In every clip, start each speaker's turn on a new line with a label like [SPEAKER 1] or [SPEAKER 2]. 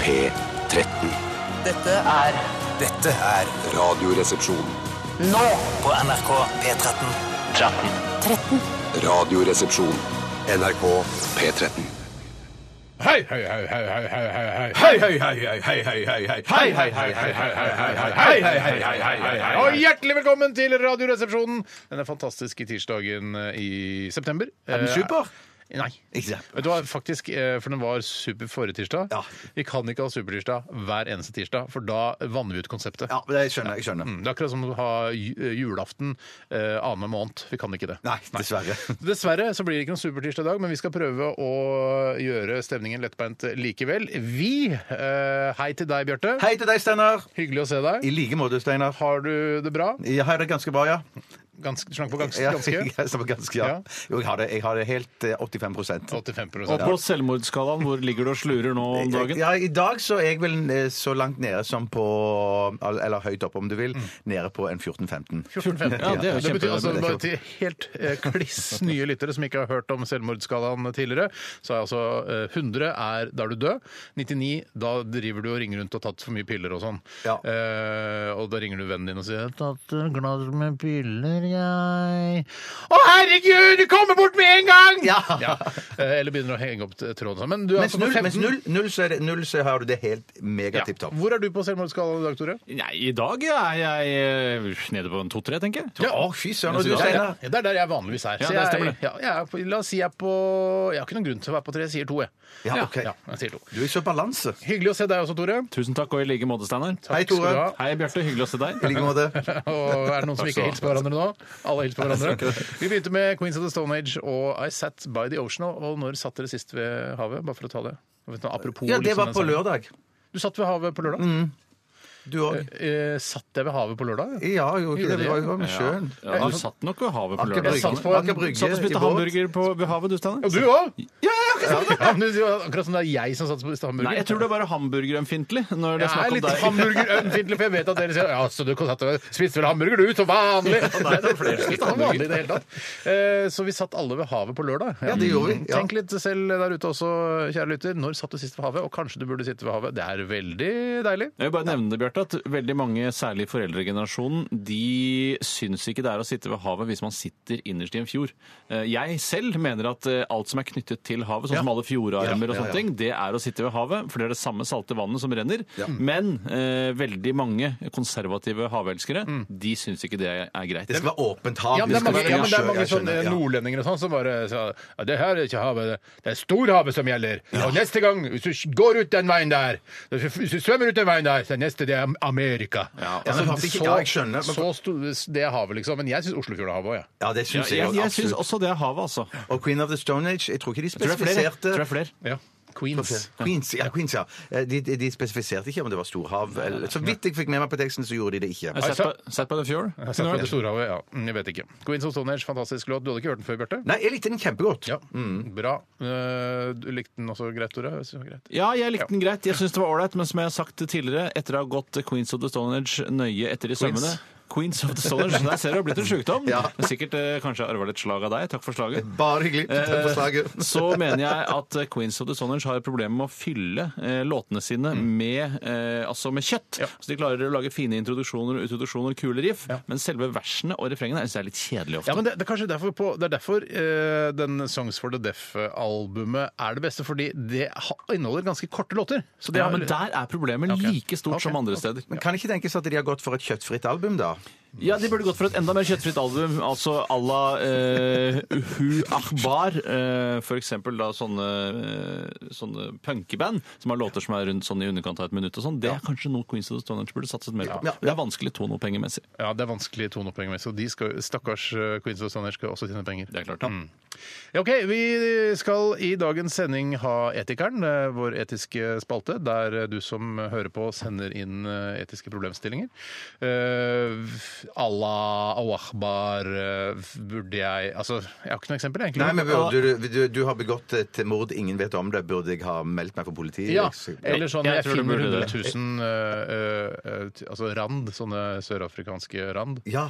[SPEAKER 1] P13.
[SPEAKER 2] Dette er
[SPEAKER 3] Dette er
[SPEAKER 1] Radioresepsjon.
[SPEAKER 2] nå
[SPEAKER 3] på NRK P13.
[SPEAKER 2] 13.
[SPEAKER 1] Radioresepsjon. NRK P13.
[SPEAKER 4] Hei, hei, hei, hei, hei, hei, hei, hei.
[SPEAKER 5] Hei, hei, hei, hei, hei, hei, hei, hei.
[SPEAKER 4] Hei, hei, hei, hei, hei, hei, hei, hei, hei, hei, hei, hei, hei, hei, hei. Og hjertelig velkommen til Radioresepsjonen denne fantastiske tirsdagen eh, i september.
[SPEAKER 5] Er den super?
[SPEAKER 4] Eh, Nei.
[SPEAKER 5] Ikke det.
[SPEAKER 4] Vet du hva, faktisk, eh, for den var super forrige tirsdag.
[SPEAKER 5] Ja.
[SPEAKER 4] Vi kan ikke ha supertirsdag hver eneste tirsdag, for da vanner vi ut konseptet.
[SPEAKER 5] Ja, men det skjønner jeg. jeg skjønner.
[SPEAKER 4] Mm, Det er akkurat som å ha ju- julaften eh, annenhver måned. Vi kan ikke det.
[SPEAKER 5] Nei, dessverre.
[SPEAKER 4] Dessverre så blir det ikke noen supertirsdag i dag, men vi skal prøve å gjøre stemningen lettbeint likevel. Vi eh, Hei til deg, Bjarte.
[SPEAKER 5] Hei til deg, Steinar.
[SPEAKER 4] Hyggelig å se deg.
[SPEAKER 5] I like måte, Steinar.
[SPEAKER 4] Har du det bra?
[SPEAKER 5] Jeg har det ganske bra, ja.
[SPEAKER 4] Ganske, slank på ganske?
[SPEAKER 5] Ja,
[SPEAKER 4] ganske?
[SPEAKER 5] jeg stemmer ganske, ja.
[SPEAKER 4] Ja.
[SPEAKER 5] Jo, jeg har det, jeg har det helt eh, 85
[SPEAKER 4] 85
[SPEAKER 6] Og på selvmordsskalaen, hvor ligger du og slurer nå om dagen?
[SPEAKER 5] Eh, Ja, I dag så er jeg vel eh, så langt nede som på Eller høyt opp, om du vil. Nede på en 14-15.
[SPEAKER 4] 14-15.
[SPEAKER 6] Ja, det
[SPEAKER 4] Det betyr
[SPEAKER 6] er jo kjempebra.
[SPEAKER 4] altså
[SPEAKER 5] det er
[SPEAKER 4] bare til helt eh, kliss nye lyttere som ikke har hørt om selvmordsskalaen tidligere, så er altså eh, 100 er da er du død, 99 da driver du og ringer rundt og har tatt for mye piller og sånn.
[SPEAKER 5] Ja.
[SPEAKER 4] Eh, og da ringer du vennen din og sier 'Jeg har tatt et glass med piller, jeg'. 'Å herregud, du kommer bort med en gang!'
[SPEAKER 5] Ja.
[SPEAKER 4] Eh, eller begynner å henge opp eh, tråden. Men du er
[SPEAKER 5] Mens
[SPEAKER 4] altså på
[SPEAKER 5] null, mens
[SPEAKER 4] 15.
[SPEAKER 5] null, null, så, er det, null så har du det helt mega
[SPEAKER 4] Ja.
[SPEAKER 5] tipp topp.
[SPEAKER 4] Hvor er du på selvmordsskalaen i dag, Tore?
[SPEAKER 6] Nei, I dag er jeg eh, nede på en to-tre, tenker jeg.
[SPEAKER 5] Å, fy søren. Og
[SPEAKER 6] Jeg
[SPEAKER 5] du,
[SPEAKER 6] synes det
[SPEAKER 5] Steinar.
[SPEAKER 4] Ja, det er der jeg vanligvis er.
[SPEAKER 6] Ja,
[SPEAKER 4] Så
[SPEAKER 6] der
[SPEAKER 4] jeg-
[SPEAKER 6] stemmer det.
[SPEAKER 4] Ja, jeg er på, la oss si jeg er på Jeg har ikke noen grunn til å være på tre, jeg sier to, jeg.
[SPEAKER 5] Ja, ok.
[SPEAKER 4] Ja, jeg sier to.
[SPEAKER 5] Du er så balanse.
[SPEAKER 4] Hyggelig å se deg også, Tore.
[SPEAKER 6] Tusen takk, og i like måte, Steinar.
[SPEAKER 5] Hei,
[SPEAKER 4] Skal du
[SPEAKER 5] Tore.
[SPEAKER 4] ha.
[SPEAKER 6] Hei, Bjarte. Hyggelig å se deg.
[SPEAKER 5] I like måte.
[SPEAKER 4] Og er det noen som ikke hilser på hverandre nå? Alle hilser på hverandre. Vi begynte med Queens of the Stone Age og I Sat By The Ocean. Og når satt dere sist ved havet? Bare for å ta det. Og Vet du, noe, apropos
[SPEAKER 5] Ja, det
[SPEAKER 4] liksom
[SPEAKER 5] var
[SPEAKER 4] den
[SPEAKER 5] på
[SPEAKER 4] sangen.
[SPEAKER 5] lørdag.
[SPEAKER 4] Du satt ved havet på lørdag?
[SPEAKER 5] Du òg.
[SPEAKER 4] Eh, satt jeg ved havet på lørdag?
[SPEAKER 5] Ja, jo,
[SPEAKER 4] Gjorde
[SPEAKER 5] det
[SPEAKER 4] det,
[SPEAKER 5] var
[SPEAKER 4] ja.
[SPEAKER 5] jo med sjøen.
[SPEAKER 6] Ja, du satt nok ved havet på
[SPEAKER 5] Aker
[SPEAKER 6] lørdag.
[SPEAKER 4] Jeg satt
[SPEAKER 5] Brygge.
[SPEAKER 4] på en-
[SPEAKER 5] Aker Brygge
[SPEAKER 6] Satt og
[SPEAKER 5] i
[SPEAKER 6] spiste
[SPEAKER 5] båt.
[SPEAKER 6] hamburger på, ved havet, du, Steinar?
[SPEAKER 4] Og du òg!
[SPEAKER 6] Ja, ja, ja, ja.
[SPEAKER 4] Ja, men det var akkurat som det er jeg som satt på hamburger.
[SPEAKER 6] Nei, jeg tror det er bare hamburgerømfintlig. Når det
[SPEAKER 4] Jeg er
[SPEAKER 6] er
[SPEAKER 4] litt
[SPEAKER 6] snakk om deg.
[SPEAKER 4] hamburgerømfintlig, for jeg vet at dere sier Ja, så du kan satt og spiste vel hamburger, du, som vanlig? Nei, det var flere som spiste vanlig i det hele tatt. Eh, Så vi satt alle ved havet på lørdag.
[SPEAKER 5] Ja, det gjorde vi, ja.
[SPEAKER 4] Tenk litt selv der ute også, kjære lytter. Når satt du sist ved havet? Og kanskje du burde sitte ved havet. Det er veldig deilig.
[SPEAKER 6] Jeg vil bare nevne det, Bjarte, at veldig mange, særlig foreldregenerasjonen, de syns ikke det er å sitte ved havet hvis man sitter innerst i en fjord. Eh, Jeg selv mener at eh, alt som er knyttet til havet, sånn som alle fjordarmer
[SPEAKER 5] Ja,
[SPEAKER 6] og
[SPEAKER 5] ja,
[SPEAKER 6] sånne
[SPEAKER 5] ja.
[SPEAKER 6] ting, det er å sitte ved havet, for det er det samme salte vannet som renner. Men eh, veldig mange konservative havelskere, de syns ikke det er greit.
[SPEAKER 5] Det skal være åpent hav.
[SPEAKER 4] Ja, men det er mange, ja, men det er mange
[SPEAKER 5] Jeg
[SPEAKER 4] sånne
[SPEAKER 5] skjønner, ja.
[SPEAKER 4] nordlendinger og sånn som bare sa ja, det her er ikke havet, det- det er storhavet som gjelder. Og neste gang, hvis du går ut den veien der, hvis du svømmer ut den veien der, så er neste det er Amerika.
[SPEAKER 6] Ja,
[SPEAKER 5] men faktisk altså, ikke- ja, jeg skjønner, men-
[SPEAKER 4] så sto- det er havet, liksom. Men jeg syns Oslofjorden er havet òg, jeg.
[SPEAKER 5] Ja, det
[SPEAKER 6] Ja,
[SPEAKER 5] syns jeg
[SPEAKER 6] jeg
[SPEAKER 5] òg.
[SPEAKER 6] jeg syns
[SPEAKER 5] Absolutt.
[SPEAKER 6] også det er havet, altså. Jeg
[SPEAKER 5] Og Queen of the Stone Age Jeg tror ikke de
[SPEAKER 6] Tror det er flere. jeg.
[SPEAKER 5] spesifiserte
[SPEAKER 6] Tror det er flere.
[SPEAKER 4] Ja. Queens.
[SPEAKER 5] Queens, ja, Queens, ja. Eh, De, de, de spesifiserte ikke om det var storhav. eller- Så vidt jeg fikk med meg på teksten, så gjorde de det ikke.
[SPEAKER 4] Altså-
[SPEAKER 6] Jeg har sett på- Sett på The Fjord.
[SPEAKER 4] Jeg har sett på det Storhavet, ja. Mm, Jeg vet ikke. Queens of Stone Age, fantastisk låt. Du hadde ikke hørt den før, Bjarte?
[SPEAKER 5] Nei, jeg likte den kjempegodt.
[SPEAKER 4] Ja. Mm. Bra. Eh, Du likte den også greit, Tore? Jeg synes det var greit.
[SPEAKER 6] Ja, jeg likte den greit. Jeg syns det var ålreit, men som jeg har sagt tidligere, etter å ha gått Queens of the Stone Age nøye etter i sømmene Queens of the Stone Age. Der ser du det har blitt en sjukdom.
[SPEAKER 5] Ja.
[SPEAKER 6] Men Sikkert eh, kanskje jeg arva litt slag av deg. Takk for slaget.
[SPEAKER 5] Bare hyggelig. Takk for slaget.
[SPEAKER 6] Eh, Så mener jeg at eh, Queens of the Stone Age har problemer med å fylle eh, låtene sine med, eh, altså med kjøtt. Så de klarer å lage fine introduksjoner, introduksjoner kule riff, men selve versene og refrengene jeg synes jeg er litt kjedelige ofte.
[SPEAKER 4] Ja, men det, det er kanskje derfor, på, det er derfor eh, den Songs for the Deaf-albumet er det beste, fordi det ha, inneholder ganske korte låter. Så det
[SPEAKER 6] Ja,
[SPEAKER 4] har-
[SPEAKER 6] men der er problemet
[SPEAKER 4] Ok.
[SPEAKER 6] like stort
[SPEAKER 4] Ok.
[SPEAKER 6] som andre steder.
[SPEAKER 5] Men kan ikke tenkes at de har gått for et kjøttfritt album, da?
[SPEAKER 6] Ja, De burde gått for et enda mer kjøttfritt album, altså à la eh, Uhu Akbar. Eh, for eksempel da sånne, eh, sånne punkeband som har låter som er rundt sånn i underkant av et minutt og sånn. Det er kanskje noe Queens of the Stone Age burde satset mer på.
[SPEAKER 5] Ja.
[SPEAKER 6] Det er vanskelig tonopengemessig.
[SPEAKER 4] ja, det er vanskelig toneopphengemessig, og de skal, stakkars eh, Queens of Stone Age skal også tjene penger. Mm.
[SPEAKER 6] Det er klart. da.
[SPEAKER 4] Ja, ok, Vi skal i dagens sending ha Etikeren, eh, vår etiske spalte, der eh, du som hører på, sender inn eh, etiske problemstillinger. Eh, Allah, Awahbar eh, Burde jeg Altså, jeg har ikke noe eksempel, egentlig.
[SPEAKER 5] Nei, men burde du, du, du har begått et mord ingen vet om det. Burde jeg ha meldt meg for politiet?
[SPEAKER 4] ja,
[SPEAKER 5] Liksom?
[SPEAKER 4] eller sånn
[SPEAKER 6] Jeg
[SPEAKER 4] jeg,
[SPEAKER 6] tror du
[SPEAKER 4] finner
[SPEAKER 6] burde
[SPEAKER 4] 100
[SPEAKER 6] det.
[SPEAKER 4] 000 eh, eh, eh, t- altså rand, sånne sørafrikanske rand.
[SPEAKER 5] ja.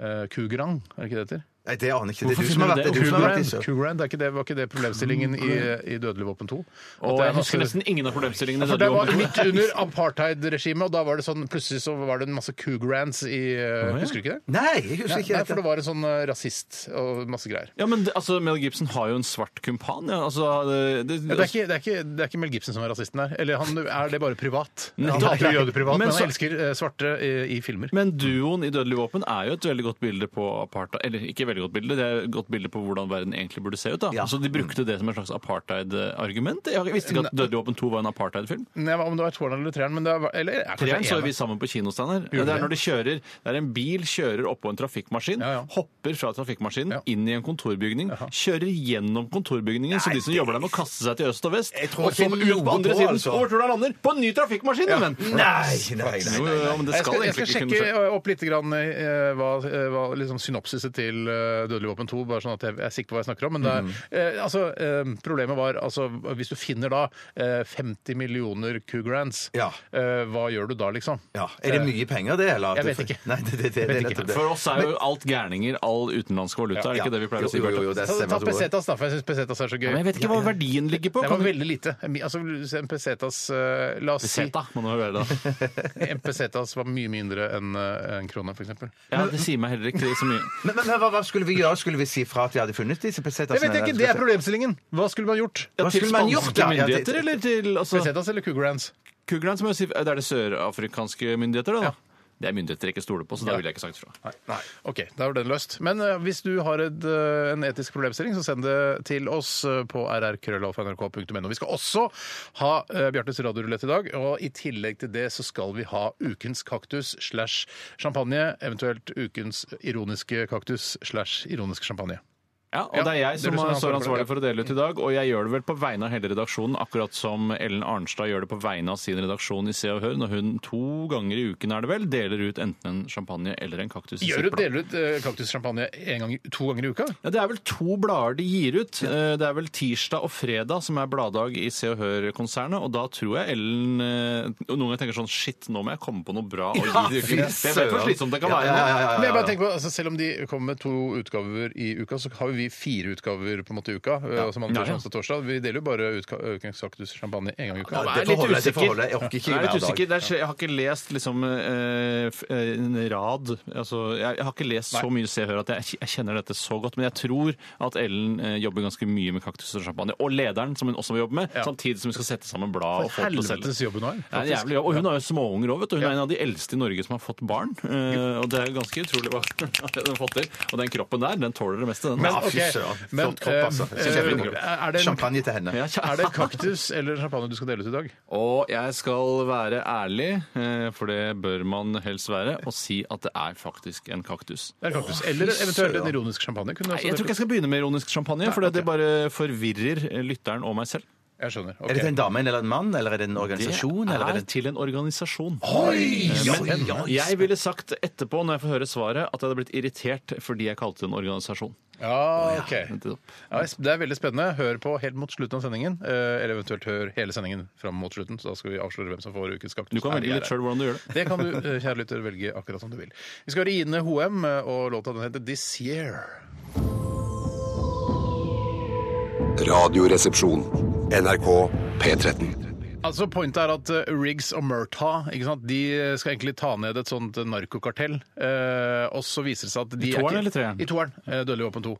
[SPEAKER 4] Eh, Kugrang, er det ikke det det heter?
[SPEAKER 5] Nei, det aner jeg ikke. Det er
[SPEAKER 6] Hvorfor
[SPEAKER 5] du som har
[SPEAKER 6] finner
[SPEAKER 5] vært
[SPEAKER 6] du
[SPEAKER 5] det. Du
[SPEAKER 6] det?
[SPEAKER 5] som har vært
[SPEAKER 4] Kugrand,
[SPEAKER 5] i Sør-
[SPEAKER 4] Kugrand, er ikke det, var ikke det problemstillingen i, i Dødelig våpen 2? At
[SPEAKER 6] Og
[SPEAKER 4] det er
[SPEAKER 6] jeg husker
[SPEAKER 4] masse-
[SPEAKER 6] nesten ingen av problemstillingene.
[SPEAKER 4] For Altså,
[SPEAKER 6] der
[SPEAKER 4] det
[SPEAKER 6] du
[SPEAKER 4] var
[SPEAKER 6] omtalte.
[SPEAKER 4] midt under apartheid-regimet, og da var det sånn, plutselig så var det en masse Kugrands i eh, Husker du ikke det?
[SPEAKER 5] Nei, jeg husker ikke.
[SPEAKER 4] Nei,
[SPEAKER 5] dette.
[SPEAKER 4] for det var en sånn eh, rasist og masse greier.
[SPEAKER 6] Ja, men det- altså, Mel Gibson har jo en svart kumpan. Ja, altså, det, det,
[SPEAKER 4] Ja, det, er ikke, det, er ikke, det er ikke Mel Gibson som er rasisten her. Eller han, er det bare privat? Han
[SPEAKER 6] Nettopp.
[SPEAKER 4] hater jøder privat,
[SPEAKER 6] Men
[SPEAKER 4] men,
[SPEAKER 6] så-
[SPEAKER 4] han elsker eh, svarte eh, i filmer.
[SPEAKER 6] Men duoen i Dødelig våpen er jo et veldig godt bilde på apartheid Eller ikke veldig godt bilde, det er et godt bilde på hvordan verden egentlig burde se ut. da.
[SPEAKER 5] Ja.
[SPEAKER 6] Så de brukte det som et slags apartheid-argument. Jeg visste ikke at Dødelig våpen 2 var en apartheid-film.
[SPEAKER 4] Nei, hva om det var toeren eller treeren, men det er, eller er
[SPEAKER 6] Treeren så
[SPEAKER 4] kanskje
[SPEAKER 6] vi
[SPEAKER 4] en.
[SPEAKER 6] sammen på kinosteiner.
[SPEAKER 4] Gjorde
[SPEAKER 6] Det er
[SPEAKER 4] vi?
[SPEAKER 6] når de kjører, det er en bil kjører oppå en trafikkmaskin,
[SPEAKER 4] Ja, ja.
[SPEAKER 6] hopper fra trafikkmaskinen,
[SPEAKER 4] Ja.
[SPEAKER 6] inn i en kontorbygning, kjører gjennom kontorbygningen, så de som jobber der må kaste seg til øst og vest,
[SPEAKER 5] Jeg tror
[SPEAKER 6] og så
[SPEAKER 5] ikke
[SPEAKER 6] ut på
[SPEAKER 5] noe
[SPEAKER 6] andre
[SPEAKER 5] på,
[SPEAKER 6] siden,
[SPEAKER 5] altså.
[SPEAKER 6] og hvor tror du han lander? På en ny trafikkmaskin! men.
[SPEAKER 5] Nei, nei, nei.
[SPEAKER 6] Jo, jo, men det
[SPEAKER 4] Jeg skal, jeg skal
[SPEAKER 6] skal egentlig ikke kunne
[SPEAKER 4] sjekke
[SPEAKER 6] skje.
[SPEAKER 4] eh, opp litt grann, eh, hva, eh, hva liksom synopsiset til eh, Dødelig våpen 2, bare sånn at jeg jeg er sikker på hva jeg snakker om. Men det er, eh, altså, eh, problemet var altså Hvis du finner da eh, 50 millioner Cougrans,
[SPEAKER 5] Ja.
[SPEAKER 4] eh, hva gjør du da, liksom?
[SPEAKER 5] Ja. Er det mye penger, det? Eller?
[SPEAKER 4] Jeg vet ikke.
[SPEAKER 5] Nei, det, det, det, det
[SPEAKER 4] Vet
[SPEAKER 5] er
[SPEAKER 4] ikke.
[SPEAKER 5] nettopp det.
[SPEAKER 6] For oss er jo alt gærninger, all utenlandsk valuta. Er det ikke det vi pleier å si?
[SPEAKER 5] Jo, jo,
[SPEAKER 6] Bjarte?
[SPEAKER 5] jo, det
[SPEAKER 4] Ta,
[SPEAKER 5] stemmer.
[SPEAKER 4] ta
[SPEAKER 5] at du-
[SPEAKER 4] Pesetas, da, for jeg syns Pesetas er så gøy.
[SPEAKER 6] Men jeg vet ikke hva verdien ligger på.
[SPEAKER 4] Det var
[SPEAKER 6] Kan du-
[SPEAKER 4] veldig lite. Mi- Altså, en pesetas eh, La oss si
[SPEAKER 6] Peseta, må det være da.
[SPEAKER 4] en pesetas var mye mindre enn eh, en krone, f.eks.
[SPEAKER 6] Ja, det sier meg heller ikke så mye.
[SPEAKER 5] Men, men hva, hva skulle vi gjøre? Skulle vi si fra at vi hadde funnet disse pesetasene?
[SPEAKER 4] Jeg vet ikke! Det er problemstillingen! Hva skulle man gjort?
[SPEAKER 6] Ja,
[SPEAKER 5] Hva
[SPEAKER 6] til
[SPEAKER 5] skulle man gjort,
[SPEAKER 6] spanske
[SPEAKER 5] da? Ja, til-
[SPEAKER 6] myndigheter, eller til altså,
[SPEAKER 4] Pesetas eller Cougrans?
[SPEAKER 6] Kuglan, som jeg sier, Det er det sørafrikanske myndigheter, da?
[SPEAKER 4] Ja.
[SPEAKER 6] Det er myndigheter jeg ikke stoler på, så da ville jeg ikke sagt fra.
[SPEAKER 4] Nei. OK, da var den løst. Men eh, hvis du har et, eh, en etisk problemstilling, så send det til oss eh, på rrkrøllalfa.nrk.no. Vi skal også ha eh, Bjartes radiorulett i dag, og i tillegg til det så skal vi ha ukens kaktus slash champagne, eventuelt ukens ironiske kaktus slash ironisk champagne.
[SPEAKER 6] Ja, og
[SPEAKER 4] Ja,
[SPEAKER 6] det er jeg
[SPEAKER 4] det er
[SPEAKER 6] som
[SPEAKER 4] du som er
[SPEAKER 6] står
[SPEAKER 4] ansvarlig for det.
[SPEAKER 6] ansvarlig for å dele ut i dag, og jeg gjør det vel på vegne av hele redaksjonen, akkurat som Ellen Arnstad gjør det på vegne av sin redaksjon i Se og Hør, når hun to ganger i uken er det vel, deler ut enten en champagne eller en kaktus. i sitt
[SPEAKER 4] Gjør du
[SPEAKER 6] blad.
[SPEAKER 4] deler ut eh, kaktussjampanje en gang, to ganger i uka?
[SPEAKER 6] Ja, Det er vel to blader de gir ut. Eh, Det er vel tirsdag og fredag som er bladdag i Se og Hør-konsernet. Og da tror jeg Ellen eh, Noen ganger tenker sånn Shit, nå må jeg komme på noe bra å gi til
[SPEAKER 5] fy
[SPEAKER 6] ukene. Jeg vet hvor slitsomt det kan være. nå.
[SPEAKER 4] Men jeg bare tenker på, altså, Selv om de kommer med to utgaver i uka, så har jo vi fire utgaver på en måte i uka. eh, som andre
[SPEAKER 6] Ja, ja.
[SPEAKER 4] onsdag og torsdag. Vi deler jo bare ut Ukens kaktus champagne en gang i uka.
[SPEAKER 5] Ja,
[SPEAKER 6] Nå
[SPEAKER 5] det
[SPEAKER 6] er jeg litt
[SPEAKER 5] får holde, det får
[SPEAKER 6] usikker.
[SPEAKER 5] holde. Jeg orker ikke
[SPEAKER 6] Jeg er litt
[SPEAKER 5] hver dag.
[SPEAKER 6] usikker. Det er, jeg har ikke lest liksom eh, f- eh, en rad altså, Jeg jeg har ikke lest så mye Se og Hør at jeg, jeg kjenner dette så godt. Men jeg tror at Ellen eh, jobber ganske mye med kaktus og champagne. Og lederen, som hun også må jobbe med.
[SPEAKER 4] Ja.
[SPEAKER 6] Samtidig som hun skal sette sammen blad og få det til å selge.
[SPEAKER 4] Helvetes jobb hun har.
[SPEAKER 6] Ja, det er
[SPEAKER 4] faktisk.
[SPEAKER 6] jævlig jobb. Og hun har jo småunger òg. Hun er en av de eldste i Norge som har fått barn. Eh, og det er ganske utrolig hva hun har fått til. Og den kroppen der, den tåler det meste, den. Altså.
[SPEAKER 4] Men,
[SPEAKER 5] Ja, fy
[SPEAKER 4] ok,
[SPEAKER 5] søren.
[SPEAKER 4] men
[SPEAKER 5] Flott kropp, altså.
[SPEAKER 4] eh, eh, er, det en,
[SPEAKER 5] Champagne til henne.
[SPEAKER 6] Ja, kjæ-
[SPEAKER 4] er det en kaktus eller champagne du skal dele ut i dag?
[SPEAKER 6] Og jeg skal være ærlig, eh, for det bør man helst være, og si at det er faktisk en kaktus.
[SPEAKER 4] Det er en kaktus. Eller eventuelt en ironisk champagne. Kunne
[SPEAKER 6] Nei,
[SPEAKER 4] også
[SPEAKER 6] jeg tror ikke jeg skal begynne med ironisk champagne, for det- det bare forvirrer eh, lytteren og meg selv.
[SPEAKER 4] jeg skjønner. ok.
[SPEAKER 5] Er det til en dame eller en mann, eller er det en
[SPEAKER 6] Det
[SPEAKER 5] organisasjon? eller er
[SPEAKER 6] er
[SPEAKER 5] det
[SPEAKER 6] til en organisasjon.
[SPEAKER 5] Oi!
[SPEAKER 6] Ja,
[SPEAKER 5] Ja,
[SPEAKER 6] Men jeg ville sagt etterpå, når jeg får høre svaret, at jeg hadde blitt irritert fordi jeg kalte det en organisasjon.
[SPEAKER 4] Ja, ok.
[SPEAKER 6] Nettopp.
[SPEAKER 4] Ja, det er veldig spennende. Hør på helt mot slutten av sendingen. eh, Eller eventuelt hør hele sendingen fram mot slutten, så da skal vi avsløre hvem som får ukens kaktus.
[SPEAKER 6] Du kan
[SPEAKER 4] Er det
[SPEAKER 6] velge
[SPEAKER 4] jeg
[SPEAKER 6] litt
[SPEAKER 4] er?
[SPEAKER 6] sjøl hvordan du gjør det.
[SPEAKER 4] Det kan du, eh, kjære lytter, velge akkurat som du vil. Vi skal høre Ine Hoem, eh, og låta den heter This Year.
[SPEAKER 1] Radioresepsjon. NRK P13.
[SPEAKER 4] Altså, Pointet er at eh, Riggs og Murtagh ikke sant? De eh, skal egentlig ta ned et sånt eh, narkokartell. Eh, og så viser det seg at de
[SPEAKER 6] I
[SPEAKER 4] er
[SPEAKER 6] toeren
[SPEAKER 4] ikke-
[SPEAKER 6] eller treeren?
[SPEAKER 4] I toeren. Eh, Dødelig våpen 2.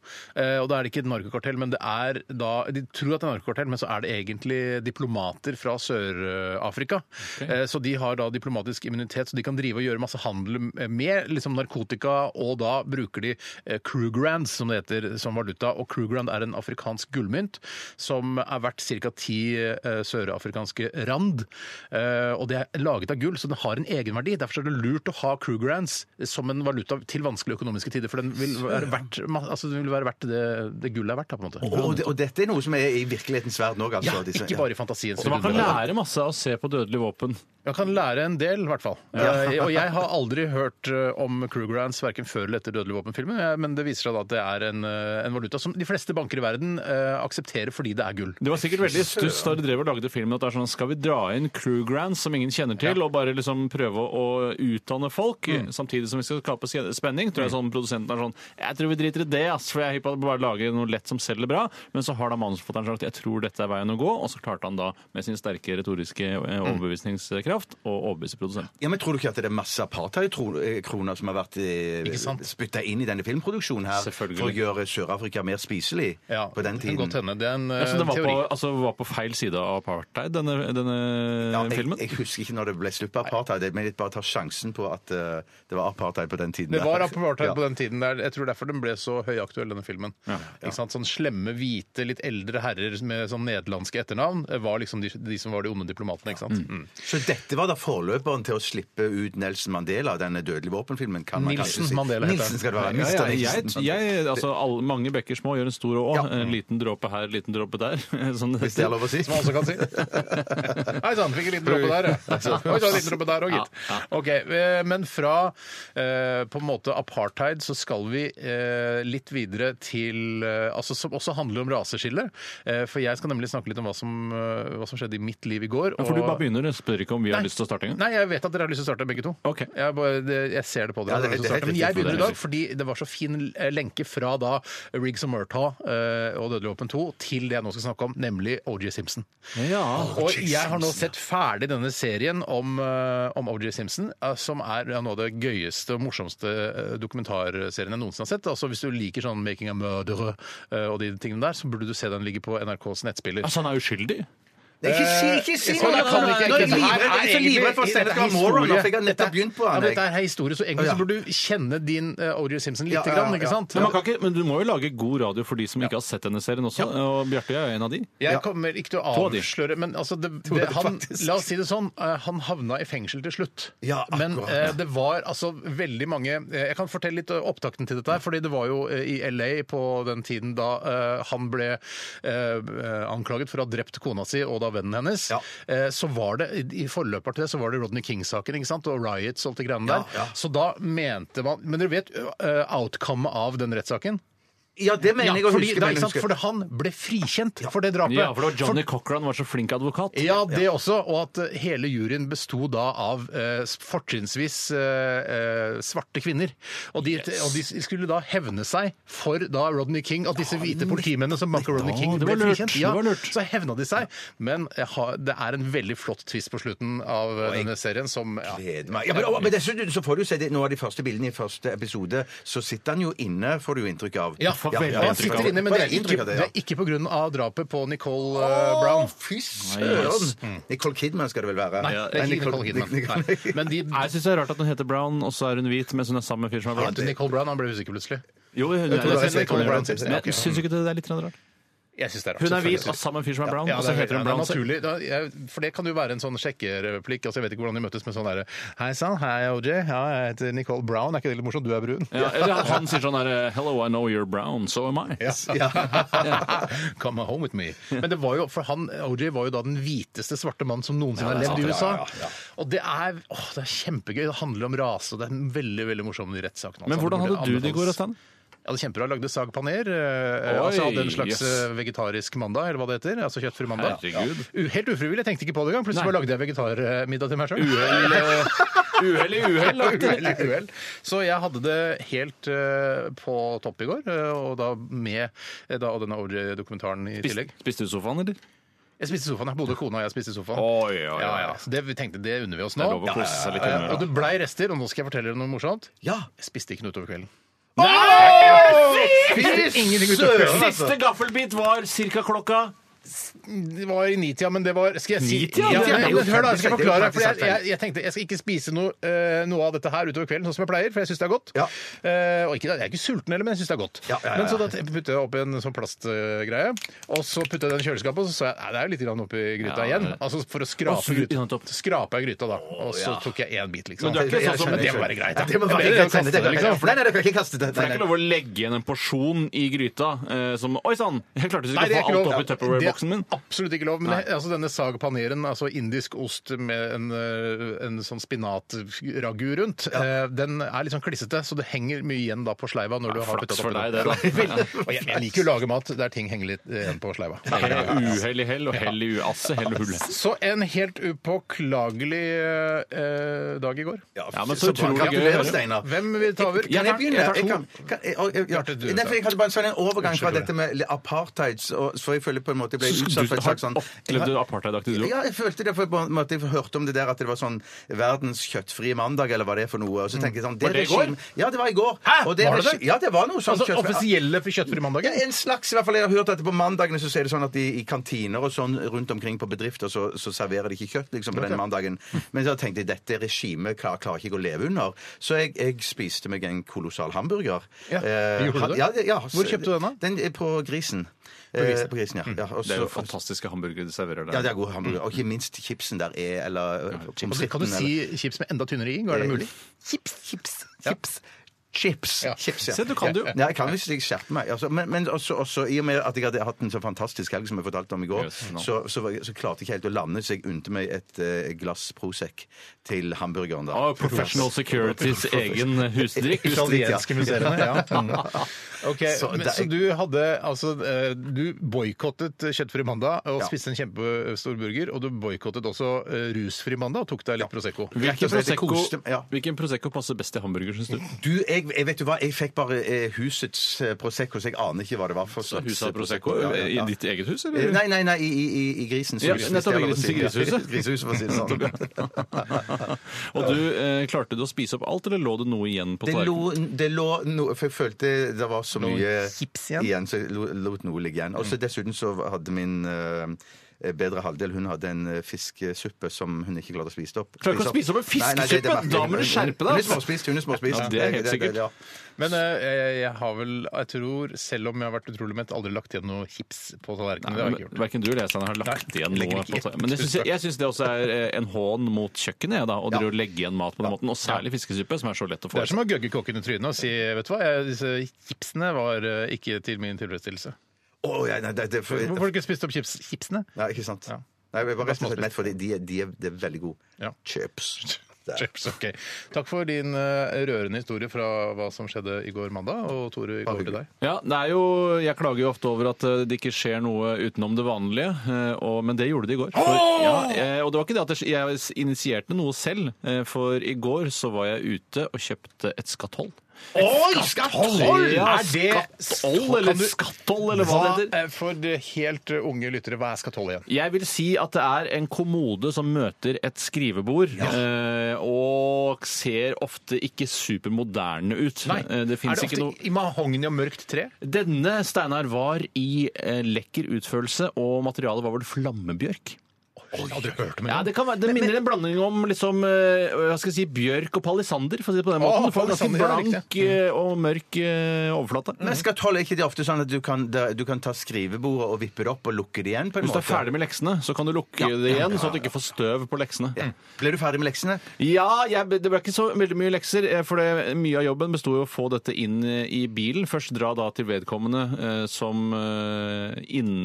[SPEAKER 4] Eh, og da er det ikke et narkokartell, men det er da De tror at det er narkokartell, men så er det egentlig diplomater fra Sør-Afrika. Eh, så de har da diplomatisk immunitet, så de kan drive og gjøre masse handel med liksom narkotika, og da bruker de eh, Krugrands, som det heter, som valuta. Og Krugrand er en afrikansk gullmynt som er verdt ca. ti eh, sørafrikanske rand. Eh, og det er laget av gull, så den har en egenverdi. Derfor er det lurt å ha Krugrans som en valuta til vanskelige økonomiske tider, for den vil være verdt, ma- altså den vil være verdt det, det gullet er verdt. Da, på en måte.
[SPEAKER 5] Og, det- og dette er noe som er i virkelighetens verden òg, altså.
[SPEAKER 4] ja,
[SPEAKER 5] disse-
[SPEAKER 4] ikke bare i fantasien.
[SPEAKER 6] Så man kan lære masse av å se på dødelig våpen.
[SPEAKER 4] Man kan lære en del, i hvert fall. Eh, og jeg har aldri hørt eh, om Krugrans verken før eller etter Dødelig våpen-filmen, eh, men det viser seg da at det er en, eh, en valuta som de fleste banker i verden eh, aksepterer fordi det er gull.
[SPEAKER 6] Det var sikkert veldig stuss da de drev og lagde filmen at det er sånn skal vi dra inn crewgrands som ingen kjenner til, og bare liksom prøve å utdanne folk, samtidig som vi skal skape spen- spenning. Tror jeg sånn Produsenten er sånn Jeg tror vi driter i det, ass, for jeg er hypp på å bare lage noe lett som selger bra. Men så har da manusforfatteren sagt jeg tror dette er veien å gå, og så klarte han da med sin sterke retoriske eh, overbevisningskraft å overbevise produsenten.
[SPEAKER 5] Ja, men Tror du ikke at det er masse apartheid-kroner som har vært
[SPEAKER 4] Ikke sant?
[SPEAKER 5] spytta inn i denne filmproduksjonen her
[SPEAKER 6] Selvfølgelig.
[SPEAKER 5] for å gjøre Sør-Afrika mer spiselig
[SPEAKER 4] Ja,
[SPEAKER 5] på den
[SPEAKER 4] det
[SPEAKER 5] tiden?
[SPEAKER 4] kan godt hende. Det er en eh,
[SPEAKER 6] Ja, så det var
[SPEAKER 4] teori.
[SPEAKER 6] på, altså, var på feil side av apartheid, denne, denne
[SPEAKER 5] Ja, jeg,
[SPEAKER 6] filmen?
[SPEAKER 5] jeg husker ikke når det ble slutt på apartheid, men jeg bare tar sjansen på at eh, det var apartheid på den tiden.
[SPEAKER 4] Det
[SPEAKER 5] der.
[SPEAKER 4] var apartheid
[SPEAKER 5] Ja.
[SPEAKER 4] på den tiden. der. Jeg tror derfor den ble så høyaktuell, denne filmen. Ikke sant? Sånn slemme, hvite, litt eldre herrer med sånn nederlandske etternavn eh, var liksom de, de som var de onde diplomatene. ikke sant? Mm.
[SPEAKER 5] Så dette var da forløperen til å slippe ut Nelson Mandela, denne dødelige våpenfilmen? Kan man
[SPEAKER 4] Nilsen
[SPEAKER 5] kanskje si.
[SPEAKER 4] Mandela heter
[SPEAKER 5] Nilsen skal det være.
[SPEAKER 6] Ja, ja,
[SPEAKER 5] Mr.
[SPEAKER 6] jeg,
[SPEAKER 5] Nilsen.
[SPEAKER 6] jeg, altså, alle, mange bekker små gjør en stor å.
[SPEAKER 5] Ja.
[SPEAKER 6] En liten dråpe her, en liten dråpe der. Sånn
[SPEAKER 5] Hvis det er lov å si.
[SPEAKER 4] Som man også kan si. Hei sann, fikk en liten dråpe der, ja. Oi sann, en liten dråpe der òg, gitt. Ok, eh, Men fra eh, på en måte apartheid så skal vi eh, litt videre til eh, altså Som også handler om raseskille. Eh, for jeg skal nemlig snakke litt om hva som, eh, hva som skjedde i mitt liv i går.
[SPEAKER 6] For du
[SPEAKER 4] og-
[SPEAKER 6] bare begynner, jeg spør ikke om vi har lyst til å starte engang.
[SPEAKER 4] Nei, jeg vet at dere har lyst til å starte, begge to.
[SPEAKER 6] Ok.
[SPEAKER 4] Jeg, bare, det, jeg ser det på dere.
[SPEAKER 5] Ja, det-
[SPEAKER 4] dere har lyst
[SPEAKER 5] det
[SPEAKER 4] til å
[SPEAKER 5] er
[SPEAKER 4] starte.
[SPEAKER 5] helt
[SPEAKER 4] Men jeg
[SPEAKER 5] riktig,
[SPEAKER 4] begynner i
[SPEAKER 5] det er
[SPEAKER 4] dag fordi det var så fin eh, lenke fra da Riggs og Murtaugh eh, og Dødelig våpen 2 til det jeg nå skal snakke om, nemlig OJ Simpson. og jeg har nå sett ferdig denne serien om, eh, om OJ Simpson, eh, som er ja, noe av det gøyeste og morsomste eh, dokumentarserien jeg noensinne har sett. Altså Hvis du liker sånn 'Making a Murderer' eh, og de tingene der, så burde du se den ligge på NRKs nettspiller.
[SPEAKER 6] Altså, han er uskyldig.
[SPEAKER 5] Nei, ikke si, ikke si
[SPEAKER 4] Eh,
[SPEAKER 5] noe!
[SPEAKER 4] jeg kan
[SPEAKER 5] Nå
[SPEAKER 4] ikke-
[SPEAKER 5] er jeg
[SPEAKER 4] ikke-
[SPEAKER 5] livredd- jeg er så livredd for at Steinar skal være moron, nå, for jeg har nettopp begynt på
[SPEAKER 4] Ja,
[SPEAKER 5] han.
[SPEAKER 4] men dette
[SPEAKER 5] jeg.
[SPEAKER 4] er historie, så
[SPEAKER 5] Å,
[SPEAKER 4] egentlig
[SPEAKER 5] ja.
[SPEAKER 4] så burde du kjenne din eh, O.J. Simpson lite
[SPEAKER 5] Ja, ja,
[SPEAKER 4] grann,
[SPEAKER 5] ja.
[SPEAKER 4] ikke sant?
[SPEAKER 6] Men, man kan ikke, men du må jo lage god radio for de som ikke har sett denne serien også. Og Bjarte er en av de.
[SPEAKER 4] Jeg kommer ikke til å
[SPEAKER 6] To av de.
[SPEAKER 4] avsløre Men altså, det, det,
[SPEAKER 5] de,
[SPEAKER 4] han,
[SPEAKER 5] faktisk.
[SPEAKER 4] la oss si det sånn, eh, han havna i fengsel til slutt.
[SPEAKER 5] Ja, akkurat.
[SPEAKER 4] Men eh, det var altså veldig mange eh, Jeg kan fortelle litt eh, opptakten til dette her, fordi det var jo eh, i LA på den tiden da eh, han ble eh, eh, anklaget for å ha drept kona si og da vennen hennes.
[SPEAKER 5] Ja.
[SPEAKER 4] Eh, så var det, i- I forløper til det så var det Rodney King-saken ikke sant? og riots og alt det greiene der.
[SPEAKER 5] Ja, ja.
[SPEAKER 4] Så da mente man Men dere vet uh, outcomet av den rettssaken?
[SPEAKER 5] Ja, det mener jeg å
[SPEAKER 4] fordi,
[SPEAKER 5] huske.
[SPEAKER 4] det er
[SPEAKER 5] mener jeg
[SPEAKER 4] ikke
[SPEAKER 5] å
[SPEAKER 4] sant,
[SPEAKER 5] huske.
[SPEAKER 4] for han ble frikjent for det drapet.
[SPEAKER 6] Ja, for det var Johnny Cochran var så flink advokat.
[SPEAKER 4] Ja, det også. Og at eh, hele juryen besto da av eh, fortrinnsvis eh, eh, svarte kvinner. Og de, og de skulle da hevne seg for da Rodney King, at disse hvite politimennene som banka Rodney King,
[SPEAKER 6] det
[SPEAKER 4] ble
[SPEAKER 6] var lurt,
[SPEAKER 4] frikjent.
[SPEAKER 6] det
[SPEAKER 4] Ja,
[SPEAKER 6] var lurt.
[SPEAKER 4] så hevna de seg. Men jeg har- det er en veldig flott twist på slutten av eh, denne serien som ja.
[SPEAKER 5] Gleder meg. Ja, men, og- men dessuten så får du se det, noen av de første bildene i første episode, så sitter han jo inne, får du jo inntrykk av.
[SPEAKER 4] Ja,
[SPEAKER 6] får veldig
[SPEAKER 4] han
[SPEAKER 6] inntrykk av
[SPEAKER 4] sitter
[SPEAKER 6] det.
[SPEAKER 4] inne, men det er ikke, det
[SPEAKER 5] ja.
[SPEAKER 4] er ikke pga. drapet på Nicole eh, Brown.
[SPEAKER 5] Fy søren! Mm. Nicole Kidman skal det vel være?
[SPEAKER 4] Nei, det er ikke Nicole Kidman. Nei. Men de
[SPEAKER 6] Nei, Jeg syns det er rart at hun heter Brown, og så er hun hvit mens hun er sammen med en fyr som er
[SPEAKER 4] Vet du,
[SPEAKER 6] blond.
[SPEAKER 4] Nicole Brown han ble usikker plutselig.
[SPEAKER 6] Jo, hun er,
[SPEAKER 5] tror det er
[SPEAKER 6] Nicole Brown.
[SPEAKER 5] Simpson,
[SPEAKER 6] Men jeg syns ikke det er litt rart.
[SPEAKER 4] Jeg synes det er rart.
[SPEAKER 6] Hun er hvit
[SPEAKER 4] selvfølgelig.
[SPEAKER 6] og sammen med en fyr som er brown,
[SPEAKER 4] Ja,
[SPEAKER 6] og
[SPEAKER 4] det
[SPEAKER 6] så
[SPEAKER 4] er,
[SPEAKER 6] heter
[SPEAKER 4] ja,
[SPEAKER 6] hun
[SPEAKER 4] det er
[SPEAKER 6] Brown. så-
[SPEAKER 4] naturlig. Da, jeg, for det kan jo være en sånn sjekkereplikk. Altså, jeg vet ikke hvordan de møttes, men sånn derre Hei sann, hei OJ. Ja, jeg heter Nicole Brown. Er ikke det litt morsomt? Du er brun.
[SPEAKER 6] Ja, eller at han sier sånn her Hello, I know you're brown, so am I.
[SPEAKER 4] Come home with me. Men det var jo, for han, OJ var jo da den hviteste svarte mannen som noensinne har levd i USA. Og det er, åh, det er kjempegøy. Det handler om rase, og det er veldig veldig morsom i rettssaken. altså.
[SPEAKER 6] Men hvordan
[SPEAKER 4] Det burde
[SPEAKER 6] hadde du det i går,
[SPEAKER 4] anbefales.
[SPEAKER 6] Øystein?
[SPEAKER 4] Jeg hadde kjempebra. Lagde sag paner. Eh,
[SPEAKER 6] Oi,
[SPEAKER 4] altså hadde en slags
[SPEAKER 6] yes.
[SPEAKER 4] eh, vegetarisk mandag, eller hva det heter. Altså kjøttfri mandag.
[SPEAKER 6] Herregud.
[SPEAKER 4] U- Helt ufrivillig. Jeg tenkte ikke på det engang. Plutselig
[SPEAKER 6] Nei.
[SPEAKER 4] bare lagde jeg vegetarmiddag til meg sjøl.
[SPEAKER 6] Uhell eh, uhell i uhell. da.
[SPEAKER 4] Uhell i uhell. Så jeg hadde det helt eh, på topp i går, eh, og da med eh, da, og denne OJ-dokumentaren i tillegg.
[SPEAKER 6] Spiste du i sofaen, eller?
[SPEAKER 4] Jeg spiste i sofaen. Jeg bodde kona og jeg spiste i sofaen.
[SPEAKER 6] Oi, oi, oi.
[SPEAKER 4] Ja, ja. Så det, vi tenkte det unner vi oss nå.
[SPEAKER 6] Det er lov å kose seg litt
[SPEAKER 4] Eh,
[SPEAKER 6] under,
[SPEAKER 4] og
[SPEAKER 6] da.
[SPEAKER 4] det blei rester, og nå skal jeg fortelle dere noe morsomt.
[SPEAKER 5] Ja.
[SPEAKER 4] Jeg spiste ikke noe utover kvelden.
[SPEAKER 5] Fy søren, altså.
[SPEAKER 6] Siste gaffelbit var cirka klokka
[SPEAKER 4] Det var i nitida, men det var Skal jeg si
[SPEAKER 6] Nitida?
[SPEAKER 4] Ja,
[SPEAKER 5] Det er
[SPEAKER 4] men
[SPEAKER 5] jo
[SPEAKER 4] Hør, da. Jeg skal
[SPEAKER 5] faktisk-
[SPEAKER 4] forklare.
[SPEAKER 5] det er jo
[SPEAKER 4] For jeg,
[SPEAKER 5] faktisk
[SPEAKER 4] jeg, jeg tenkte jeg skal ikke spise noe, eh, noe av dette her utover kvelden, sånn som jeg pleier, for jeg syns det er godt.
[SPEAKER 5] Ja.
[SPEAKER 4] Eh, og ikke, jeg er ikke sulten heller, men jeg syns det er godt.
[SPEAKER 5] Ja, ja, ja,
[SPEAKER 4] Men så
[SPEAKER 5] ja.
[SPEAKER 4] da te- puttet jeg oppi en sånn plastgreie, og så puttet jeg den i kjøleskapet, og så så jeg nei, det er jo litt grann oppi gryta
[SPEAKER 6] Ja,
[SPEAKER 4] igjen.
[SPEAKER 6] det-
[SPEAKER 4] Altså for å
[SPEAKER 6] Og så-
[SPEAKER 4] skrape
[SPEAKER 6] ja, nettopp.
[SPEAKER 4] gryta. Skraper jeg gryta da, og så tok jeg én bit, liksom.
[SPEAKER 6] Men du er ikke sånn som-
[SPEAKER 4] Men det må være greit.
[SPEAKER 5] Ja,
[SPEAKER 4] da.
[SPEAKER 5] det må
[SPEAKER 4] Jeg
[SPEAKER 5] være
[SPEAKER 4] vet,
[SPEAKER 5] greit.
[SPEAKER 4] jeg
[SPEAKER 5] Nei,
[SPEAKER 4] kaster det, liksom.
[SPEAKER 5] nei, det er ikke kastet.
[SPEAKER 6] For det er ikke lov å legge igjen en porsjon i gryta eh, som Oi sann! Jeg klarte ikke
[SPEAKER 4] Nei,
[SPEAKER 6] å
[SPEAKER 4] det
[SPEAKER 6] få
[SPEAKER 4] er ikke
[SPEAKER 6] alt
[SPEAKER 4] lov.
[SPEAKER 6] opp
[SPEAKER 4] Det
[SPEAKER 6] i boksen min.
[SPEAKER 4] Absolutt ikke lov. Men det, altså denne sag paneren, altså indisk ost med en, eh, en sånn spinatragu rundt, eh, den er litt sånn klissete, så det henger mye igjen da på sleiva. når du har
[SPEAKER 6] flaks
[SPEAKER 4] puttet
[SPEAKER 6] for
[SPEAKER 4] oppi
[SPEAKER 6] deg, det da.
[SPEAKER 4] Veldig. Og jeg, jeg liker jo å lage mat der ting henger litt eh, igjen på sleiva.
[SPEAKER 6] Uhell i hell og hell i uasse, hell og hull.
[SPEAKER 4] Så en helt upåklagelig eh, dag i går.
[SPEAKER 6] Ja, men så utrolig gøy å
[SPEAKER 5] Gratulerer,
[SPEAKER 6] høre.
[SPEAKER 5] Steinar.
[SPEAKER 4] Hvem vil ta over?
[SPEAKER 5] Kan jeg begynne? Jeg
[SPEAKER 4] tar to.
[SPEAKER 5] kan, kan, jeg, og- jeg, ja.
[SPEAKER 4] Bjarte, du
[SPEAKER 5] Nei,
[SPEAKER 4] tar.
[SPEAKER 5] for jeg hadde bare en sånn en overgang fra
[SPEAKER 4] Unnskyld,
[SPEAKER 5] dette med li- apartheid, så, så jeg føler på en måte jeg ble
[SPEAKER 6] Så
[SPEAKER 5] utsatt for
[SPEAKER 6] Du
[SPEAKER 5] et slags
[SPEAKER 6] har
[SPEAKER 5] sånn
[SPEAKER 6] opplevd apartheidaktig du òg?
[SPEAKER 5] ja, jeg følte det på en måte, jeg hørte om det der at det var sånn verdens kjøttfrie mandag, eller hva det er for noe.
[SPEAKER 4] Mm.
[SPEAKER 5] Og så tenkte jeg sånn
[SPEAKER 6] Var det i går?
[SPEAKER 5] regime- Ja, det var i går.
[SPEAKER 4] Hæ?
[SPEAKER 5] Og det
[SPEAKER 4] Var det
[SPEAKER 5] regi-
[SPEAKER 4] det?
[SPEAKER 5] Ja, det var noe sånn
[SPEAKER 4] Altså
[SPEAKER 5] kjøttfri-
[SPEAKER 4] offisielle kjøttfri mandager?
[SPEAKER 5] Ja, en slags, i hvert fall. Jeg har hørt at på mandagene så er det sånn at i, i kantiner og sånn rundt omkring på bedrifter så, så serverer de ikke kjøtt liksom på den mandagen. Men så tenkte jeg dette regimet klar, klarer ikke jeg å leve under. Så jeg, jeg spiste meg en kolossal hamburger.
[SPEAKER 4] Ja, gjorde du
[SPEAKER 5] han-
[SPEAKER 4] det?
[SPEAKER 5] Ja, ja,
[SPEAKER 4] Hvor kjøpte du den da? Mm.
[SPEAKER 5] Den er på Grisen. På grisen, på grisen ja. ja og
[SPEAKER 6] Det
[SPEAKER 5] så-
[SPEAKER 6] er jo fantastiske hamburgere de serverer
[SPEAKER 5] Ja, det
[SPEAKER 6] der.
[SPEAKER 5] er god hamburger.
[SPEAKER 6] mm.
[SPEAKER 5] Og ikke minst chipsen der er, eller eh,
[SPEAKER 4] Og
[SPEAKER 5] pommes
[SPEAKER 4] så Kan du
[SPEAKER 5] fritesen,
[SPEAKER 4] si chips med enda tynnere i? Er det
[SPEAKER 5] Eh,
[SPEAKER 4] mulig?
[SPEAKER 5] Chips, chips, chips. Chips.
[SPEAKER 4] Ja.
[SPEAKER 5] chips ja.
[SPEAKER 6] Se, du kan det jo.
[SPEAKER 5] Ja, jeg kan hvis jeg skjerper meg. Altså, men men også, også, i og med at jeg hadde hatt en så fantastisk helg som jeg fortalte om i går,
[SPEAKER 6] Yes, no.
[SPEAKER 5] så, så, var jeg- så klarte jeg ikke helt å lande, så jeg unnte meg et eh, glass Prosec til hamburgeren da.
[SPEAKER 6] Ah, Professional Securities egen husdrikk.
[SPEAKER 4] Italienske museene, ja. Mm. Ok,
[SPEAKER 5] Så
[SPEAKER 4] men,
[SPEAKER 5] det-
[SPEAKER 4] så du hadde altså eh, Du boikottet Kjøttfri mandag og
[SPEAKER 5] Ja.
[SPEAKER 4] spiste en kjempestor burger, og du boikottet også eh, Rusfri mandag og tok deg litt Prosecco.
[SPEAKER 5] Rett
[SPEAKER 6] Hvilken
[SPEAKER 5] og slett, jeg
[SPEAKER 6] prosecco,
[SPEAKER 5] koste- ja.
[SPEAKER 6] hvilken prosecco passer best til hamburger, syns du?
[SPEAKER 5] Du, jeg, jeg vet du hva, jeg fikk bare eh, husets eh, Prosecco, så jeg aner ikke hva det var for slags
[SPEAKER 6] Huset av Prosecco?
[SPEAKER 5] Ja, ja, ja.
[SPEAKER 6] I ditt eget hus,
[SPEAKER 5] Eh,
[SPEAKER 6] eller?
[SPEAKER 5] Nei, nei, nei, i, i, i, i grisens
[SPEAKER 6] Ja,
[SPEAKER 5] hus. hvis
[SPEAKER 6] nettopp,
[SPEAKER 5] det er lov
[SPEAKER 6] i
[SPEAKER 5] å si.
[SPEAKER 6] grisens- i grisehuset.
[SPEAKER 5] Grisehuset, for å si det sånn.
[SPEAKER 6] Og du, eh, klarte du å spise opp alt, eller lå det noe igjen på
[SPEAKER 5] Det lå,
[SPEAKER 6] tallerkenen?
[SPEAKER 5] det lå noe For jeg følte det var så mye
[SPEAKER 4] chips igjen?
[SPEAKER 5] så jeg lo- lot noe ligge igjen. Og
[SPEAKER 6] Mm.
[SPEAKER 5] så dessuten så hadde min eh, bedre halvdel Hun hadde en eh, fiskesuppe som hun ikke klarte å spise opp.
[SPEAKER 6] Klarer ikke å spise opp en
[SPEAKER 5] Nei, nei, det- det
[SPEAKER 6] fiskesuppe?
[SPEAKER 5] merker jeg.
[SPEAKER 6] Da må du skjerpe deg,
[SPEAKER 5] Hun er
[SPEAKER 6] altså.
[SPEAKER 5] småspist. Hun er småspist.
[SPEAKER 6] Ja, det er helt sikkert.
[SPEAKER 5] ja.
[SPEAKER 4] Men eh, jeg har vel, jeg tror, selv om jeg har vært utrolig mett, aldri lagt igjen noe chips på tallerkenen. Det har jeg ikke gjort.
[SPEAKER 6] Verken du eller jeg Steinar, har lagt
[SPEAKER 4] Nei,
[SPEAKER 6] igjen
[SPEAKER 4] legger
[SPEAKER 6] noe.
[SPEAKER 4] ikke
[SPEAKER 6] På
[SPEAKER 4] igjen.
[SPEAKER 6] ta- men jeg syns, jeg syns det også er eh, en hån mot kjøkkenet jeg, da, å drive og legge igjen mat på den måten. Og særlig fiskesuppe, som er så lett å
[SPEAKER 4] Det
[SPEAKER 6] få.
[SPEAKER 4] er som å gøgge kokken i trynet og si vet du hva, jeg, disse chipsene var eh, ikke til min tilfredsstillelse.
[SPEAKER 5] Å, ja, nei, det, det, for,
[SPEAKER 4] Hvorfor har du ikke spist opp chips, chipsene?
[SPEAKER 5] nei, ikke sant.
[SPEAKER 4] Ja.
[SPEAKER 5] Nei, jeg var rett og
[SPEAKER 4] Småspist.
[SPEAKER 5] slett mett, for de, de, er- de er, de er veldig gode.
[SPEAKER 4] Ja.
[SPEAKER 5] Chips. Der.
[SPEAKER 4] Chips, ok. Takk for din eh, rørende historie fra hva som skjedde i går mandag. Og Tore, i går til deg.
[SPEAKER 6] Ja, det er jo, jeg klager jo ofte over at eh, det ikke skjer noe utenom det vanlige, eh, og, men det gjorde det i går. For, ja, eh, og det var ikke det at jeg, jeg initierte noe selv, eh, for i går så var jeg ute og kjøpte et skatoll.
[SPEAKER 4] Oi,
[SPEAKER 6] Ja,
[SPEAKER 4] Er det
[SPEAKER 6] skatoll, eller
[SPEAKER 4] Kan du-
[SPEAKER 6] skatoll, eller hva det heter?
[SPEAKER 4] eh, For de helt eh, unge lyttere, hva er skatoll igjen?
[SPEAKER 6] Jeg vil si at det er en kommode som møter et skrivebord, eh, og ser ofte ikke supermoderne ut. Eh, Det
[SPEAKER 4] er
[SPEAKER 6] finnes
[SPEAKER 4] det ofte
[SPEAKER 6] ikke noe...
[SPEAKER 4] i mahogni og mørkt tre?
[SPEAKER 6] Denne, Steinar, var i eh, lekker utførelse, og materialet var vel flammebjørk?
[SPEAKER 4] Jeg har aldri hørt om
[SPEAKER 6] Ja, Det, kan være, det minner en blanding om liksom, eh, hva skal jeg si, bjørk og palisander, for å si det på den
[SPEAKER 4] Å,
[SPEAKER 6] måten. Du får en ganske
[SPEAKER 4] palisander, ja, riktig.
[SPEAKER 6] blank eh, og mørk eh, overflate.
[SPEAKER 5] Men skatoll er ikke det ofte sånn at du kan, da- du kan ta skrivebordet og vippe det opp og lukke det igjen? på en
[SPEAKER 6] Hvis du
[SPEAKER 5] måte?
[SPEAKER 6] er ferdig med leksene, så kan du lukke det igjen, sånn at du ikke får støv på leksene. Ja,
[SPEAKER 5] Ble du ferdig med leksene?
[SPEAKER 6] jeg, det ble ikke så veldig mye lekser, eh, for det, mye av jobben besto i å få dette inn eh, i bilen. Først dra da til vedkommende eh, som eh,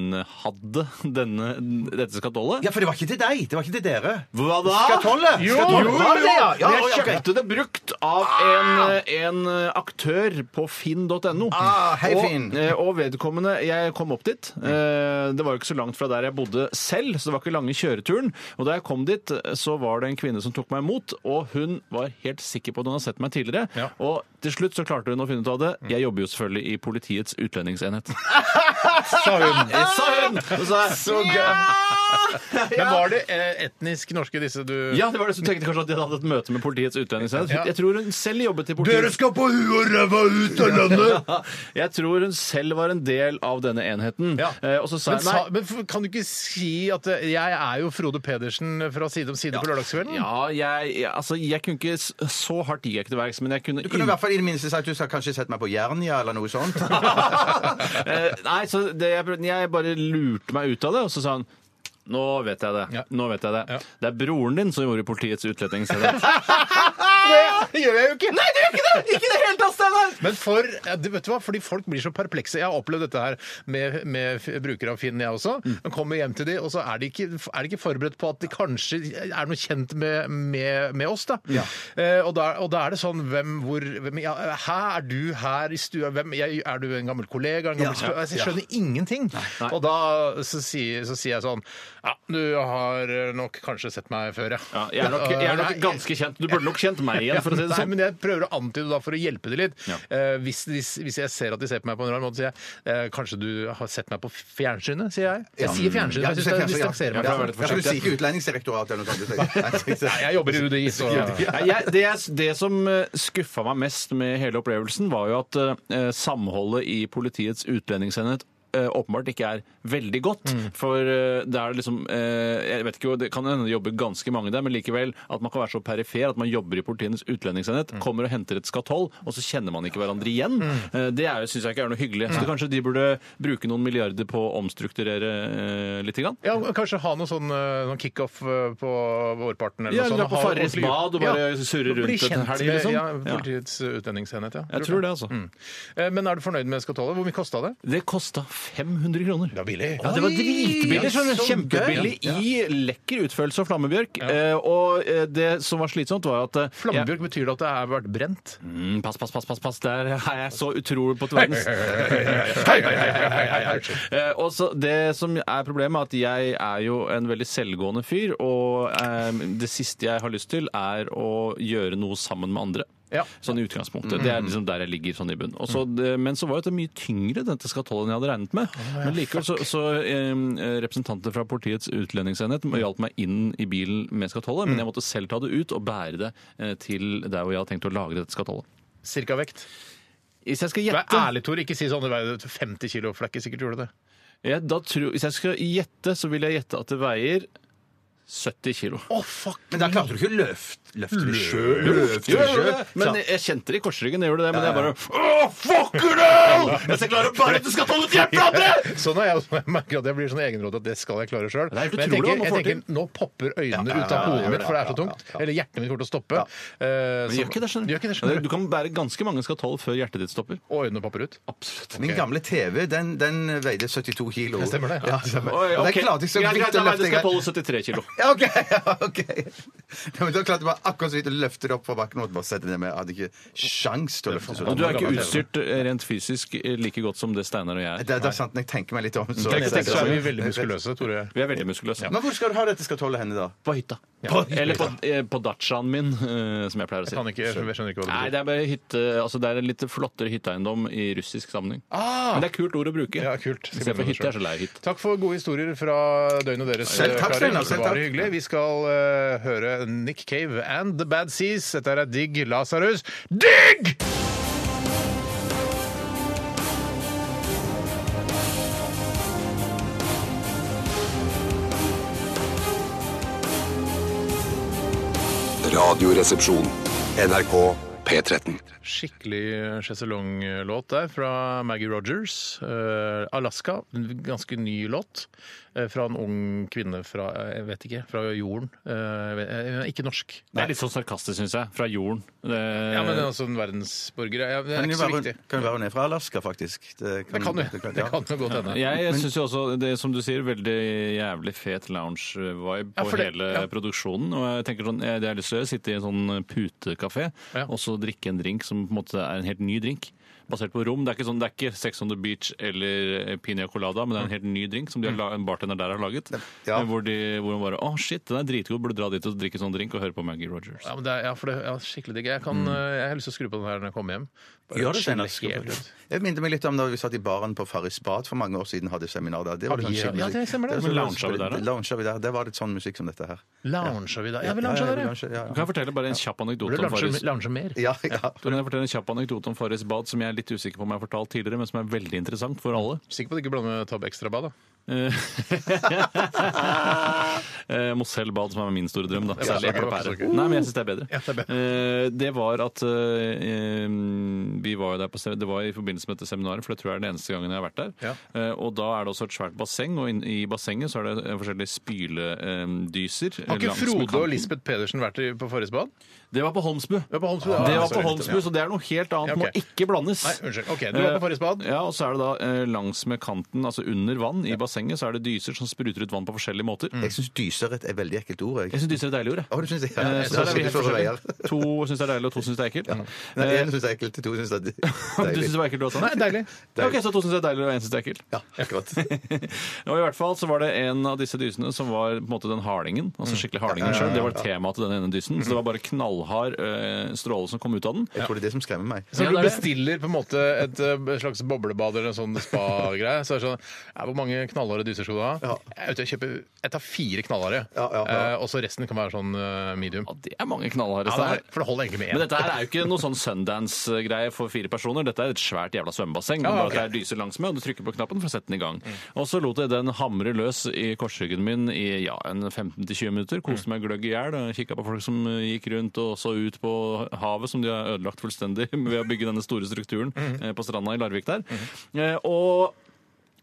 [SPEAKER 6] innehadde denne, dette skatollet.
[SPEAKER 5] Ja, for det var ikke til deg. Det var ikke til dere.
[SPEAKER 6] Hva da?
[SPEAKER 5] Skatollet!
[SPEAKER 6] Jo,
[SPEAKER 5] Skatollet.
[SPEAKER 6] jo,
[SPEAKER 5] Var det
[SPEAKER 6] jo.
[SPEAKER 5] det, ja? Ja,
[SPEAKER 6] Men jeg
[SPEAKER 5] ok.
[SPEAKER 6] kjøpte det brukt av en, eh, en aktør på finn.no.
[SPEAKER 5] Ah, hei, Finn.
[SPEAKER 6] Og, eh, og vedkommende Jeg kom opp dit. Eh, Det var jo ikke så langt fra der jeg bodde selv, så det var ikke lange kjøreturen. Og da jeg kom dit, så var det en kvinne som tok meg imot, og hun var helt sikker på at hun hadde sett meg tidligere.
[SPEAKER 4] Ja.
[SPEAKER 6] Og til slutt så klarte hun å finne ut av det. Jeg jobber jo selvfølgelig i Politiets utlendingsenhet.
[SPEAKER 4] Sa hun.
[SPEAKER 6] Eh, Sa hun! Og så, så
[SPEAKER 4] Men var det eh, etnisk norske, disse du
[SPEAKER 6] Ja, det var det som tenkte kanskje at de hadde hatt et møte med politiets utlendingsenhet.
[SPEAKER 4] Ja.
[SPEAKER 6] Jeg tror hun selv jobbet i politiet.
[SPEAKER 4] skal på huet og ræva ut av landet!
[SPEAKER 6] Jeg tror hun selv var en del av denne enheten.
[SPEAKER 4] Ja.
[SPEAKER 6] Eh, og så sa
[SPEAKER 4] Men,
[SPEAKER 6] jeg
[SPEAKER 4] sa,
[SPEAKER 6] nei.
[SPEAKER 4] men f- kan du ikke si at eh, jeg er jo Frode Pedersen fra Side om side på lørdagskvelden?
[SPEAKER 6] Ja, jeg, jeg- altså, jeg kunne ikke s- så hardt gikk jeg ikke til verks, men jeg kunne,
[SPEAKER 5] Du kunne i
[SPEAKER 6] inn-
[SPEAKER 5] hvert fall i det minste sagt du skal kanskje sette meg på Jernia eller noe sånt.
[SPEAKER 6] Eh, Nei, så det, jeg, prøvde- jeg bare lurte meg ut av det, og så sa han nå vet jeg det.
[SPEAKER 4] Ja.
[SPEAKER 6] Nå vet jeg det.
[SPEAKER 4] Ja.
[SPEAKER 6] Det er broren din som gjorde Politiets utlendingsenhet.
[SPEAKER 4] på det! Det gjør jeg jo ikke!
[SPEAKER 6] Nei, det gjør ikke det! Ikke i det hele tatt, Steinar!
[SPEAKER 4] Men for, ja, du vet du hva, fordi folk blir så perplekse. Jeg har opplevd dette her med, med f- brukere av Finn, jeg også.
[SPEAKER 6] Mm.
[SPEAKER 4] Man kommer hjem til de, og så er de, ikke, er de ikke forberedt på at de kanskje er noe kjent med, med, med oss. da. Eh, og, da og da er det sånn hvem, hvor hvem, ja, Hæ, er du her i stua? Hvem, jeg, er du en gammel kollega? En gammel
[SPEAKER 5] Ja, ja,
[SPEAKER 4] sp- Jeg skjønner ingenting. Og da så sier, så sier jeg sånn Ja, du har nok kanskje sett meg før, ja.
[SPEAKER 6] Ja, jeg er nok, jeg er nok
[SPEAKER 4] Nei,
[SPEAKER 6] ganske kjent. Du burde nok kjent meg igjen, for å si det
[SPEAKER 4] Nei,
[SPEAKER 6] sånn.
[SPEAKER 4] men jeg prøver å antyde da for å hjelpe det litt.
[SPEAKER 6] Ja.
[SPEAKER 4] Eh, hvis, hvis, hvis jeg ser at de ser på meg på en rar måte, sier jeg eh, kanskje du har sett meg på fjernsynet, sier jeg. Jeg sier fjernsynet,
[SPEAKER 5] Ja, du
[SPEAKER 4] for jeg syns
[SPEAKER 5] ser
[SPEAKER 4] jeg
[SPEAKER 5] fjernsyn, ja.
[SPEAKER 4] distanserer meg
[SPEAKER 5] Ja,
[SPEAKER 4] fra
[SPEAKER 5] for
[SPEAKER 4] det.
[SPEAKER 5] Du sier ikke Utlendingsdirektoratet eller noe sånt. du sier.
[SPEAKER 4] Nei, Jeg jobber i UDI, så
[SPEAKER 6] Nei, jeg, det, jeg, det som eh, skuffa meg mest med hele opplevelsen, var jo at eh, samholdet i politiets utlendingsenhet eh, åpenbart ikke er veldig godt. For eh, det er liksom eh, Jeg vet ikke, jo, det kan hende det jobber ganske mange der, men likevel at man kan være så perifer at man jobber i Politiets utlendingsenhet, kommer og henter et skatoll, og så kjenner man ikke hverandre igjen. Eh, Det syns jeg ikke er noe hyggelig. Så kanskje de burde bruke noen milliarder på å omstrukturere eh, lite grann?
[SPEAKER 4] ja, og Kanskje ha noe sånn eh, noen kickoff eh, på vårparten eller
[SPEAKER 6] Ja,
[SPEAKER 4] noe
[SPEAKER 6] dra
[SPEAKER 4] sånt.
[SPEAKER 6] på
[SPEAKER 4] Ha
[SPEAKER 6] Farris
[SPEAKER 4] ordentlig-
[SPEAKER 6] bad og bare
[SPEAKER 4] Ja.
[SPEAKER 6] surre rundt
[SPEAKER 4] Bli
[SPEAKER 6] et
[SPEAKER 4] kjent
[SPEAKER 6] helg,
[SPEAKER 4] med-
[SPEAKER 6] liksom.
[SPEAKER 4] Ja,
[SPEAKER 6] Ja.
[SPEAKER 4] Politiets utlendingsenhet, ja.
[SPEAKER 6] Jeg tror det, altså.
[SPEAKER 4] Mm. Eh, Men er du fornøyd med skatollet? Hvor mye kosta det?
[SPEAKER 6] Det kosta 500 kroner.
[SPEAKER 4] Det var billig.
[SPEAKER 6] Ja, det var
[SPEAKER 4] Oi! sånn
[SPEAKER 6] dritbillig. skjønner du.
[SPEAKER 4] Ja, så
[SPEAKER 6] Kjempebillig
[SPEAKER 4] gøy. Ja.
[SPEAKER 6] i lekker utførelse av flammebjørk. Eh, og eh, det som var slitsomt, var at eh, jeg-
[SPEAKER 4] Flammebjørk, betyr det at det har vært brent?
[SPEAKER 6] Mm, Pass, pass, pass, pass, pass. Der er jeg så utrolig på til verdens. Eh, og så Det som er problemet, er at jeg er jo en veldig selvgående fyr, og eh, det siste jeg har lyst til, er å gjøre noe sammen med andre.
[SPEAKER 4] Ja.
[SPEAKER 6] Sånn i utgangspunktet. Det er liksom der jeg ligger sånn i bunn. Og så det, men så var jo dette mye tyngre, dette skatollen jeg hadde regnet med. Men likevel så, så eh, representanter fra politiets utlendingsenhet hjalp meg inn i bilen med skatollet, men jeg måtte selv ta det ut og bære det eh, til der hvor jeg hadde tenkt å lagre dette skatollet.
[SPEAKER 4] Cirka vekt.
[SPEAKER 6] Hvis jeg skal
[SPEAKER 4] Vær
[SPEAKER 6] gjette,
[SPEAKER 4] ærlig, Tor. Ikke si sånn det veier 50 kilo, for det er ikke sikkert du gjorde det.
[SPEAKER 6] ja, da tror, hvis jeg skal gjette, så vil jeg gjette at det veier 70 kilo.
[SPEAKER 4] Å, fuck!
[SPEAKER 5] Men da klarte du ikke å løfte løfte det sjøl. Løfte
[SPEAKER 6] Jo,
[SPEAKER 5] det
[SPEAKER 6] jeg gjorde
[SPEAKER 5] sjøl.
[SPEAKER 6] det, men jeg kjente det i korsryggen. Jeg gjorde det, men jeg bare
[SPEAKER 5] Å, fucker du! Hvis jeg klarer å bare at du skal holde hjertet
[SPEAKER 4] Sånn er jeg også. Jeg merker at jeg blir sånn egenråd at det skal jeg klare sjøl.
[SPEAKER 6] Nei, for
[SPEAKER 4] Men jeg
[SPEAKER 6] tror du
[SPEAKER 4] tenker,
[SPEAKER 6] man
[SPEAKER 4] jeg
[SPEAKER 6] får
[SPEAKER 4] tenker nå popper øynene
[SPEAKER 5] Ja, ja,
[SPEAKER 4] ut av
[SPEAKER 5] ja, ja,
[SPEAKER 4] hodet
[SPEAKER 5] ja,
[SPEAKER 4] mitt, for det
[SPEAKER 5] ja,
[SPEAKER 4] er så
[SPEAKER 5] ja,
[SPEAKER 4] tungt. Eller hjertet mitt kommer til å stoppe. Eh,
[SPEAKER 6] Men
[SPEAKER 4] så-
[SPEAKER 6] gjør ikke det, skjønner
[SPEAKER 4] Gjør ikke det, skjønner
[SPEAKER 6] du.
[SPEAKER 4] du.
[SPEAKER 6] kan bære ganske mange skatoll før hjertet ditt stopper.
[SPEAKER 4] Og øynene popper ut.
[SPEAKER 6] Absolutt.
[SPEAKER 5] Min gamle TV den, den veide 72 kilo.
[SPEAKER 4] Det stemmer det.
[SPEAKER 5] Ja, stemmer. Og Den klarte jeg så vidt å løfte. en gang.
[SPEAKER 6] skatollet 73 kilo.
[SPEAKER 5] Ja, OK! Ja, ok. Ja, men da klarte jeg bare akkurat så vidt å løfte det opp fra bakken. og bare sette det ned, men Jeg hadde ikke sjans til å løfte så
[SPEAKER 6] Og du er ikke
[SPEAKER 5] langt.
[SPEAKER 6] utstyrt eh, rent fysisk eh, like godt som det Steinar og jeg er.
[SPEAKER 5] Det, det er sant, når jeg tenker meg litt om. Så,
[SPEAKER 4] Jeg tenker så er vi veldig
[SPEAKER 5] Men-
[SPEAKER 4] muskuløse, Tore.
[SPEAKER 6] Vi er veldig muskuløse.
[SPEAKER 5] Men hvor skal du ha dette skal tåle henne, da?
[SPEAKER 6] På hytta.
[SPEAKER 4] På hytta.
[SPEAKER 6] Eller på, eh, på dachaen min, eh, som jeg pleier å si.
[SPEAKER 4] Kan ikke, jeg skjønner ikke hva det
[SPEAKER 6] Nei,
[SPEAKER 4] betyr.
[SPEAKER 6] det er bare hytte, altså det er en litt flottere hytteeiendom i russisk sammenheng. Men det er kult ord å bruke.
[SPEAKER 4] Ah! Ja, kult.
[SPEAKER 6] Se på hytte, jeg er så lei hytte.
[SPEAKER 4] Takk for gode historier fra døgnet deres.
[SPEAKER 5] Selv takk,
[SPEAKER 4] karer.
[SPEAKER 5] Steinar, selv
[SPEAKER 4] Det var
[SPEAKER 5] takk.
[SPEAKER 4] hyggelig. Vi skal eh, høre Nick Cave and The Bad Seas. Dette er Digg Lasarus. Digg!
[SPEAKER 1] Radioresepsjon. NRK P13.
[SPEAKER 4] Skikkelig eh, sjeselonglåt der fra Maggie Rogers. Eh, 'Alaska', en ganske ny låt eh, fra en ung kvinne fra eh, jeg vet ikke, fra jorden. Eh, jeg vet- eh, hun er ikke norsk.
[SPEAKER 6] Det er litt sånn sarkastisk, syns jeg. Fra jorden. Det,
[SPEAKER 4] Ja, men altså en verdensborger ja, Det er
[SPEAKER 5] Kan
[SPEAKER 4] ikke
[SPEAKER 5] jo
[SPEAKER 4] så
[SPEAKER 5] være,
[SPEAKER 4] viktig.
[SPEAKER 5] kan jo være hun er fra Alaska, faktisk.
[SPEAKER 4] Mm, Det kan jo det kan jo godt hende.
[SPEAKER 6] jeg syns jo også, det som du sier, veldig jævlig fet lounge-vibe
[SPEAKER 4] Ja,
[SPEAKER 6] på
[SPEAKER 4] for det-
[SPEAKER 6] hele
[SPEAKER 4] ja.
[SPEAKER 6] produksjonen. Og jeg tenker sånn, jeg, det jeg har lyst til å gjøre, sitte i en sånn putekafé
[SPEAKER 4] Ja.
[SPEAKER 6] og så drikke en drink som på en måte er en helt ny drink. Basert på rom. Det er ikke sånn, det er ikke Sex on the Beach eller Piña Colada, men
[SPEAKER 4] Mm.
[SPEAKER 6] det er en helt ny drink som de har, la- en bartender der har laget.
[SPEAKER 5] Ja.
[SPEAKER 6] Hvor, de, hvor man bare Å, shit, den er dritgod. Burde dra dit og drikke sånn drink og høre på Maggie Rogers.
[SPEAKER 4] Ja, men det er, ja, for det ja, skikkelig digg. Jeg, kan,
[SPEAKER 6] Mm.
[SPEAKER 4] eh, jeg har lyst til å skru på den her når jeg kommer hjem. Bare
[SPEAKER 5] Gjør det,
[SPEAKER 4] skille
[SPEAKER 5] Steinar.
[SPEAKER 4] helt ut.
[SPEAKER 5] Jeg minner meg litt om da vi satt i baren på Farris Bad for mange år siden. hadde seminar der. Det var
[SPEAKER 4] Har vi-
[SPEAKER 5] sånn skikkelig-
[SPEAKER 4] ja, det stemmer
[SPEAKER 5] var
[SPEAKER 4] det.
[SPEAKER 6] Men
[SPEAKER 5] sånn-
[SPEAKER 6] lounga vi der, da?
[SPEAKER 5] Lounga vi der. Det var litt sånn musikk som dette her.
[SPEAKER 4] Lounger vi da? Ja, vi
[SPEAKER 5] Ja,
[SPEAKER 4] lounger
[SPEAKER 5] ja,
[SPEAKER 4] der, ja.
[SPEAKER 5] lounge, ja,
[SPEAKER 6] Kan jeg fortelle bare en kjapp anekdote om
[SPEAKER 4] Lounger-
[SPEAKER 6] Farris?
[SPEAKER 4] Lounger mer.
[SPEAKER 5] ja. ja, ja.
[SPEAKER 6] Kan jeg fortelle en kjapp anekdote om Farris bad som jeg er litt usikker på om jeg har fortalt tidligere, men som er veldig interessant for alle?
[SPEAKER 4] Sikker på at du ikke blander med Tab Extra Bad, da.
[SPEAKER 6] Eh, eh, Mosellbad, som er min store drøm. da Særlig
[SPEAKER 4] det
[SPEAKER 6] eple
[SPEAKER 4] var
[SPEAKER 6] og
[SPEAKER 4] ikke så
[SPEAKER 6] pære.
[SPEAKER 4] gøy.
[SPEAKER 6] Nei, men jeg syns det er bedre.
[SPEAKER 4] Ja, det er bedre.
[SPEAKER 6] Eh, det var at eh, vi var jo der på se- Det var i forbindelse med dette seminaret, for det tror jeg er den eneste gangen jeg har vært der.
[SPEAKER 4] Ja.
[SPEAKER 6] Eh, og da er det også et svært basseng, og inn, i bassenget så er det eh, forskjellige spyledyser.
[SPEAKER 4] Har ikke Frode og Lisbeth Pedersen vært i- på Farris bad?
[SPEAKER 6] Det var på Holmsbu.
[SPEAKER 4] Det var på Holmsbu,
[SPEAKER 6] det var
[SPEAKER 4] sorry.
[SPEAKER 6] på Holmsbu, så det er noe helt annet.
[SPEAKER 4] Ja, ok.
[SPEAKER 6] Må ikke blandes.
[SPEAKER 4] Nei, unnskyld. Ok, du var på Farris bad.
[SPEAKER 6] Eh, Ja, og så er det da eh, langs med kanten, altså under vann i bassenget, så er det dyser som spruter ut vann på forskjellige måter.
[SPEAKER 5] Jeg syns dyser er et veldig ekkelt ord. Jeg.
[SPEAKER 6] Jeg syns dyser er et deilig ord, jeg.
[SPEAKER 5] Å, du syns det?
[SPEAKER 6] Eh,
[SPEAKER 5] Ja,
[SPEAKER 6] Så der er
[SPEAKER 5] jeg
[SPEAKER 6] vi helt
[SPEAKER 5] synes det er
[SPEAKER 6] forskjellige. To syns det er deilig, og to syns det er ekkelt.
[SPEAKER 5] Nei,
[SPEAKER 6] Eh,
[SPEAKER 5] én syns det er ekkelt, to syns det er
[SPEAKER 6] Du syns det
[SPEAKER 5] deilig.
[SPEAKER 6] var ekkelt, du også?
[SPEAKER 4] Nei, deilig.
[SPEAKER 6] Ja, Ok, Så to syns det er deilig, og én syns det er ekkelt.
[SPEAKER 5] Ja, akkurat.
[SPEAKER 6] Og i hvert fall så var det en av disse dysene som var på en måte den hardingen. altså skikkelig hardingen selv. Det var temaet til den ene dysen. Så det var bare knallhard eh, stråle som kom ut av den.
[SPEAKER 5] Jeg tror det er det som skremmer meg.
[SPEAKER 4] Så
[SPEAKER 6] Ja,
[SPEAKER 4] når
[SPEAKER 6] det
[SPEAKER 4] du
[SPEAKER 6] er det.
[SPEAKER 4] bestiller på en måte et eh, slags boblebad eller en sånn spa-greie, så er det sånn ja, Hvor mange knallharde dyser skal du ha?
[SPEAKER 5] Ja.
[SPEAKER 4] Jeg, er ute og kjøper, jeg tar fire knallharde,
[SPEAKER 5] Ja, ja, ja.
[SPEAKER 4] eh, og så resten kan være sånn eh, medium.
[SPEAKER 6] Ja, det er mange knallharde
[SPEAKER 4] Ja, det
[SPEAKER 6] steder.
[SPEAKER 4] er, for det holder egentlig
[SPEAKER 6] Men
[SPEAKER 4] med én.
[SPEAKER 6] dette her er jo ikke noe sånn Sundance-greie for fire personer. Dette er et svært jævla svømmebasseng.
[SPEAKER 4] Ja,
[SPEAKER 6] Bare
[SPEAKER 4] Ah, ok.
[SPEAKER 6] at det er lyser langsmed, og du trykker på knappen for å sette den i gang. Og så lot jeg den hamre løs i korsryggen min i ja, en 15-20 minutter. Koste meg gløgg i hjel. Kikka på folk som eh, gikk rundt og så ut på havet, som de har ødelagt fullstendig ved å bygge denne store strukturen
[SPEAKER 4] Mhm.
[SPEAKER 6] eh, på stranda i Larvik der. Eh, Og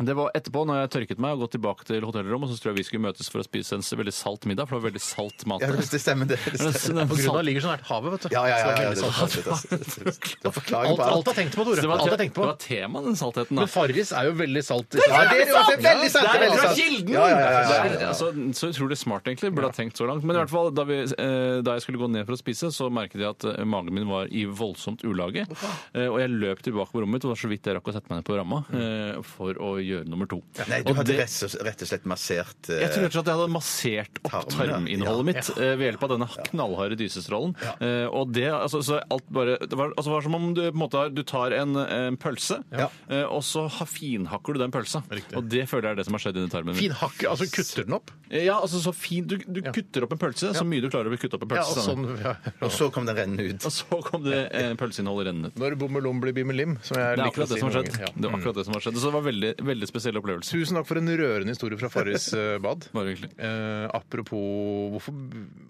[SPEAKER 6] det var etterpå, når jeg tørket meg og gått tilbake til hotellrommet, så tror jeg vi skulle møtes for å spise en s- veldig salt middag, for det var veldig salt mat.
[SPEAKER 5] Ja,
[SPEAKER 6] der.
[SPEAKER 5] hvis det stemmer, det. det
[SPEAKER 6] Men
[SPEAKER 5] stemmer.
[SPEAKER 6] den- den
[SPEAKER 4] På grunn av at
[SPEAKER 6] salt-
[SPEAKER 4] det ligger så nært havet, vet du.
[SPEAKER 5] Ja, ja, ja.
[SPEAKER 4] Så det
[SPEAKER 5] ja,
[SPEAKER 4] er
[SPEAKER 5] det
[SPEAKER 4] veldig sant.
[SPEAKER 5] er altså. sant, det er sant. Du forklager
[SPEAKER 4] Alt,
[SPEAKER 5] på
[SPEAKER 4] alt er tenkt på, Tore.
[SPEAKER 6] Så det,
[SPEAKER 4] Alt er tenkt på.
[SPEAKER 6] det var tema, den saltheten. Da.
[SPEAKER 4] Men Farris er jo veldig salt.
[SPEAKER 5] Ja, det er, jo- det er veldig sant! Det er
[SPEAKER 6] Det er
[SPEAKER 5] veldig
[SPEAKER 6] fra
[SPEAKER 5] sant.
[SPEAKER 6] kilden!
[SPEAKER 5] Ja, ja, ja, ja, ja.
[SPEAKER 6] Det er, altså, så utrolig smart, egentlig. Burde ha tenkt så langt. Men i hvert fall, da, vi, eh, da jeg skulle gå ned for å spise, så merket jeg at eh, magen min var i voldsomt ulage. Eh, og jeg løp tilbake på rommet mitt, og det var så vidt jeg rakk å sette meg ned på ramma eh, for å gjøre nummer to.
[SPEAKER 5] Nei, du
[SPEAKER 6] Og
[SPEAKER 5] hadde
[SPEAKER 6] det-
[SPEAKER 5] rett og slett- rett og slett massert eh,
[SPEAKER 6] jeg tror rett og slett jeg hadde massert opp
[SPEAKER 5] Tarmen, ja.
[SPEAKER 6] tarminnholdet mitt eh, ved hjelp av denne knallharde dysestrålen. Eh, og det, altså, så alt bare, det var, altså, det var som om du, på en måte, har- du tar en, en pølse,
[SPEAKER 5] Ja.
[SPEAKER 6] eh, og så ha- finhakker du den pølsa.
[SPEAKER 4] Riktig.
[SPEAKER 6] Og det føler jeg er det som har skjedd inni tarmen min.
[SPEAKER 4] Fin hakke, altså kutter den opp.
[SPEAKER 6] Eh, Ja, altså så fin, Du, du kutter opp en pølse så mye du klarer å kutte opp en
[SPEAKER 4] Ja,
[SPEAKER 6] pølse.
[SPEAKER 4] og
[SPEAKER 6] Steinar.
[SPEAKER 4] sånn, ja.
[SPEAKER 5] eh, Og så kom den rennende ut.
[SPEAKER 6] og så kom det eh, pølseinnholdet rennende ut.
[SPEAKER 4] Når bommelom blir bimmelim, som jeg
[SPEAKER 6] Det er
[SPEAKER 4] liker å
[SPEAKER 6] akkurat det
[SPEAKER 4] si
[SPEAKER 6] som har
[SPEAKER 4] noen
[SPEAKER 6] skjedd.
[SPEAKER 4] ganger. Mm.
[SPEAKER 6] Det var akkurat det som har skjedd. Så det var veldig, veldig spesiell opplevelse.
[SPEAKER 4] Tusen takk for en rørende historie fra Farris eh, bad.
[SPEAKER 6] Bare hyggelig.
[SPEAKER 4] Eh, apropos Hvorfor,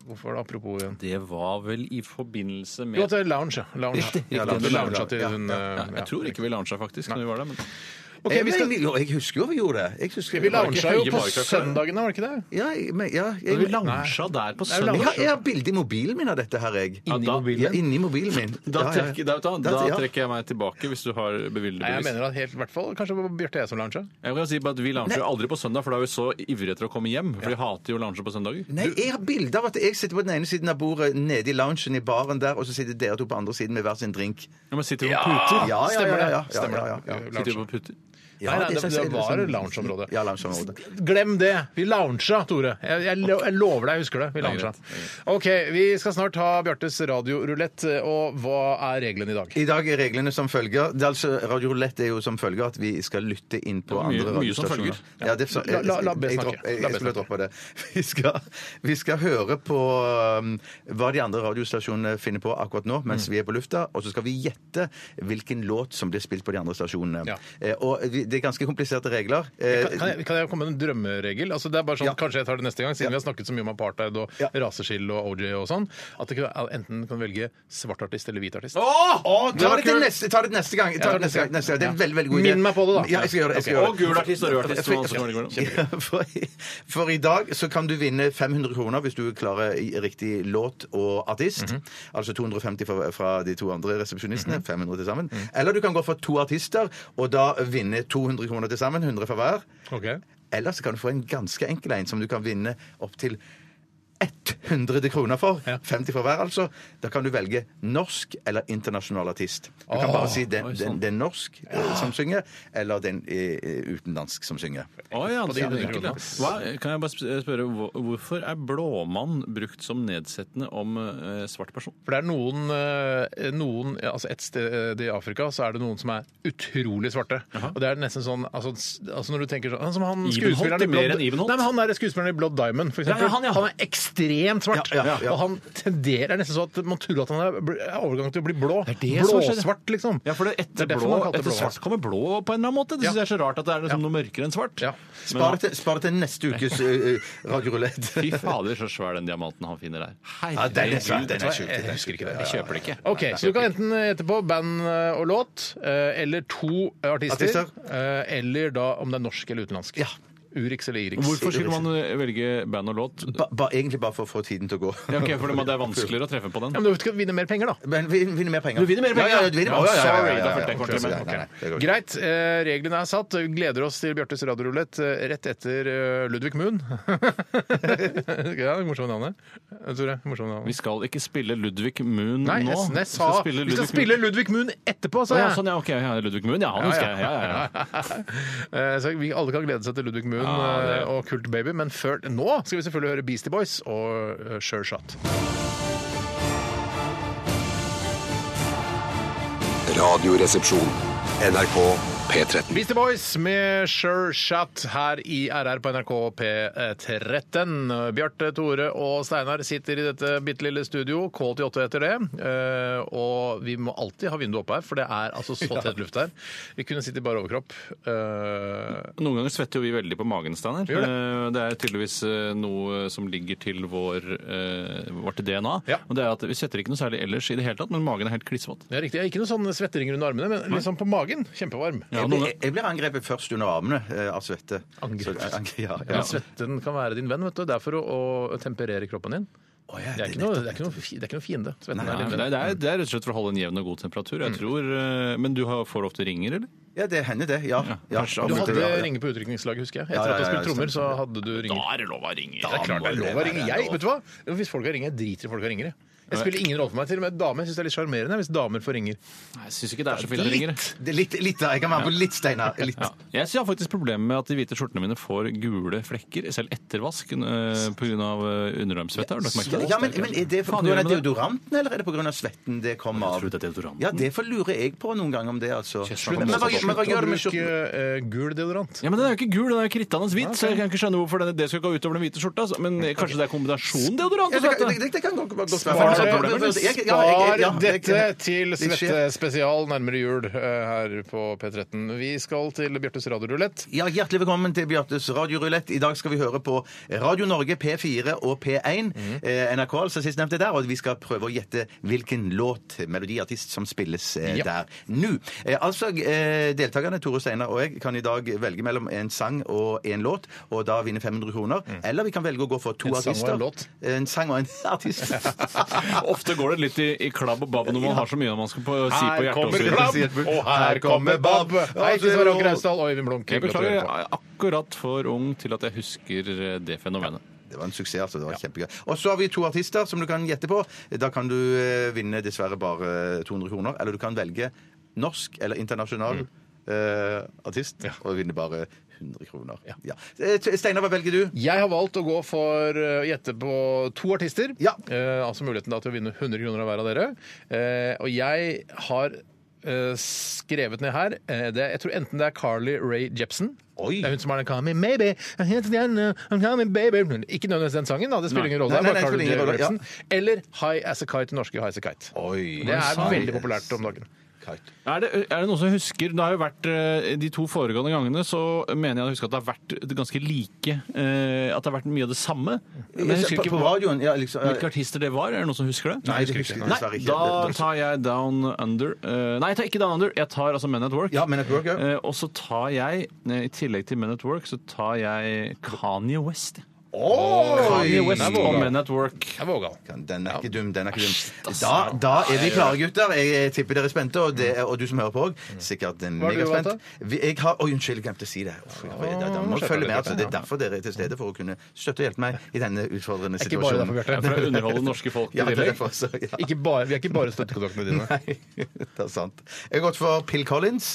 [SPEAKER 4] hvorfor var det apropos igjen?
[SPEAKER 6] Det var vel i forbindelse
[SPEAKER 4] Jo,
[SPEAKER 6] med
[SPEAKER 4] at det er lounge. ja. lounge.
[SPEAKER 6] Riktig,
[SPEAKER 4] Ja,
[SPEAKER 6] riktig.
[SPEAKER 4] lounge.
[SPEAKER 6] Lounge,
[SPEAKER 4] Lounge til
[SPEAKER 5] ja.
[SPEAKER 4] hun, eh,
[SPEAKER 6] ja, Jeg
[SPEAKER 4] ja.
[SPEAKER 6] tror ikke vi lansa faktisk når vi var der, men
[SPEAKER 4] Ok,
[SPEAKER 5] Jeg,
[SPEAKER 4] vi, skal,
[SPEAKER 5] jo, jeg husker jo Eh, vi gjorde det. Jeg husker
[SPEAKER 4] vi lounga jo på
[SPEAKER 6] høye barkrakker.
[SPEAKER 4] søndagene, var det ikke det?
[SPEAKER 5] Ja, jeg- men- ja, jeg,
[SPEAKER 6] Vi lansa der på
[SPEAKER 4] vi
[SPEAKER 5] jeg,
[SPEAKER 6] søndag.
[SPEAKER 5] har- jeg har bilde i mobilen min av dette her, jeg. Ja,
[SPEAKER 6] Inni
[SPEAKER 5] da-
[SPEAKER 6] mobilen?
[SPEAKER 5] Ja, inni mobilen min.
[SPEAKER 6] Da
[SPEAKER 5] Ja, ja.
[SPEAKER 6] trekker, da, da, da
[SPEAKER 5] Da- ja.
[SPEAKER 6] trekker jeg meg tilbake, hvis du har bevilget
[SPEAKER 4] Nei, jeg
[SPEAKER 6] bevis.
[SPEAKER 4] mener at helt, i hvert fall kanskje det var Bjarte og jeg som lounga.
[SPEAKER 6] Jeg kan si bare at Vi lanser jo aldri på søndag, for da er vi så ivrige etter å komme hjem. For vi hater jo lanser på søndager.
[SPEAKER 5] Nei, jeg har bilde av at jeg sitter på den ene siden av bordet nede i loungen i baren der, og så sitter dere to på andre siden med hver sin drink.
[SPEAKER 6] Ja, men sitter vi på
[SPEAKER 5] Ja,
[SPEAKER 6] puter?
[SPEAKER 5] ja, ja. ja, ja, ja,
[SPEAKER 4] Stemmer det.
[SPEAKER 5] ja, ja.
[SPEAKER 4] Eh, lounge.
[SPEAKER 6] Sitter vi på puter?
[SPEAKER 5] Ja,
[SPEAKER 4] Nei, nei, det,
[SPEAKER 5] er
[SPEAKER 4] det
[SPEAKER 5] sånn-
[SPEAKER 4] var
[SPEAKER 5] sånn-
[SPEAKER 4] loungeområdet.
[SPEAKER 5] Ja, loungeområdet.
[SPEAKER 4] Glem det! Vi lounga, Tore. Jeg, jeg, lo- jeg lover deg, jeg husker det. Vi
[SPEAKER 6] er
[SPEAKER 4] lounga.
[SPEAKER 6] greit,
[SPEAKER 4] OK, vi skal snart ha Bjartes radiorulett, og hva er reglene i dag?
[SPEAKER 5] I dag er reglene som følger. Det er altså, Radio Roulette er jo som følger at vi skal lytte inn på
[SPEAKER 6] var mye-
[SPEAKER 5] andre
[SPEAKER 6] mye som
[SPEAKER 5] radiostasjoner.
[SPEAKER 6] følger.
[SPEAKER 5] Ja, det er så-
[SPEAKER 4] La- la- la B
[SPEAKER 5] jeg- jeg-
[SPEAKER 4] snakke.
[SPEAKER 5] Jeg,
[SPEAKER 4] La B
[SPEAKER 5] jeg skulle
[SPEAKER 4] snakke.
[SPEAKER 5] droppe det. Vi skal, vi skal høre på um, hva de andre radiostasjonene finner på akkurat nå,
[SPEAKER 4] Mm.
[SPEAKER 5] mens vi er på lufta, og så skal vi gjette hvilken låt som blir spilt på de andre stasjonene.
[SPEAKER 4] Ja.
[SPEAKER 5] Eh, og vi, det er ganske kompliserte regler. Eh,
[SPEAKER 4] Kan jeg, kan jeg komme med en drømmeregel? Altså det er bare sånn,
[SPEAKER 5] Ja.
[SPEAKER 4] Kanskje jeg tar det neste gang, siden
[SPEAKER 5] Ja.
[SPEAKER 4] vi har snakket så mye om apartheid og
[SPEAKER 5] Ja.
[SPEAKER 4] raseskill og OJ og sånn. At det kan, enten kan velge svart artist eller hvit artist.
[SPEAKER 5] ta, det til neste, ta det til neste gang. Ta det neste gang, neste gang. Det er en veldig, veldig god idé.
[SPEAKER 4] Minn meg på det, da.
[SPEAKER 5] Ja, jeg skal gjøre det. Jeg skal
[SPEAKER 4] Ok.
[SPEAKER 5] gjøre
[SPEAKER 6] Og
[SPEAKER 5] det.
[SPEAKER 6] gul artist og rød artist.
[SPEAKER 5] For-
[SPEAKER 6] og alt som går imellom.
[SPEAKER 5] Ja, for, i- for i dag så kan du vinne 500 kroner hvis du klarer i- riktig låt og artist. Altså 250 fra, fra de to andre resepsjonistene. 500 til sammen. Eller du kan gå for to artister og da vinne 200 kroner til sammen. 100 for hver.
[SPEAKER 4] Ok.
[SPEAKER 5] Eller så kan du få en ganske enkel en som du kan vinne opptil 100 kroner for. 50 for hver, altså. Da kan du velge norsk eller internasjonal artist. Du kan
[SPEAKER 4] Åh,
[SPEAKER 5] bare si det,
[SPEAKER 6] oi,
[SPEAKER 5] det,
[SPEAKER 6] sånn.
[SPEAKER 5] det er norsk eh, som synger, eller det er en, eh, utenlandsk som synger.
[SPEAKER 6] Å ja, det
[SPEAKER 4] de
[SPEAKER 6] er
[SPEAKER 4] hundre
[SPEAKER 6] enkelt, ja. Hva, kan jeg bare sp- spørre, hvor- Hvorfor er blåmann brukt som nedsettende om eh, svart person?
[SPEAKER 4] For det er noen, eh, noen ja, altså Et sted i Afrika så er det noen som er utrolig svarte. Og det er nesten sånn altså, s- altså Når du tenker sånn sånn som han
[SPEAKER 6] Ibenholt
[SPEAKER 4] skuespilleren i
[SPEAKER 6] er mer
[SPEAKER 4] Blood,
[SPEAKER 6] enn Ibenholt.
[SPEAKER 4] Nei, men han der skuespilleren i Blood Diamond, for eksempel.
[SPEAKER 6] Ja, ja, han, ja.
[SPEAKER 4] er ekstremt svart.
[SPEAKER 5] Ja, ja, ja.
[SPEAKER 4] Og han tenderer nesten så at man tror at han er bl- er overgang til å bli blå.
[SPEAKER 6] Det er det som har skjedd.
[SPEAKER 4] Blåsvart, liksom.
[SPEAKER 6] Ja, for det etter,
[SPEAKER 4] Det er derfor
[SPEAKER 6] blå,
[SPEAKER 4] man kaller det
[SPEAKER 6] etter
[SPEAKER 4] blå.
[SPEAKER 6] svart kommer blå på en eller annen måte. Det
[SPEAKER 4] Ja.
[SPEAKER 6] synes jeg er så rart at det er liksom noe mørkere enn svart.
[SPEAKER 4] Ja.
[SPEAKER 5] Spar det til, spar det til neste ukes eh, radiorulett.
[SPEAKER 6] Fy fader, så svær den diamanten han finner der.
[SPEAKER 5] Ja,
[SPEAKER 6] Herregud,
[SPEAKER 5] den er svær, den er
[SPEAKER 6] jeg-
[SPEAKER 5] sjuk, den
[SPEAKER 6] Jeg
[SPEAKER 5] er
[SPEAKER 6] husker ikke det. Jeg kjøper det ikke.
[SPEAKER 4] Ok,
[SPEAKER 6] Nei,
[SPEAKER 4] Så du
[SPEAKER 6] jeg
[SPEAKER 4] kan
[SPEAKER 6] kjøper det ikke.
[SPEAKER 4] enten gjette på band eh, og låt, eh, eller to eh, artister.
[SPEAKER 5] Artister.
[SPEAKER 4] eh, Eller da om det er norsk eller utenlandsk.
[SPEAKER 5] Ja.
[SPEAKER 4] Urix eller Irix.
[SPEAKER 6] Hvorfor skulle man eh, velge band og låt?
[SPEAKER 5] Ba, ba, egentlig bare for å få tiden til å gå.
[SPEAKER 6] Ja, ok, for det må- det er vanskeligere å treffe på den.
[SPEAKER 4] Ja, men du skal vinne mer penger, da.
[SPEAKER 5] Men vi vinner mer penger.
[SPEAKER 6] Du vinner mer penger,
[SPEAKER 5] Ja, ja, du vinner,
[SPEAKER 6] ja.
[SPEAKER 5] Å, ja, ja, ja, ja,
[SPEAKER 6] Sorry,
[SPEAKER 5] ja,
[SPEAKER 6] da
[SPEAKER 5] ja,
[SPEAKER 6] fulgte
[SPEAKER 5] ja,
[SPEAKER 6] jeg kvarter
[SPEAKER 5] ja,
[SPEAKER 6] med.
[SPEAKER 5] ja, ja, det går ikke.
[SPEAKER 4] Greit, eh, reglene er satt. Vi gleder oss til Bjartes radiorulett eh, rett etter eh, Ludvig Moon. ja, morsomt navn, det. Tore, morsomt navn.
[SPEAKER 6] Vi skal ikke spille Ludvig Moon
[SPEAKER 4] Nei,
[SPEAKER 6] nå.
[SPEAKER 4] jeg, jeg
[SPEAKER 6] Vi
[SPEAKER 4] sa
[SPEAKER 6] skal spille
[SPEAKER 4] vi skal
[SPEAKER 6] Ludvig
[SPEAKER 4] spille
[SPEAKER 6] Moon.
[SPEAKER 4] Ludvig Moon etterpå,
[SPEAKER 6] Å,
[SPEAKER 4] sa
[SPEAKER 6] ja,
[SPEAKER 4] jeg.
[SPEAKER 6] sånn, ja, ok, ja, Ludvig Moon, ja, han husker jeg. Ja, ja, ja.
[SPEAKER 4] Eh, Så vi alle kan glede seg til Ludvig Moon
[SPEAKER 6] Ja, det-
[SPEAKER 4] eh, og Kult Baby, men før nå skal vi selvfølgelig høre Beastie Boys og eh, Sure Shot.
[SPEAKER 1] Radioresepsjon. NRK P13.
[SPEAKER 4] Beastie Boys med Sure Shot her i RR på NRK P13. Bjarte, Tore og Steinar sitter i dette bitte lille studio, K88 heter det. Eh, Og vi må alltid ha vinduet oppe her, for det er altså så tett luft her. Vi kunne sitte i bare overkropp. eh,
[SPEAKER 6] Noen ganger svetter jo vi veldig på magen, Steinar.
[SPEAKER 4] Gjør det.
[SPEAKER 6] Eh, Det er tydeligvis eh, noe som ligger til vår, eh, vårt DNA.
[SPEAKER 4] Ja.
[SPEAKER 6] Og det er at Vi svetter ikke noe særlig ellers i det hele tatt, men magen er helt klissvåt.
[SPEAKER 4] Det er riktig. Ikke noe sånn svetteringer under armene, men liksom på magen. Kjempevarm.
[SPEAKER 6] Ja,
[SPEAKER 5] Jeg
[SPEAKER 6] noen
[SPEAKER 5] blir,
[SPEAKER 6] ganger-
[SPEAKER 5] jeg blir angrepet først under armene eh, av svette.
[SPEAKER 4] Angrepet?
[SPEAKER 5] Så- ang- Ja,
[SPEAKER 4] Ja.
[SPEAKER 5] ja.
[SPEAKER 4] Svetten kan være din venn. vet du. Det er for å, å temperere kroppen din.
[SPEAKER 5] Å, ja,
[SPEAKER 4] Det er
[SPEAKER 5] det-
[SPEAKER 4] ikke noe, det er ikke noe, fi- det er ikke noe fiende. Svetten
[SPEAKER 6] Nei,
[SPEAKER 4] er din
[SPEAKER 6] det,
[SPEAKER 4] venn.
[SPEAKER 6] er, det er rett og slett for å holde en jevn og god temperatur. Jeg tror, eh, Men du har- får ofte ringer, eller?
[SPEAKER 5] Ja, det hender det. Ja. ja.
[SPEAKER 6] kanskje
[SPEAKER 4] Du
[SPEAKER 5] Ja,
[SPEAKER 4] hadde
[SPEAKER 5] ja, ja.
[SPEAKER 4] ringer på utrykningslaget, husker jeg. Etter
[SPEAKER 5] Ja, ja,
[SPEAKER 4] at du
[SPEAKER 5] ja,
[SPEAKER 4] spilte
[SPEAKER 5] ja,
[SPEAKER 4] trommer, så
[SPEAKER 5] stemmer.
[SPEAKER 4] hadde du ringer.
[SPEAKER 6] er det lov å ringe!
[SPEAKER 4] Det er klart det er lov å ringe. Jeg, vet du hva? Hvis folk har ringer, jeg driter i folk har ringere. Jeg spiller ingen rolle for meg. Til og med damer syns det er litt sjarmerende hvis damer får ringer.
[SPEAKER 6] Jeg syns ikke det er så fint å ringe.
[SPEAKER 5] Det er Litt, litt da. Jeg kan være på litt, Steinar. Litt.
[SPEAKER 6] Ja. Jeg synes jeg har faktisk problemer med at de hvite skjortene mine får gule flekker, selv etter eh, vask, pga. underarmsvette. Har du lagt merke til det?
[SPEAKER 5] Ja, men, men Er det
[SPEAKER 6] Faen,
[SPEAKER 5] pga.
[SPEAKER 6] gjør det med det?
[SPEAKER 5] deodoranten, eller er det pga. svetten det kommer av?
[SPEAKER 6] Jeg tror det er deodoranten.
[SPEAKER 5] Ja, det får lurer jeg på noen ganger om det, altså.
[SPEAKER 6] Slutt
[SPEAKER 5] Men- men hva- men hva gjør
[SPEAKER 4] sånn, Slutt
[SPEAKER 5] det
[SPEAKER 4] å
[SPEAKER 5] med
[SPEAKER 4] bruke
[SPEAKER 5] skjorten?
[SPEAKER 4] eh, gul deodorant.
[SPEAKER 6] Ja, men Den er jo ikke gul, den er jo krittende hvit, så jeg kan ikke skjønne hvorfor det, det skal gå utover den hvite skjorta. altså. Men kanskje det er kombinasjonen deodorant
[SPEAKER 5] Ja, det,
[SPEAKER 6] og
[SPEAKER 5] kan-
[SPEAKER 6] svette?
[SPEAKER 5] det, det, det kan godt godt
[SPEAKER 4] Spar,
[SPEAKER 5] være. Jeg- ja, jeg-
[SPEAKER 4] spar
[SPEAKER 5] ja, jeg-
[SPEAKER 4] dette til
[SPEAKER 5] det skjer.
[SPEAKER 4] svettespesial nærmere jul eh, her på P13. Vi skal til Bjørtes radiorulett.
[SPEAKER 5] Ja, Hjertelig velkommen til Bjartes radiorulett. I dag skal vi høre på Radio Norge, P4 og P1.
[SPEAKER 4] Mhm.
[SPEAKER 5] Eh, NRK altså sistnevnte der, og vi skal prøve å gjette hvilken låt, melodiartist, som spilles eh,
[SPEAKER 6] Ja.
[SPEAKER 5] der nå. Eh, altså, eh, deltakerne Tore Steinar og jeg kan i dag velge mellom en sang og en låt, og da vinne 500 kroner. Eller vi kan velge å gå for to
[SPEAKER 4] Mm. En sang og
[SPEAKER 5] artister.
[SPEAKER 4] en låt.
[SPEAKER 5] En sang og en artist.
[SPEAKER 6] Ofte går det litt i, i klabb og babb når man har så mye man skal på, si på hjertet. og så videre.
[SPEAKER 5] klabb, og her kommer babb.
[SPEAKER 4] Hei, Kristoffer Ramm Krausdal og Øyvind Blunk.
[SPEAKER 6] Jeg beklager,
[SPEAKER 4] Gratulerer.
[SPEAKER 6] jeg er akkurat for ung til at jeg husker eh, det fenomenet.
[SPEAKER 5] Det var en suksess, altså. Det var kjempegøy. Og så har vi to artister som du kan gjette på. Da kan du eh, vinne dessverre bare eh, 200 kroner. Eller du kan velge norsk eller internasjonal
[SPEAKER 4] Mm.
[SPEAKER 5] eh, artist og vinne bare 100 kroner. Ja. Eh, Steinar, hva velger du?
[SPEAKER 4] Jeg har valgt å gå for eh, å gjette på to artister.
[SPEAKER 5] Ja.
[SPEAKER 4] Eh, altså muligheten da til å vinne 100 kroner av hver av dere. Eh, og jeg har eh, skrevet ned her eh, det, Jeg tror enten det er Carly Ray Jepsen.
[SPEAKER 5] Oi.
[SPEAKER 4] Det er hun som har den Call me maybe, I hate the end, I'm coming, baby. Ikke nødvendigvis den sangen, da. det spiller
[SPEAKER 6] Nei.
[SPEAKER 4] ingen rolle.
[SPEAKER 5] Nei,
[SPEAKER 4] det
[SPEAKER 5] nei,
[SPEAKER 4] er bare
[SPEAKER 5] nei, det
[SPEAKER 4] Carly
[SPEAKER 5] spiller
[SPEAKER 4] Ray
[SPEAKER 5] ingen rolle,
[SPEAKER 4] Jepsen. Eller High As A Kite, norske High As A Kite.
[SPEAKER 5] Oi.
[SPEAKER 4] Det er veldig populært om dagen.
[SPEAKER 5] Kite.
[SPEAKER 6] Er det, er det noen som husker Det har jo vært eh, De to foregående gangene så mener jeg å huske at det har vært ganske like eh, At det har vært mye av det samme. Men jeg husker
[SPEAKER 5] På,
[SPEAKER 6] ikke
[SPEAKER 5] på
[SPEAKER 6] hva-
[SPEAKER 5] radioen? Ja, liksom.
[SPEAKER 6] hvilke artister det var. Er det noen som husker det?
[SPEAKER 5] Nei, det husker jeg dessverre ikke.
[SPEAKER 6] Da
[SPEAKER 5] Det-
[SPEAKER 6] tar jeg Down Under. Eh, nei, jeg tar ikke Down Under. Jeg tar altså Men at Work.
[SPEAKER 5] Ja, Men at Work, ja.
[SPEAKER 6] Eh, og så tar jeg, eh, i tillegg til Men at Work, så tar jeg Kanye West.
[SPEAKER 5] Oi!
[SPEAKER 6] Kanye West
[SPEAKER 4] den er vågal.
[SPEAKER 6] og Men at Work.
[SPEAKER 4] Jeg er vågal.
[SPEAKER 5] Den er ikke dum. den er ikke dum. Da, da er vi klare, gutter. Jeg tipper dere er spente, og, det, og du som hører på òg. Sikkert
[SPEAKER 4] har du
[SPEAKER 5] megaspent.
[SPEAKER 4] valgt,
[SPEAKER 5] Vi- Jeg har Oi, unnskyld, jeg glemte å si det. Uff, jeg- jeg- jeg- jeg må
[SPEAKER 4] skjønner
[SPEAKER 5] følge med,
[SPEAKER 4] dere.
[SPEAKER 5] altså. Det er derfor dere er til stede, for å kunne støtte og hjelpe meg i denne utfordrende
[SPEAKER 4] Ikke bare derfor,
[SPEAKER 5] situasjonen.
[SPEAKER 6] For
[SPEAKER 4] Bjarte.
[SPEAKER 6] å underholde norske folk i
[SPEAKER 5] Ja, det er
[SPEAKER 6] tillegg.
[SPEAKER 5] derfor, så, ja.
[SPEAKER 4] Ikke bare, vi er ikke bare støttekontaktene dine.
[SPEAKER 5] Nei, det er sant. Jeg har gått for Pill Collins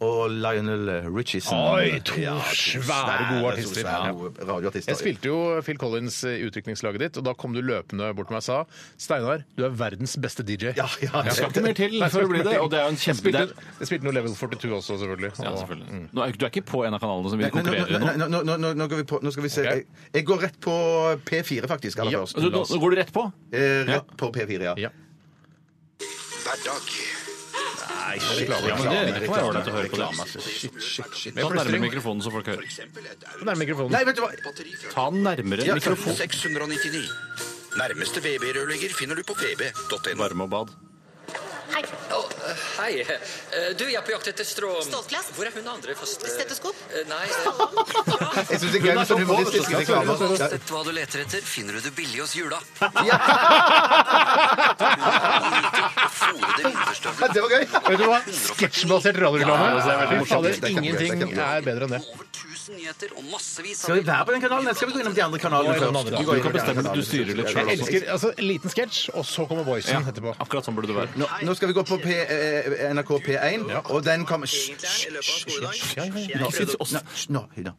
[SPEAKER 5] og Lionel Richieson.
[SPEAKER 4] Oi, to
[SPEAKER 5] Ja,
[SPEAKER 4] svære, gode artister.
[SPEAKER 5] to svære gode radioartister.
[SPEAKER 4] Jeg spilte jo spilte jo Phil Collins i utrykningslaget ditt, og da kom du løpende bort til meg og sa Steinar, du er verdens beste DJ.
[SPEAKER 5] Ja, ja,
[SPEAKER 4] Jeg skal
[SPEAKER 6] ikke mer til
[SPEAKER 4] Nei, jeg skal
[SPEAKER 6] for å bli
[SPEAKER 4] ikke mer
[SPEAKER 6] det,
[SPEAKER 4] til.
[SPEAKER 6] og det er jo en
[SPEAKER 4] Jeg
[SPEAKER 6] kjempe-
[SPEAKER 4] spilte,
[SPEAKER 6] det
[SPEAKER 4] jeg spilte noe Level 42 også, selvfølgelig.
[SPEAKER 6] Ja,
[SPEAKER 4] Og- Mm.
[SPEAKER 6] selvfølgelig. Nå er, du er ikke på en av kanalene som vil
[SPEAKER 5] Nei, nå-
[SPEAKER 6] konkurrere
[SPEAKER 5] nå-
[SPEAKER 6] nå?
[SPEAKER 5] nå- nå- nå- nå- nå går vi på- Nå skal vi se.
[SPEAKER 4] Ok.
[SPEAKER 5] Jeg, jeg går rett på P4, faktisk, aller
[SPEAKER 4] Ja.
[SPEAKER 5] først.
[SPEAKER 6] Altså, Nå nå går du rett på?
[SPEAKER 5] Eh, Rett på P4, ja.
[SPEAKER 4] Ja.
[SPEAKER 1] Hver dag.
[SPEAKER 4] Nei, reklame.
[SPEAKER 6] Ja, men det, det kan være ålreit å høre på det.
[SPEAKER 5] Shit, shit, shit.
[SPEAKER 6] Ta den nærmere mikrofonen, så folk hører.
[SPEAKER 4] Nærmere mikrofonen.
[SPEAKER 5] Nei, vet du hva!
[SPEAKER 6] Ta den nærmere mikrofonen.
[SPEAKER 1] 699. Nærmeste VB-rørlegger finner du på vb.no.
[SPEAKER 6] Varme og bad.
[SPEAKER 7] Hei.
[SPEAKER 8] Å, eh, hei. Eh, Du, jeg er på jakt etter strå...
[SPEAKER 7] Stålglass?
[SPEAKER 8] Hvor er hun andre faste
[SPEAKER 7] Stetoskop?
[SPEAKER 8] Eh, Nei. eh,
[SPEAKER 5] Jeg syns det er gøy med sånne humoristiske reklamer. Ja.
[SPEAKER 8] Uansett hva du leter etter, finner du det billig hos jula.
[SPEAKER 5] Ja, det var gøy!
[SPEAKER 4] Vet du hva? Sketsjbasert radioreklame.
[SPEAKER 6] Ja, det
[SPEAKER 4] Fy
[SPEAKER 6] er veldig
[SPEAKER 4] fader,
[SPEAKER 5] morsomt. Det er kjempegøy, det er
[SPEAKER 4] Ingenting
[SPEAKER 5] kjempegøy.
[SPEAKER 4] er bedre enn det.
[SPEAKER 8] Over 1000 nyheter og massevis av
[SPEAKER 5] Skal vi være på den kanalen? Eller skal vi gå innom de andre kanalene
[SPEAKER 4] Nå er det
[SPEAKER 5] først?
[SPEAKER 4] den andre.
[SPEAKER 5] Vi går
[SPEAKER 6] Du kan
[SPEAKER 5] innom de andre
[SPEAKER 6] bestemme, du
[SPEAKER 5] kanalene.
[SPEAKER 6] styrer litt
[SPEAKER 4] Jeg
[SPEAKER 6] sjøl også.
[SPEAKER 4] elsker altså, en liten sketsj, og så kommer voicen etterpå.
[SPEAKER 6] Akkurat sånn burde det være.
[SPEAKER 5] Nå, nå skal vi gå på P, eh, NRK P1, og den kommer Hysj, hysj,
[SPEAKER 4] Ja, ja, ja.
[SPEAKER 6] Jeg synes også-
[SPEAKER 5] hysj, nå, Hyda.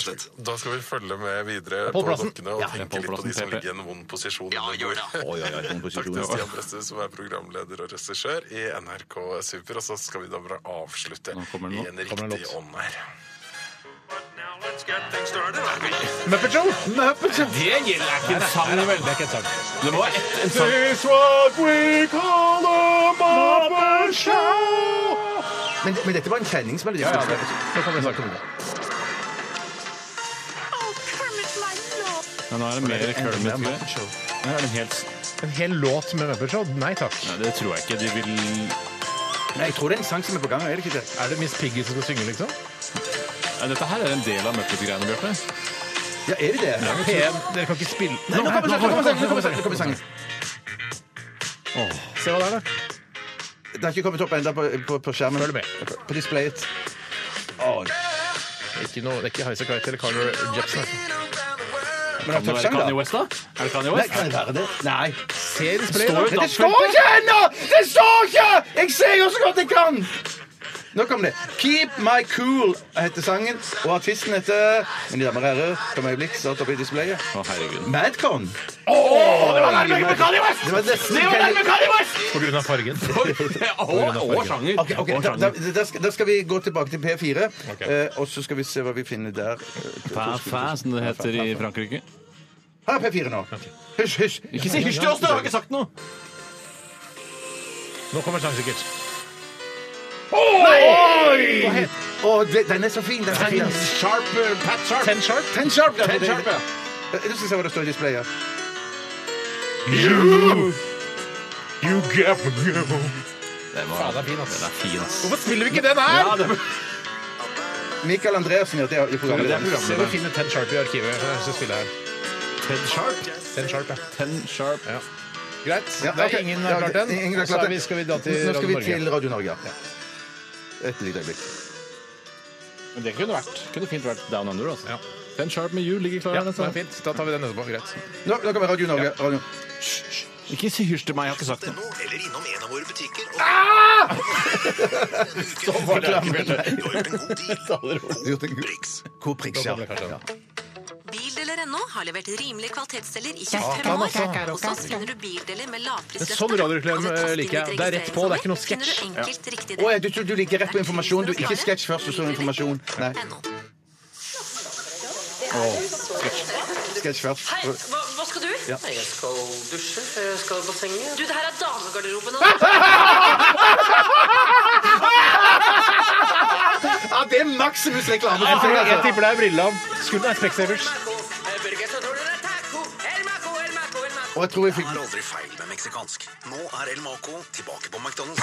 [SPEAKER 9] Da skal vi følge med videre
[SPEAKER 4] Pål
[SPEAKER 9] på
[SPEAKER 4] Plassen.
[SPEAKER 9] dokkene og tenke
[SPEAKER 6] Pål
[SPEAKER 9] litt på
[SPEAKER 6] Plassen,
[SPEAKER 9] de som
[SPEAKER 6] PP.
[SPEAKER 9] ligger i en vond posisjon.
[SPEAKER 8] Ja, gjør det.
[SPEAKER 5] Oi, oi, oi,
[SPEAKER 4] sånn
[SPEAKER 5] den
[SPEAKER 9] Takk til
[SPEAKER 5] posisjonen.
[SPEAKER 9] Stian Bresse, som er programleder og regissør i NRK Super. Og så skal vi da bare avslutte
[SPEAKER 6] Nå kommer den
[SPEAKER 9] i
[SPEAKER 6] nå.
[SPEAKER 9] en
[SPEAKER 4] Kommer den
[SPEAKER 9] riktig
[SPEAKER 4] låt.
[SPEAKER 9] ånd her.
[SPEAKER 4] Muppet Show!
[SPEAKER 6] Det gjelder ikke en sang, vel?
[SPEAKER 4] Det er ikke en sang.
[SPEAKER 6] Det må være ett- en sang.
[SPEAKER 4] This what we call a Muppet Show!
[SPEAKER 5] Men, men dette var en kjenningsmelodi.
[SPEAKER 4] Ja, ja, det. Nå kommer saken.
[SPEAKER 6] Men nå er det mer Kermit med. Nå er det helt...
[SPEAKER 4] En hel låt med Muppet Show? Nei takk.
[SPEAKER 6] Nei, det tror jeg ikke. De vil
[SPEAKER 5] Nei, jeg tror det er en sang som er på gang, er det ikke det?
[SPEAKER 4] Er det Miss Piggy som skal synge, liksom?
[SPEAKER 6] Nei, Dette her er en del av Muppet-greiene, Bjarte.
[SPEAKER 5] Ja, er det det?
[SPEAKER 4] P1, dere kan ikke spille
[SPEAKER 5] Nei, nå kommer sangen! nå kommer sangen, Nå kommer sangen! nå kommer sangen.
[SPEAKER 4] Se hva det er, da.
[SPEAKER 5] Det har ikke kommet opp ennå på, på, på skjermen.
[SPEAKER 4] Følg med.
[SPEAKER 5] På displayet.
[SPEAKER 4] Det er ikke, noe, det er ikke Highasakite eller Carner Jepsen.
[SPEAKER 5] Men det er
[SPEAKER 6] Kan det være
[SPEAKER 5] toppsang, da.
[SPEAKER 6] Kanye West, da? Er det Kanye
[SPEAKER 5] Nei,
[SPEAKER 6] West?
[SPEAKER 5] kan det være det? Nei.
[SPEAKER 4] Se display,
[SPEAKER 6] Står
[SPEAKER 4] da.
[SPEAKER 6] det
[SPEAKER 5] Det står ikke ennå! Det står ikke! Jeg ser jo så godt jeg kan! Nå kom det. Keep my cool heter sangen, og artisten heter Mine damer og herrer, kom et øyeblikk, start opp i displayet.
[SPEAKER 6] Å, herregud.
[SPEAKER 5] Madcon. Det var nesten
[SPEAKER 4] På grunn av fargen.
[SPEAKER 6] Og og sjanger.
[SPEAKER 5] Ok, ok,
[SPEAKER 6] Og
[SPEAKER 5] da, da,
[SPEAKER 6] sjanger.
[SPEAKER 5] da, skal, da skal vi gå tilbake til P4,
[SPEAKER 4] Ok.
[SPEAKER 5] eh, og så skal vi se hva vi finner der.
[SPEAKER 6] Fæ, fæ, som det heter i Frankrike.
[SPEAKER 5] Her er P4 nå. Hysj, hysj.
[SPEAKER 6] Ikke si hysj til oss, da! Har ikke sagt noe!
[SPEAKER 4] Nå kommer sangen sikkert.
[SPEAKER 5] Å, det- den er så fin. Den er så fin. ass.
[SPEAKER 6] Sharp, Pat Sharp.
[SPEAKER 4] Ten Sharp.
[SPEAKER 5] Ten sharp, ja.
[SPEAKER 6] Ten Sharp, ja.
[SPEAKER 5] Eh, Du skal se hva det står i displayet.
[SPEAKER 4] Faen, det er fin, ass.
[SPEAKER 6] Fin, ass.
[SPEAKER 4] Hvorfor spiller vi ikke den her?
[SPEAKER 6] Ja, det
[SPEAKER 5] Michael Andreassen gjør det i
[SPEAKER 6] Det er
[SPEAKER 5] programmet.
[SPEAKER 6] programmet.
[SPEAKER 4] Se om vi finner Ten Sharp i arkivet. så jeg skal spille her.
[SPEAKER 6] Ted Sharp.
[SPEAKER 4] Ten Sharp, ja.
[SPEAKER 6] Ten Sharp.
[SPEAKER 4] Greit.
[SPEAKER 5] Ja,
[SPEAKER 4] det er
[SPEAKER 5] ok.
[SPEAKER 4] ingen
[SPEAKER 5] Ja,
[SPEAKER 4] har klart den.
[SPEAKER 5] ingen har
[SPEAKER 4] Så
[SPEAKER 5] klart
[SPEAKER 4] er
[SPEAKER 5] den.
[SPEAKER 4] vi, skal vi da til
[SPEAKER 5] Nå skal
[SPEAKER 4] Radio
[SPEAKER 5] vi
[SPEAKER 4] Norge.
[SPEAKER 5] til Radio Norge. ja. Et lite øyeblikk.
[SPEAKER 6] Men det kunne vært Kunne fint vært Down Under, altså.
[SPEAKER 4] Ja.
[SPEAKER 6] Ten Sharp med you ligger klar.
[SPEAKER 4] Ja,
[SPEAKER 6] her,
[SPEAKER 4] det
[SPEAKER 6] altså.
[SPEAKER 4] er fint. Da tar vi den etterpå. Greit.
[SPEAKER 5] Nå, nå kommer Radio Norge. Radio.
[SPEAKER 6] Ikke si hysj til meg, jeg har ikke sagt noe.
[SPEAKER 1] Eller innom en av våre butikker.
[SPEAKER 5] Hvor priks, ja.
[SPEAKER 4] Da kommer det kanskje en.
[SPEAKER 5] Ja.
[SPEAKER 7] Bildeler.no har levert rimelige kvalitetsdeler i 25 år. Hos oss finner du bildeler med
[SPEAKER 4] Men
[SPEAKER 7] lavprisløfter.
[SPEAKER 4] sånn radioreklame, eh, liker jeg. Det er rett på, det er ikke noe sketsj.
[SPEAKER 7] Finner du enkelt riktig
[SPEAKER 5] Å, ja, du, du liker rett på informasjon. Du, ikke sketsj først, og så informasjon. Nei,
[SPEAKER 7] NO.
[SPEAKER 5] sketsj først.
[SPEAKER 10] Hei, hva, hva skal du?
[SPEAKER 8] Nei, Jeg skal dusje. Jeg skal i bassenget.
[SPEAKER 10] Du, det her er damegarderoben.
[SPEAKER 5] Ja, det er maksimus reklame!
[SPEAKER 4] Jeg, tror, jeg tipper det er Brilleland. Skulle det Specsavers?
[SPEAKER 5] Og jeg tror vi fikk
[SPEAKER 1] Det er aldri feil med meksikansk. Nå er El Maco tilbake på McDonald's.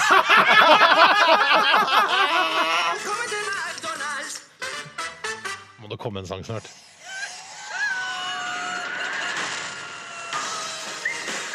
[SPEAKER 4] Må det komme en sang snart?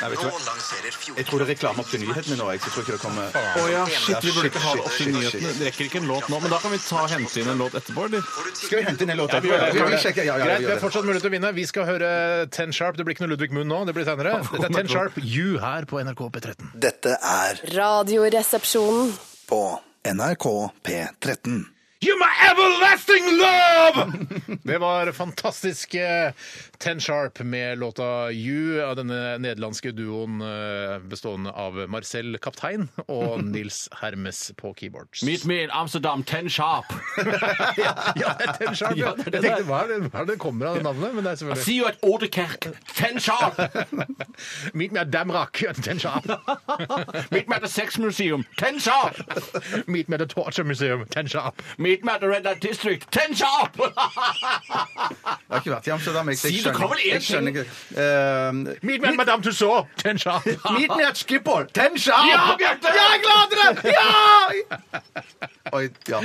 [SPEAKER 5] Nei, vet du hva.
[SPEAKER 1] Nå lanserer fjor...
[SPEAKER 5] Jeg tror det er reklame opp til nyhetene nå. Jeg så tror ikke det kommer
[SPEAKER 6] Å ja, shit, vi burde ikke ha det opp til
[SPEAKER 5] Shit, shit, shit.
[SPEAKER 6] nyhetene. Det rekker ikke en låt nå, men da kan vi ta og hente inn en låt etterpå, eller?
[SPEAKER 5] Skal vi hente inn en låt?
[SPEAKER 4] Vi gjør det.
[SPEAKER 5] Vi, vi sjekker. Ja, ja, vi
[SPEAKER 4] Greit, vi har
[SPEAKER 5] gjør det.
[SPEAKER 4] fortsatt mulighet til å vinne. Vi skal høre Ten Sharp. Det blir ikke noe Ludvig Munn nå, det blir senere. Dette er Ten Sharp You her på NRK P13.
[SPEAKER 11] Dette er
[SPEAKER 10] Radioresepsjonen.
[SPEAKER 11] på NRK P13.
[SPEAKER 4] You my everlasting love! Det var fantastiske Ten Sharp med låta You av denne nederlandske duoen eh, bestående av Marcel Kaptein og Nils Hermes på keyboards.
[SPEAKER 6] Meet me in Amsterdam, ten sharp.
[SPEAKER 4] ja, det er Ten Sharp, ja.
[SPEAKER 6] Ja,
[SPEAKER 4] Jeg
[SPEAKER 6] det er det.
[SPEAKER 4] tenkte, hva er det, hva er det kommer av det navnet? Men det er selvfølgelig
[SPEAKER 6] See you at Odekerk, ten sharp.
[SPEAKER 4] Altså, Meet me at Damrak, Ten Sharp.
[SPEAKER 6] Meet me at the Sex Museum, ten sharp.
[SPEAKER 4] Meet me at the Torture Museum, Ten Sharp.
[SPEAKER 6] Meet me at the Red Light District, ten sharp!
[SPEAKER 5] Jeg har ikke vært i Amsterdam. Jeg, jeg
[SPEAKER 6] Si, du kan
[SPEAKER 5] skjønner,
[SPEAKER 6] vel
[SPEAKER 5] jeg
[SPEAKER 6] en
[SPEAKER 5] skjønner ikke Eh,
[SPEAKER 4] Meet me at Madame Tussauds, Ten Sharp.
[SPEAKER 5] Meet me at Schiphol! Ten sharp!
[SPEAKER 6] Ja, Bjarte!
[SPEAKER 5] jeg klarte det! Ja! Oi, ja.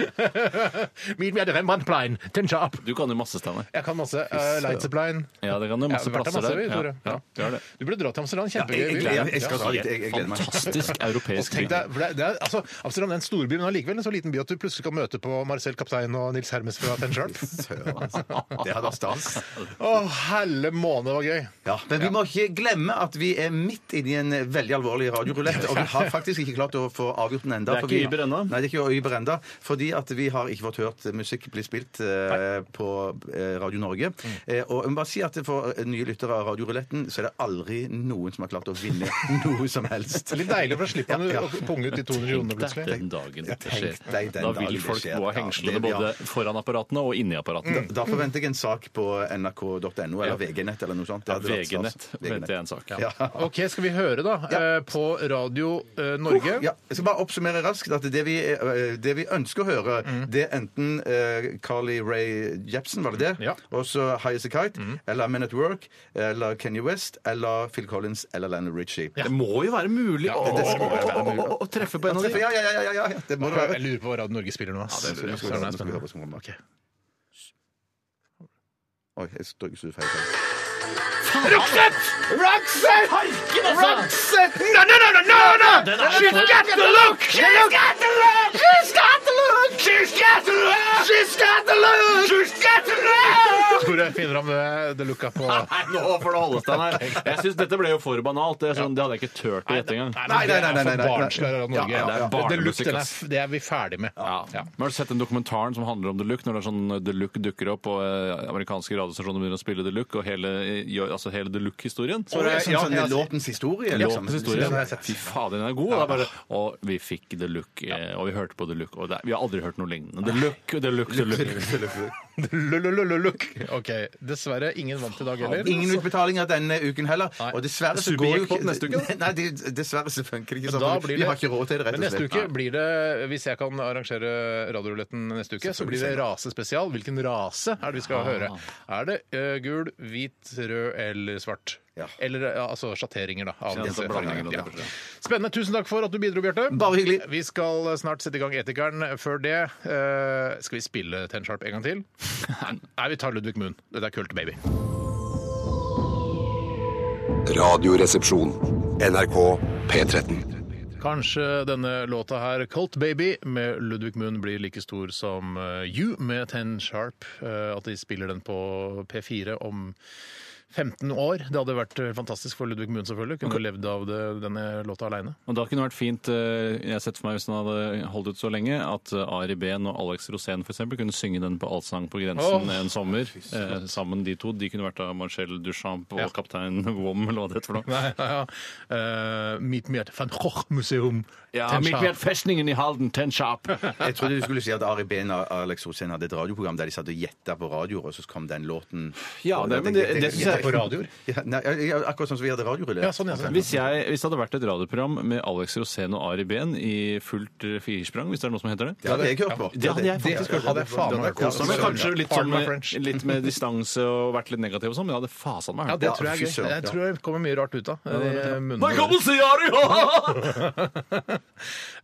[SPEAKER 4] Meet me at Rembrandtplein, Ten Sharp.
[SPEAKER 6] Du kan jo masse, Steinar.
[SPEAKER 4] Jeg kan masse. Uh, Leitzerplein.
[SPEAKER 6] Ja, det kan jo
[SPEAKER 4] Ja,
[SPEAKER 6] masse
[SPEAKER 4] vi har vært der
[SPEAKER 6] plasser
[SPEAKER 4] masse, vi,
[SPEAKER 6] der.
[SPEAKER 4] Tore.
[SPEAKER 6] Ja,
[SPEAKER 4] Ja.
[SPEAKER 6] ja, det er det.
[SPEAKER 4] Du burde dra til Amsterdam. Kjempegøy.
[SPEAKER 5] Jeg,
[SPEAKER 4] by.
[SPEAKER 5] gleder meg. jeg, skal dra dit. jeg, jeg gleder meg.
[SPEAKER 6] Fantastisk europeisk by.
[SPEAKER 4] Tenk deg, for det, det er, altså, Amsterdam er en storby, men allikevel en så liten by at du plutselig kan møte på Marcel Kaptein og Nils Hermes fra Ten Sharp.
[SPEAKER 5] Søren, altså. Det hadde vært stas.
[SPEAKER 4] Å, helle måne, det var gøy.
[SPEAKER 5] Ja, men vi må ikke glemme at vi er midt inni en veldig alvorlig radiorulett, og vi har faktisk ikke klart å få avgjort den enda.
[SPEAKER 6] Det er
[SPEAKER 5] for vi-
[SPEAKER 6] ikke Uber ennå.
[SPEAKER 5] Nei, det er ikke Uber enda, fordi at vi har ikke fått hørt musikk bli spilt eh, på eh, Radio Norge.
[SPEAKER 6] Mm.
[SPEAKER 5] Eh, og jeg må bare si at for eh, nye lyttere av Radioruletten, så er det aldri noen som har klart å vinne noe som helst.
[SPEAKER 4] Det er litt deilig, for da slipper man
[SPEAKER 5] Ja, ja.
[SPEAKER 4] å punge ut de 200 kronene
[SPEAKER 6] Det er
[SPEAKER 4] plutselig.
[SPEAKER 6] den dagen dette
[SPEAKER 5] Tenk
[SPEAKER 6] skjer.
[SPEAKER 5] deg den
[SPEAKER 6] Da
[SPEAKER 5] dagen
[SPEAKER 6] vil
[SPEAKER 5] det
[SPEAKER 6] folk
[SPEAKER 5] skjer.
[SPEAKER 6] gå av
[SPEAKER 5] Ja,
[SPEAKER 6] hengslene
[SPEAKER 5] det- Mm. ja.
[SPEAKER 6] både foran apparatene og inni apparatene.
[SPEAKER 5] Da forventer jeg en sak på nrk.no eller
[SPEAKER 6] Ja.
[SPEAKER 5] VG-nett eller noe sånt. Det
[SPEAKER 6] Ja,
[SPEAKER 5] hadde vært stas.
[SPEAKER 6] VG-nett venter jeg en sak.
[SPEAKER 5] Ja.
[SPEAKER 4] OK, skal vi høre, da? eh, På Radio eh, Norge.
[SPEAKER 5] Oh, Ja, jeg skal bare oppsummere raskt at det vi, eh, det vi ønsker å høre,
[SPEAKER 4] Mm.
[SPEAKER 5] det er enten eh, Carly Ray Jepsen, var det det?
[SPEAKER 4] Ja. Mm.
[SPEAKER 5] Og så High As A Kite, eller Men At Work, eller Kenny West, eller Phil Collins, eller Lana Ritchie.
[SPEAKER 6] Det må jo være mulig å,
[SPEAKER 5] det skal
[SPEAKER 6] å-
[SPEAKER 5] være
[SPEAKER 6] å- å- å- å treffe på en av
[SPEAKER 5] Ja,
[SPEAKER 6] de.
[SPEAKER 5] ja, ja, ja, ja, ja, det må det
[SPEAKER 4] Jeg
[SPEAKER 5] være.
[SPEAKER 4] lurer på hva Radio Norge spiller nå. ass.
[SPEAKER 5] Ja, det lurer jeg på.
[SPEAKER 4] Søren, det
[SPEAKER 5] Nå skal
[SPEAKER 4] er
[SPEAKER 5] vi
[SPEAKER 4] spennende.
[SPEAKER 5] høre på som kommer.
[SPEAKER 4] Ok.
[SPEAKER 5] Oi, jeg stryker så feil.
[SPEAKER 4] Roxette! Harken, altså! Roxette! No, no, no, no, no, no! She's got the look! She's got the look! She's got the look! She's got the look! She's got the look! She's got the look! Tore, finner fram eh, det, det looka på
[SPEAKER 6] Nei, nå får det holde seg her. Jeg synes Dette ble jo for banalt. Det, er sånn, det hadde jeg ikke turt å gjette engang.
[SPEAKER 5] Nei, nei, nei, nei, nei, nei.
[SPEAKER 4] Det er for barnslig av Norge.
[SPEAKER 6] Ja, ja, ja.
[SPEAKER 4] Det- Det look,
[SPEAKER 6] Barnemusikk,
[SPEAKER 4] den er,
[SPEAKER 6] ass.
[SPEAKER 4] det er vi ferdig med.
[SPEAKER 6] Ja. Men Har du sett den dokumentaren som handler om The Look? Når det er sånn The Look dukker opp, og eh, amerikanske radiostasjoner begynner å spille The Look, og hele, gjør- altså hele The Look-historien?
[SPEAKER 5] Oi,
[SPEAKER 4] det er-
[SPEAKER 5] sånn,
[SPEAKER 4] ja,
[SPEAKER 5] sånn,
[SPEAKER 4] ja,
[SPEAKER 5] det er låtens historie, liksom.
[SPEAKER 6] Låtens historie.
[SPEAKER 4] Den har jeg sett.
[SPEAKER 6] Fy fader, den er god. og Det er bare, og vi fikk The Look, eh, og vi hørte på The Look. Og det, er- vi har aldri hørt noe lignende. The Look, The Look, The Look.
[SPEAKER 4] Lululululuk. Ok, dessverre ingen vant i dag heller.
[SPEAKER 5] Ingen utbetalinger denne uken heller. Og dessverre så går jo ikke
[SPEAKER 6] Superjackpot neste uke.
[SPEAKER 5] Nei, det- dessverre så funker det ikke sånn.
[SPEAKER 4] Da
[SPEAKER 5] Vi
[SPEAKER 4] blir det-
[SPEAKER 5] har ikke råd til det, rett
[SPEAKER 4] Men
[SPEAKER 5] og
[SPEAKER 4] neste
[SPEAKER 5] slett.
[SPEAKER 4] uke blir det, hvis jeg kan arrangere radioruletten neste uke, så blir det rasespesial. Hvilken rase er det vi skal høre?
[SPEAKER 5] Ah.
[SPEAKER 4] Er det ø, gul, hvit, rød eller svart?
[SPEAKER 5] Ja.
[SPEAKER 4] Eller ja, altså sjatteringer, da. Av
[SPEAKER 6] altså
[SPEAKER 4] disse
[SPEAKER 6] blandinger,
[SPEAKER 4] fargene.
[SPEAKER 6] da,
[SPEAKER 4] Ja.
[SPEAKER 6] det første.
[SPEAKER 4] Spennende. Tusen takk for at du bidro, Bjarte.
[SPEAKER 5] Bare hyggelig.
[SPEAKER 4] Vi skal snart sette i gang Etikeren. Før det ø, skal vi spille Ten Sharp en gang til. Nei, vi tar Ludvig Moon. Dette er Kult Baby.
[SPEAKER 11] Radioresepsjon. NRK P13.
[SPEAKER 4] Kanskje denne låta her, Colt Baby, med Ludvig Munn blir like stor som eh, You med Ten Sharp. eh, At de spiller den på P4 om 15 år. Det hadde vært eh, fantastisk for Ludvig Munn, selvfølgelig. Kunne levd av det, denne låta aleine.
[SPEAKER 6] Og da kunne det vært fint, eh, jeg har sett for meg hvis han hadde holdt ut så lenge, at eh, Ari Behn og Alex Rosén for eksempel kunne synge den på Allsang på grensen
[SPEAKER 4] Åh.
[SPEAKER 6] en sommer. Eh, sammen de to. De kunne vært av Marcel Duchamp og
[SPEAKER 4] Ja.
[SPEAKER 6] kaptein Wom, eller hva det heter for noe.
[SPEAKER 4] Eh, Meet me at Van Gogh-museum.
[SPEAKER 6] Ja,
[SPEAKER 4] Ten
[SPEAKER 6] mitt
[SPEAKER 4] Sharp.
[SPEAKER 6] med festningen i Halden, ten sharp.
[SPEAKER 5] Jeg trodde du skulle si at Ari Behn og Alex Rosén hadde et radioprogram der de satt og gjetta på radioer, og så kom den låten
[SPEAKER 6] Ja,
[SPEAKER 5] Og
[SPEAKER 6] det-
[SPEAKER 5] da
[SPEAKER 6] men
[SPEAKER 5] tenkte
[SPEAKER 6] det- det
[SPEAKER 5] tenkte-
[SPEAKER 6] synes jeg-
[SPEAKER 4] På radioer?
[SPEAKER 5] Ja, nei, ja, akkurat sånn som vi hadde radiorulle.
[SPEAKER 4] Ja, sånn, ja, sånn.
[SPEAKER 6] Hvis, jeg, hvis det hadde vært et radioprogram med Alex Rosén og Ari Behn i fullt eh, firsprang, hvis det er noe som heter det
[SPEAKER 5] Det hadde jeg hørt på.
[SPEAKER 6] det hadde jeg faktisk hørt.
[SPEAKER 4] Hadde jeg faen meg kost
[SPEAKER 6] Så men
[SPEAKER 4] meg.
[SPEAKER 6] kanskje litt,
[SPEAKER 4] Pardon
[SPEAKER 6] sånn,
[SPEAKER 4] my French.
[SPEAKER 6] med- litt med distanse og vært litt negativ og sånn, men jeg hadde fasen meg
[SPEAKER 4] Ja,
[SPEAKER 6] hørt
[SPEAKER 4] det
[SPEAKER 5] Ja,
[SPEAKER 4] tror jeg
[SPEAKER 5] fy
[SPEAKER 4] er gøy.
[SPEAKER 5] søren,
[SPEAKER 4] Jeg
[SPEAKER 5] ja.
[SPEAKER 4] tror det kommer mye rart ut av eh, munnen.
[SPEAKER 6] Nei, kom og se, Ari!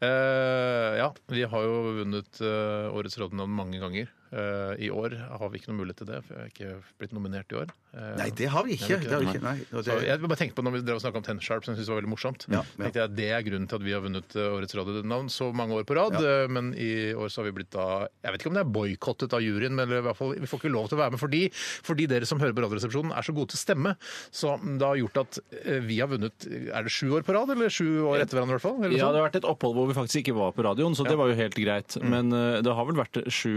[SPEAKER 4] Eh, ja, vi har jo vunnet eh, Årets rådnavn mange ganger. Eh, I år har vi ikke noe mulighet til det, for jeg har ikke blitt nominert i år. Eh,
[SPEAKER 5] Nei, det har vi ikke. Det har vi ikke, nei. Og
[SPEAKER 4] Så
[SPEAKER 5] det-
[SPEAKER 4] jeg bare tenkte på når vi drev og snakket om Ten Sharp, som jeg syntes var veldig morsomt.
[SPEAKER 5] Ja, ja.
[SPEAKER 4] Tenkte jeg, Det er grunnen til at vi har vunnet eh, årets radionavn så mange år på rad. eh, Men i år så har vi blitt da Jeg vet ikke om det er boikottet av juryen, men i hvert fall, vi får ikke lov til å være med fordi, fordi dere som hører på Radioresepsjonen, er så gode til å stemme. Så det har gjort at eh, vi har vunnet Er det sju år på rad, eller sju år etter hverandre, i hvert fall? Eller sånn? Mm. noe
[SPEAKER 6] Ja,
[SPEAKER 4] sånt?
[SPEAKER 6] det har vært et opphold hvor vi faktisk ikke var på radioen, så det var jo helt greit. Men eh, det har vel vært sju,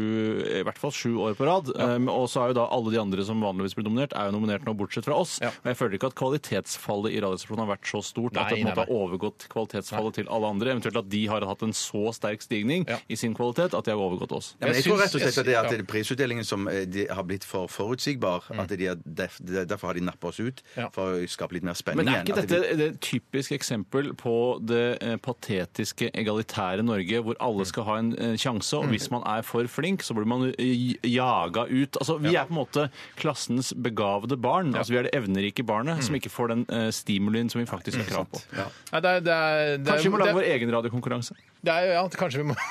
[SPEAKER 6] i hvert fall sju år på rad. Um, og så er jo da alle de andre som vanligvis blir nominert, er jo nominert nå, bortsett fra oss.
[SPEAKER 4] Ja.
[SPEAKER 6] Og jeg føler ikke at kvalitetsfallet i Radioresepsjonen har vært så stort at det
[SPEAKER 4] Nei,
[SPEAKER 6] på en måte
[SPEAKER 4] nei, nei.
[SPEAKER 6] har overgått kvalitetsfallet til alle andre. Eventuelt at de har hatt en så sterk stigning
[SPEAKER 4] Ja.
[SPEAKER 6] i sin kvalitet at de har overgått oss.
[SPEAKER 5] Ja, men jeg
[SPEAKER 4] Jeg
[SPEAKER 5] tror
[SPEAKER 4] syns-
[SPEAKER 5] rett og slett at det er at
[SPEAKER 4] jeg-
[SPEAKER 5] det er prisutdelingen som eh, de har blitt for forutsigbar. At de har, derf- derfor har de nappa oss ut,
[SPEAKER 4] Ja.
[SPEAKER 5] for å skape litt mer spenning.
[SPEAKER 6] Men er
[SPEAKER 5] igjen,
[SPEAKER 6] ikke
[SPEAKER 5] Altså, at vi-
[SPEAKER 6] dette et typisk eksempel på det eh, patetiske, egalitære Norge, hvor alle skal ha en eh, sjanse,
[SPEAKER 4] Mm.
[SPEAKER 6] og hvis man er for flink, så blir man eh, jaga ut? Altså, Vi er på en måte klassens begavede barn. Altså, Vi er det evnerike barnet
[SPEAKER 4] Mm.
[SPEAKER 6] som ikke får den eh, stimulien som vi faktisk har krav på.
[SPEAKER 4] Nei, det er, det er, det er,
[SPEAKER 6] Kanskje vi må
[SPEAKER 4] det
[SPEAKER 6] lage
[SPEAKER 4] er-
[SPEAKER 6] vår egen radiokonkurranse?
[SPEAKER 4] Det er jo, ja, kanskje vi må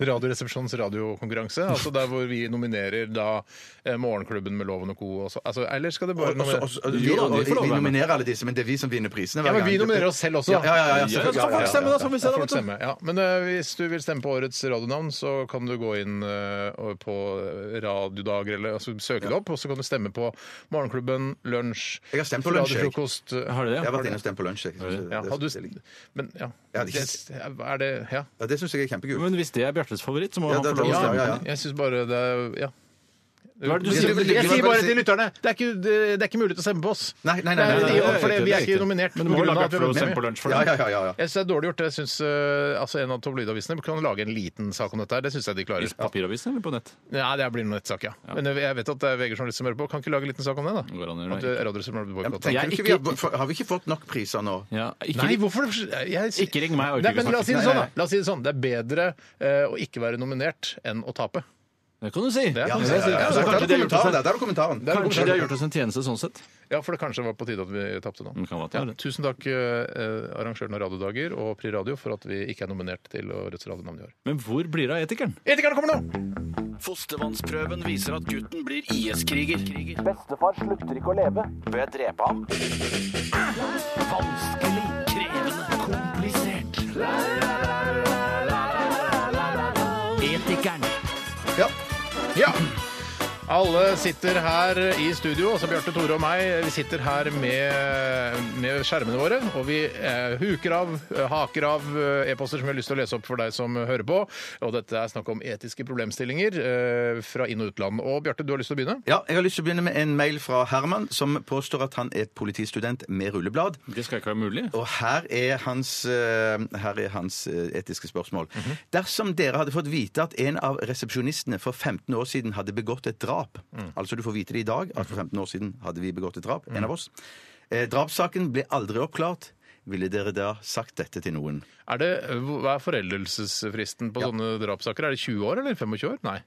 [SPEAKER 4] Radioresepsjonens radiokonkurranse, altså der hvor vi nominerer da eh, Morgenklubben med Loven og Co. Også. Altså, eller skal det bare
[SPEAKER 5] Og- og- og-
[SPEAKER 4] nominere
[SPEAKER 5] og- vi-
[SPEAKER 6] Jo,
[SPEAKER 5] og-
[SPEAKER 6] de får lov å
[SPEAKER 5] Vi
[SPEAKER 6] være med.
[SPEAKER 5] nominerer alle disse, men det er vi som vinner prisene. hver
[SPEAKER 4] ja, men
[SPEAKER 5] gang.
[SPEAKER 4] Vi nominerer oss selv også.
[SPEAKER 5] Ja, ja, ja, ja,
[SPEAKER 4] så
[SPEAKER 5] selvfølgelig,
[SPEAKER 4] får
[SPEAKER 5] ja, ja,
[SPEAKER 4] folk
[SPEAKER 5] ja.
[SPEAKER 4] stemme, da. så får vi se, da,
[SPEAKER 6] Folk
[SPEAKER 4] vet du.
[SPEAKER 6] stemmer,
[SPEAKER 4] Ja, men eh, hvis du vil stemme på årets radionavn, så kan du gå inn eh, og på eh, radiodager eller altså, søke det opp, og så kan du stemme på Morgenklubben, Lunsj,
[SPEAKER 5] Jeg har stemt på lunsj, jeg.
[SPEAKER 4] Radiofrokost eh,
[SPEAKER 6] Har du det?
[SPEAKER 5] Jeg har vært inne og stemt på lunsj. Jeg, synes det,
[SPEAKER 4] Ja,
[SPEAKER 5] det,
[SPEAKER 4] har du,
[SPEAKER 5] synes jeg liker.
[SPEAKER 4] men ja,
[SPEAKER 5] Ja,
[SPEAKER 4] det,
[SPEAKER 5] det-
[SPEAKER 4] er det Ja.
[SPEAKER 5] ja, det syns jeg er kjempekult.
[SPEAKER 6] Men hvis det er Bjartes favoritt, så må
[SPEAKER 5] Ja,
[SPEAKER 6] han
[SPEAKER 5] det-
[SPEAKER 6] få lov
[SPEAKER 5] det-
[SPEAKER 6] å
[SPEAKER 5] ja,
[SPEAKER 6] stemme.
[SPEAKER 5] ja, ja.
[SPEAKER 4] Jeg syns bare det er Ja.
[SPEAKER 6] Hva er det du
[SPEAKER 5] Jeg
[SPEAKER 6] sier?
[SPEAKER 5] tror-
[SPEAKER 4] Jeg sier bare til lytterne det er ikke, det er ikke mulig til å stemme på oss.
[SPEAKER 5] Nei, nei, nei, nei,
[SPEAKER 4] Det er-
[SPEAKER 5] nei, nei, nei,
[SPEAKER 4] for det- Vi er ikke nominert. på
[SPEAKER 6] Men du må
[SPEAKER 4] grunn av
[SPEAKER 6] lage
[SPEAKER 4] at vi
[SPEAKER 6] et
[SPEAKER 4] har vunnet mye.
[SPEAKER 6] prosent på lunsj for
[SPEAKER 5] Ja,
[SPEAKER 6] det.
[SPEAKER 5] ja, ja, ja, ja.
[SPEAKER 4] Jeg synes det er dårlig gjort. Jeg synes, eh, altså En av tabloidavisene kan lage en liten sak om dette. her. Det syns jeg de klarer.
[SPEAKER 6] I papiravisen eller på nett?
[SPEAKER 4] Nei, det blir en nettsak, ja. Men eh, jeg vet at det er VG-journalister som hører på. Kan ikke lage en liten sak om det, da?
[SPEAKER 6] Går an å gjøre
[SPEAKER 4] At
[SPEAKER 6] det.
[SPEAKER 4] eh, Radioresepsjonen blir
[SPEAKER 5] Ja, men
[SPEAKER 4] boikottet.
[SPEAKER 5] tenker
[SPEAKER 6] Jeg
[SPEAKER 5] du ikke
[SPEAKER 6] ikke-
[SPEAKER 5] vi har, for- har vi ikke fått nok priser nå?
[SPEAKER 6] Ja, ikke
[SPEAKER 4] Nei, hvorfor jeg,
[SPEAKER 6] Ikke ring meg, jeg orker
[SPEAKER 4] Nei,
[SPEAKER 6] ikke
[SPEAKER 4] men la oss si det
[SPEAKER 5] snakke.
[SPEAKER 4] sånn,
[SPEAKER 5] Nei,
[SPEAKER 4] da. La oss si det sånn. Det er bedre eh, å ikke være nominert enn å tape.
[SPEAKER 6] Det kan du si.
[SPEAKER 4] er-
[SPEAKER 5] Ja,
[SPEAKER 4] kan
[SPEAKER 5] ja,
[SPEAKER 4] du
[SPEAKER 5] ja,
[SPEAKER 4] si.
[SPEAKER 5] ja, ja.
[SPEAKER 6] Så
[SPEAKER 5] Der er
[SPEAKER 6] kanskje de har gjort
[SPEAKER 5] kommentaren,
[SPEAKER 6] det
[SPEAKER 5] der. Der er kommentaren.
[SPEAKER 4] Det er
[SPEAKER 6] Kanskje
[SPEAKER 4] kommentaren.
[SPEAKER 6] de har gjort oss en tjeneste sånn sett?
[SPEAKER 4] Ja, for det kanskje var på tide at vi tapte nå.
[SPEAKER 6] Det kan være at det
[SPEAKER 4] Ja,
[SPEAKER 6] er det.
[SPEAKER 4] tusen takk, eh, arrangøren av Radiodager og Pri Radio, for at vi ikke er nominert til årets radionavn i år.
[SPEAKER 6] Men hvor blir det av etikeren?
[SPEAKER 4] Etikerne kommer nå!
[SPEAKER 6] Fostervannsprøven viser at gutten blir IS-kriger.
[SPEAKER 3] Bestefar slutter ikke å leve. Bør jeg drepe ham? Vanskelig, krevende, komplisert. Etikeren.
[SPEAKER 4] Ja. ja. Alle sitter her i studio, altså Bjarte, Tore og meg. Vi sitter her med, med skjermene våre, og vi eh, huker av, eh, haker av eh, e-poster som vi har lyst til å lese opp for deg som hører på. Og dette er snakk om etiske problemstillinger eh, fra inn- og utland. Og Bjarte, du har lyst til å begynne?
[SPEAKER 5] Ja, jeg har lyst til å begynne med en mail fra Herman, som påstår at han er politistudent med rulleblad.
[SPEAKER 6] Det skal ikke være mulig.
[SPEAKER 5] Og her er hans, eh, her er hans eh, etiske spørsmål.
[SPEAKER 6] Mhm.
[SPEAKER 5] Dersom dere hadde fått vite at en av resepsjonistene for 15 år siden hadde begått et drap
[SPEAKER 6] Mm.
[SPEAKER 5] Altså du får vite det i dag, at
[SPEAKER 6] Mhm.
[SPEAKER 5] for 15 år siden hadde vi begått et drap, en av oss. Eh, drapssaken ble aldri oppklart. Ville dere da sagt dette til noen?
[SPEAKER 4] Er det, hva er foreldelsesfristen på sånne drapssaker? Er det 20 år eller 25 år? Nei.